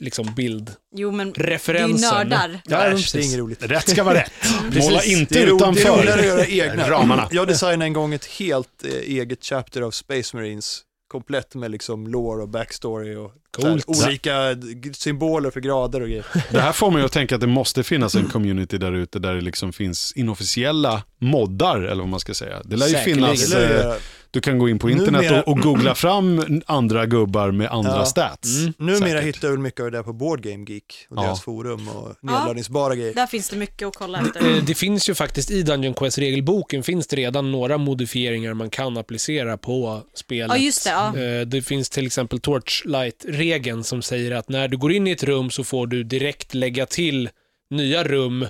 C: liksom
E: Jo, men det är ju
C: bildreferensen.
E: nördar.
C: Ja, men
B: Äsch, det är
C: precis.
B: inget roligt.
A: Rätt ska vara rätt. Måla inte
B: det är roligt- Det är
A: utanför.
B: roligare att göra egna.
A: Ramarna.
B: Jag designade en gång ett helt eh, eget chapter av Space Marines, komplett med liksom lore och backstory och så här,
C: Coolt.
B: olika d- symboler för grader och grejer.
A: Det här får mig att tänka att det måste finnas en community där ute där det liksom finns inofficiella moddar, eller vad man ska säga. Det lär ju
C: Säkerligen.
A: finnas,
B: Det lär jag
A: eh,
B: göra.
A: du kan gå in på internet
B: Numera-
A: och, och googla fram andra gubbar med andra
B: Ja.
A: stats.
C: Mm.
B: Numera
A: Säkert.
B: hittar jag väl mycket av det där på Board Game Geek och
A: Ja.
B: deras forum och nedladdningsbara grejer.
E: Där finns det mycket att kolla efter.
C: Eh, Det finns ju faktiskt i Dungeon Quest regelboken finns det redan några modifieringar man kan applicera på spelet.
E: Ja, just det. Ja.
C: Eh, Det finns till exempel Torchlight-regeln som säger att när du går in i ett rum så får du direkt lägga till nya rum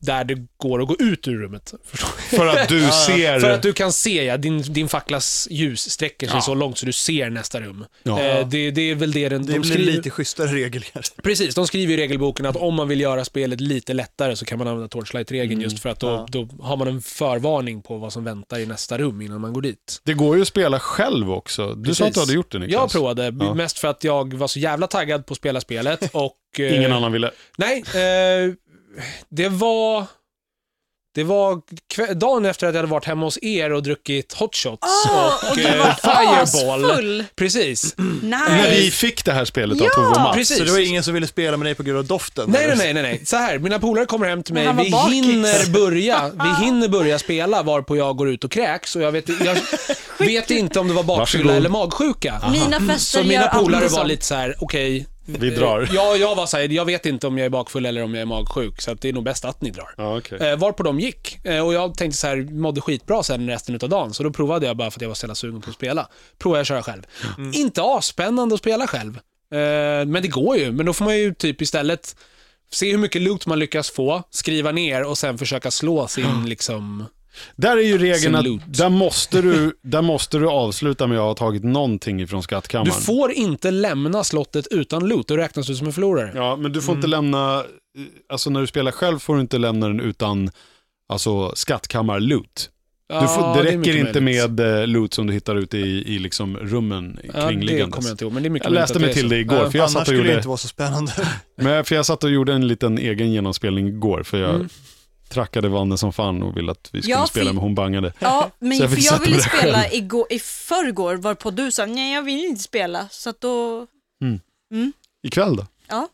C: där det går att gå ut ur rummet. Förstår du?
A: För att du ser...
C: För att du kan se, ja, din, din facklas ljus sträcker sig
A: Ja.
C: så långt så du ser nästa rum.
A: Ja.
C: Eh, det, det är väl det den,
B: Det
C: de
B: blir
C: skriver.
B: lite schysstare regler.
C: Precis, de skriver i regelboken att om man vill göra spelet lite lättare så kan man använda Torchlight-regeln just för att då,
B: Ja.
C: då har man en förvarning på vad som väntar i nästa rum innan man går dit.
A: Det går ju att spela själv också. Du sa
C: Precis.
A: att du hade gjort det
C: Jag
A: Niklas.
C: provade,
A: Ja.
C: mest för att jag var så jävla taggad på att spela spelet och... eh,
A: Ingen annan ville.
C: Nej, eh, det var... Det var kve- dagen efter att jag hade varit hemma hos er och druckit hotshots
E: Åh,
C: och
E: och du
C: eh,
E: var
C: fireball.
E: asfull!
C: Precis,
A: När
E: Nej!
A: vi fick det här spelet av Tove och Mats.
C: precis.
B: Så det var ingen som ville spela med dig på grund av doften?
C: Nej,
B: eller?
C: nej, nej, nej, nej. Så här, mina polare kommer hem till
E: Men
C: mig,
E: han var
C: vi
E: bakis.
C: hinner, börja, vi hinner börja spela varpå jag går ut och kräks och jag vet, jag vet inte om det var bakfylla
A: Varsågod.
C: eller magsjuka.
E: Mina
C: Så
E: fester gör
C: mina polare
E: alltid
C: var
E: så.
C: lite så här: okej. eh,
A: Vi drar.
C: Ja, jag var så här, jag vet inte om jag är bakfull eller om jag är magsjuk, så att det är nog bäst att ni drar.
A: Ja, okej.
C: Eh, varpå de gick. Eh, och jag tänkte så här, mådde skitbra sen resten av dagen, så då provade jag bara för att jag var så jävla sugen på att spela. Provade jag att köra själv.
A: Mm.
C: Inte asspännande att spela själv. Eh, men det går ju, men då får man ju typ istället se hur mycket loot man lyckas få, skriva ner och sen försöka slå sin liksom...
A: Där är ju regeln
C: Sin
A: att
C: loot.
A: där måste, du, där måste du avsluta med att ha tagit någonting ifrån skattkammaren.
C: Du får inte lämna slottet utan loot, då räknas du som en förlorare.
A: Ja, men du får inte
C: Mm.
A: lämna, eh, alltså när du spelar själv får du inte lämna den utan alltså skattkammarloot. Du
C: Ja,
A: får, det
C: är
A: räcker
C: mycket
A: inte
C: möjligt.
A: med eh, loot som du hittar ute i, i liksom rummen
C: Ja, det kommer
A: kringliggandes.
C: jag inte ihåg, men det är mycket
A: Jag läste
C: möjligt
A: mig
C: att det är
A: till
C: så.
A: det igår,
C: Ja.
A: för jag
B: Annars
A: satt och
B: skulle det
A: gjorde
B: inte vara så spännande.
A: Men för jag satt och gjorde en liten egen genomspelning igår, för jag
C: Mm.
A: trackade Vanne som fan och ville att vi skulle
E: Jag
A: spela,
E: fick-
A: men hon bangade.
E: Ja, men
A: Så jag
E: jag
A: fick
E: för jag
A: sätta
E: ville
A: mig där
E: spela igår, i förrgår varpå du sa nej jag vill inte spela så att då...
A: Ikväll då?
E: Ja.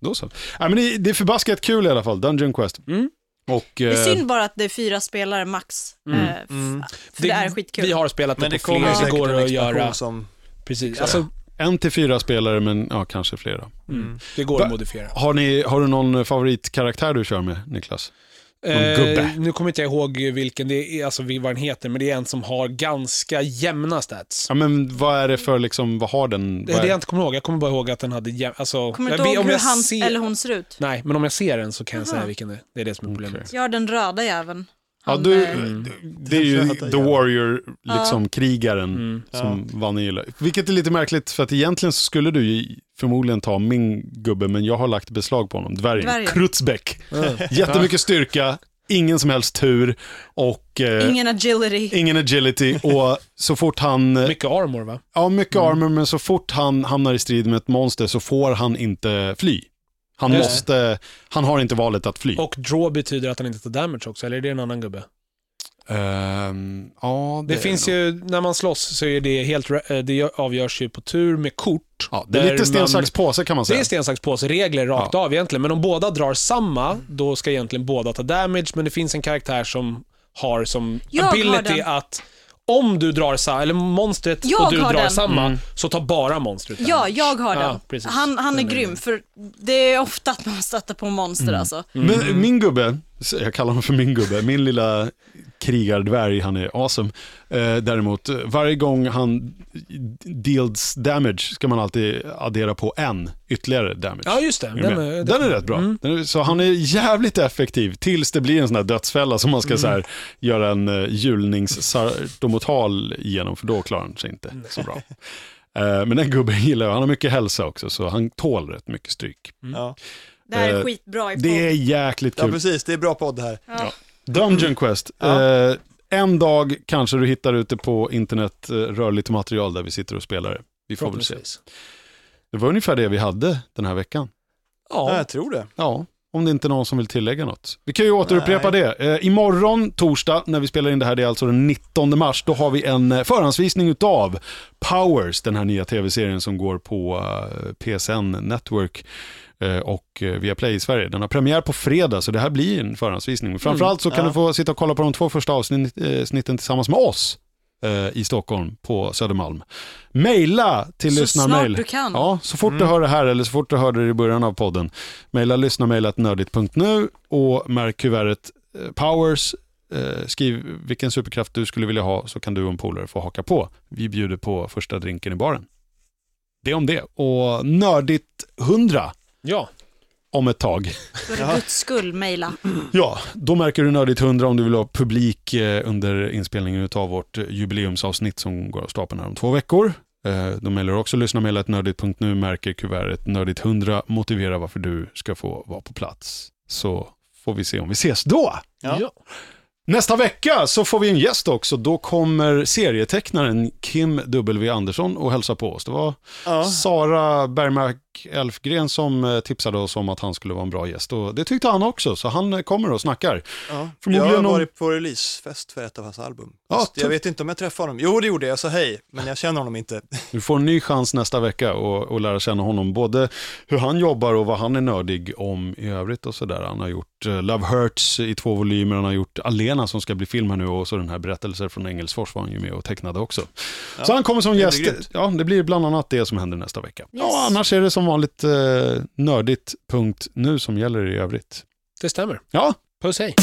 A: Då så. Nej, men det, det är förbaskat kul i alla fall, Dungeon Quest.
C: Mm.
A: Och,
E: Det är
A: eh,
E: synd bara att det är fyra spelare max.
C: Mm.
E: eh, f-
B: Mm.
E: För det, är skitkul.
C: Vi har spelat det,
B: Men det
C: på fler,
B: kommer
C: så det
B: säkert
C: går
B: en
C: att
B: expansion
C: göra.
B: som...
C: Precis.
B: Så-
C: Alltså,
A: en till fyra spelare, men ja, kanske flera.
B: Mm.
C: det går att
A: Va-
C: modifiera.
A: Har, ni, har du någon favoritkaraktär du kör med, Niklas? Någon gubbe.
C: Eh, nu kommer inte jag ihåg vilken det är, alltså vad den heter, men det är en som har ganska jämna stats.
A: Ja, men vad är det för, liksom, vad har den?
C: Det
A: vad
C: är
A: är-
C: det jag inte kommer ihåg. Jag kommer bara ihåg att den hade jämna... Alltså,
E: Kommer
C: jag
E: du
C: vet-
E: inte ihåg
C: om
E: hur
C: jag
E: han
C: ser-
E: eller hon ser ut?
C: Nej, men om jag ser den så kan jag säga
E: Aha.
C: vilken det är. Det är det som är problemet.
E: Jag har den röda jäveln.
A: ja,
E: Han,
A: du,
E: eh,
A: det är ju The Warrior, liksom krigaren.
C: Mm.
A: som Vanne gillar. Vilket är lite märkligt, för att egentligen så skulle du ju förmodligen ta min gubbe, men jag har lagt beslag på honom. Dvärgen,
E: Dvärgen.
A: Krutzbeck. Jättemycket styrka, ingen som helst tur och eh, ingen.
E: Ingen agility.
A: agility. Och så fort han, eh,
C: Mycket armor va?
A: ja mycket
C: Mm.
A: armor, men så fort han hamnar i strid med ett monster så får han inte fly. Han
C: Just det.
A: måste, han har inte valet att fly.
C: Och draw betyder att han inte tar damage också, eller är det en annan gubbe?
A: Ehm, ja,
C: Det,
A: är
C: finns
A: nog-
C: ju, när man slåss så är det helt, re- eh, det avgörs ju på tur med kort.
A: Ja, det är
C: där
A: lite sten,
C: man-
A: sax, påse kan man
C: Det
A: säga.
C: är sten, sax, påse regler rakt av egentligen, men om båda drar samma, då ska egentligen båda ta damage, men det finns en karaktär som har som
E: Jag har
C: ability
E: den.
C: att om du drar samma, eller monstret
E: Jag
C: och du
E: har
C: drar
E: den.
C: samma, så tar bara monstret damage.
E: Ja, jag har
C: Ja,
E: den.
C: precis.
E: han, han är
C: Den är
E: grym,
C: grym.
E: för det är ofta att man stöter på monster alltså.
C: Mm.
A: Men min gubbe, jag kallar honom för min gubbe, min lilla krigardvärg, han är awesome. Eh, däremot, eh, varje gång han deals damage ska man alltid addera på en ytterligare damage.
C: Ja, just det.
A: Är du
C: Den,
A: med?
C: är-
A: den är rätt bra. Den är, så han är jävligt effektiv tills det blir en sån här dödsfälla som man ska så här, göra en uh, julningssartomotal genom för då klarar han sig inte så bra. Eh, men den gubben gillar jag, han har mycket hälsa också så han tål rätt mycket stryk.
B: Ja.
E: Det här är
A: Eh,
E: skitbra i
A: Det är
E: podd.
A: jäkligt
B: ja,
A: kul.
B: precis. Det är bra podd här.
A: Dungeon Quest.
B: Ja.
A: Eh, en dag kanske du hittar ute på internet eh, rörligt material där vi sitter och spelar. det. Vi får väl se.
C: Förhoppningsvis.
A: Det var ungefär det vi hade den här veckan.
B: Ja.
C: Ja,
B: jag tror det.
A: Ja, om det inte är någon som vill tillägga något. Vi kan ju återupprepa
B: Nej.
A: det. Eh, imorgon, torsdag, när vi spelar in det här, det är alltså den 19 mars, då har vi en eh, förhandsvisning utav Powers, den här nya tv-serien som går på eh, PSN Network eh, och eh, via Play i Sverige. Den har premiär på fredag, så det här blir en förhandsvisning. Men Framförallt
E: Mm,
A: så kan
B: Ja.
A: du få sitta och kolla på de två första avsnitten tillsammans med oss eh, i Stockholm på Södermalm. Maila till
E: Så
A: lyssnarmail.
E: snart du kan.
A: Ja, så fort du hör det här eller så fort du hörde det i början av podden. Maila lyssna mejlat nördigt.nu och märk kuvertet eh, Powers. Eh, skriv vilken superkraft du skulle vilja ha så kan du och en polare få haka på. Vi bjuder på första drinken i baren. Det om det. Och nördigt 100
C: ja.
A: om ett tag.
E: För guds skull, mejla.
A: Ja, då märker du nördigt 100 om du vill ha publik eh, under inspelningen av vårt eh, jubileumsavsnitt som går av stapeln här om två veckor. Eh, Då mejlar du också lyssna mejlet nördigt.nu, märker kuvertet nördigt 100, motivera varför du ska få vara på plats. Så får vi se om vi ses då.
B: Ja.
C: Ja.
A: Nästa vecka så får vi en gäst också. Då kommer serietecknaren Kim W. Andersson och hälsa på oss. Det var
B: Ja.
A: Sara Bergmark Elfgren som eh, tipsade oss om att han skulle vara en bra gäst. Och det tyckte han också, så han eh, kommer och snackar.
B: Ja. Jag
A: Förmodligen
B: har
A: någon-
B: varit på releasefest för ett av hans album.
A: Ja,
B: Fast jag
A: tuff-
B: vet inte om jag träffade honom. Jo, det gjorde jag. Jag sa hej, men jag känner honom inte.
A: Du får en ny chans nästa vecka och, och lära känna honom. Både hur han jobbar och vad han är nördig om i övrigt och sådär. Han har gjort eh, Love Hurts i två volymer, han har gjort Alena som ska bli film här nu och så den här berättelsen från Engelsfors var han ju med och tecknade också. så han kommer som
B: det
A: gäst.
B: blir grymt.
A: Ja, det blir bland annat det som händer nästa vecka. Ja, annars är det som vanligt eh, nördigt punkt nu som gäller i övrigt.
C: det stämmer.
A: Ja,
C: Puss hej.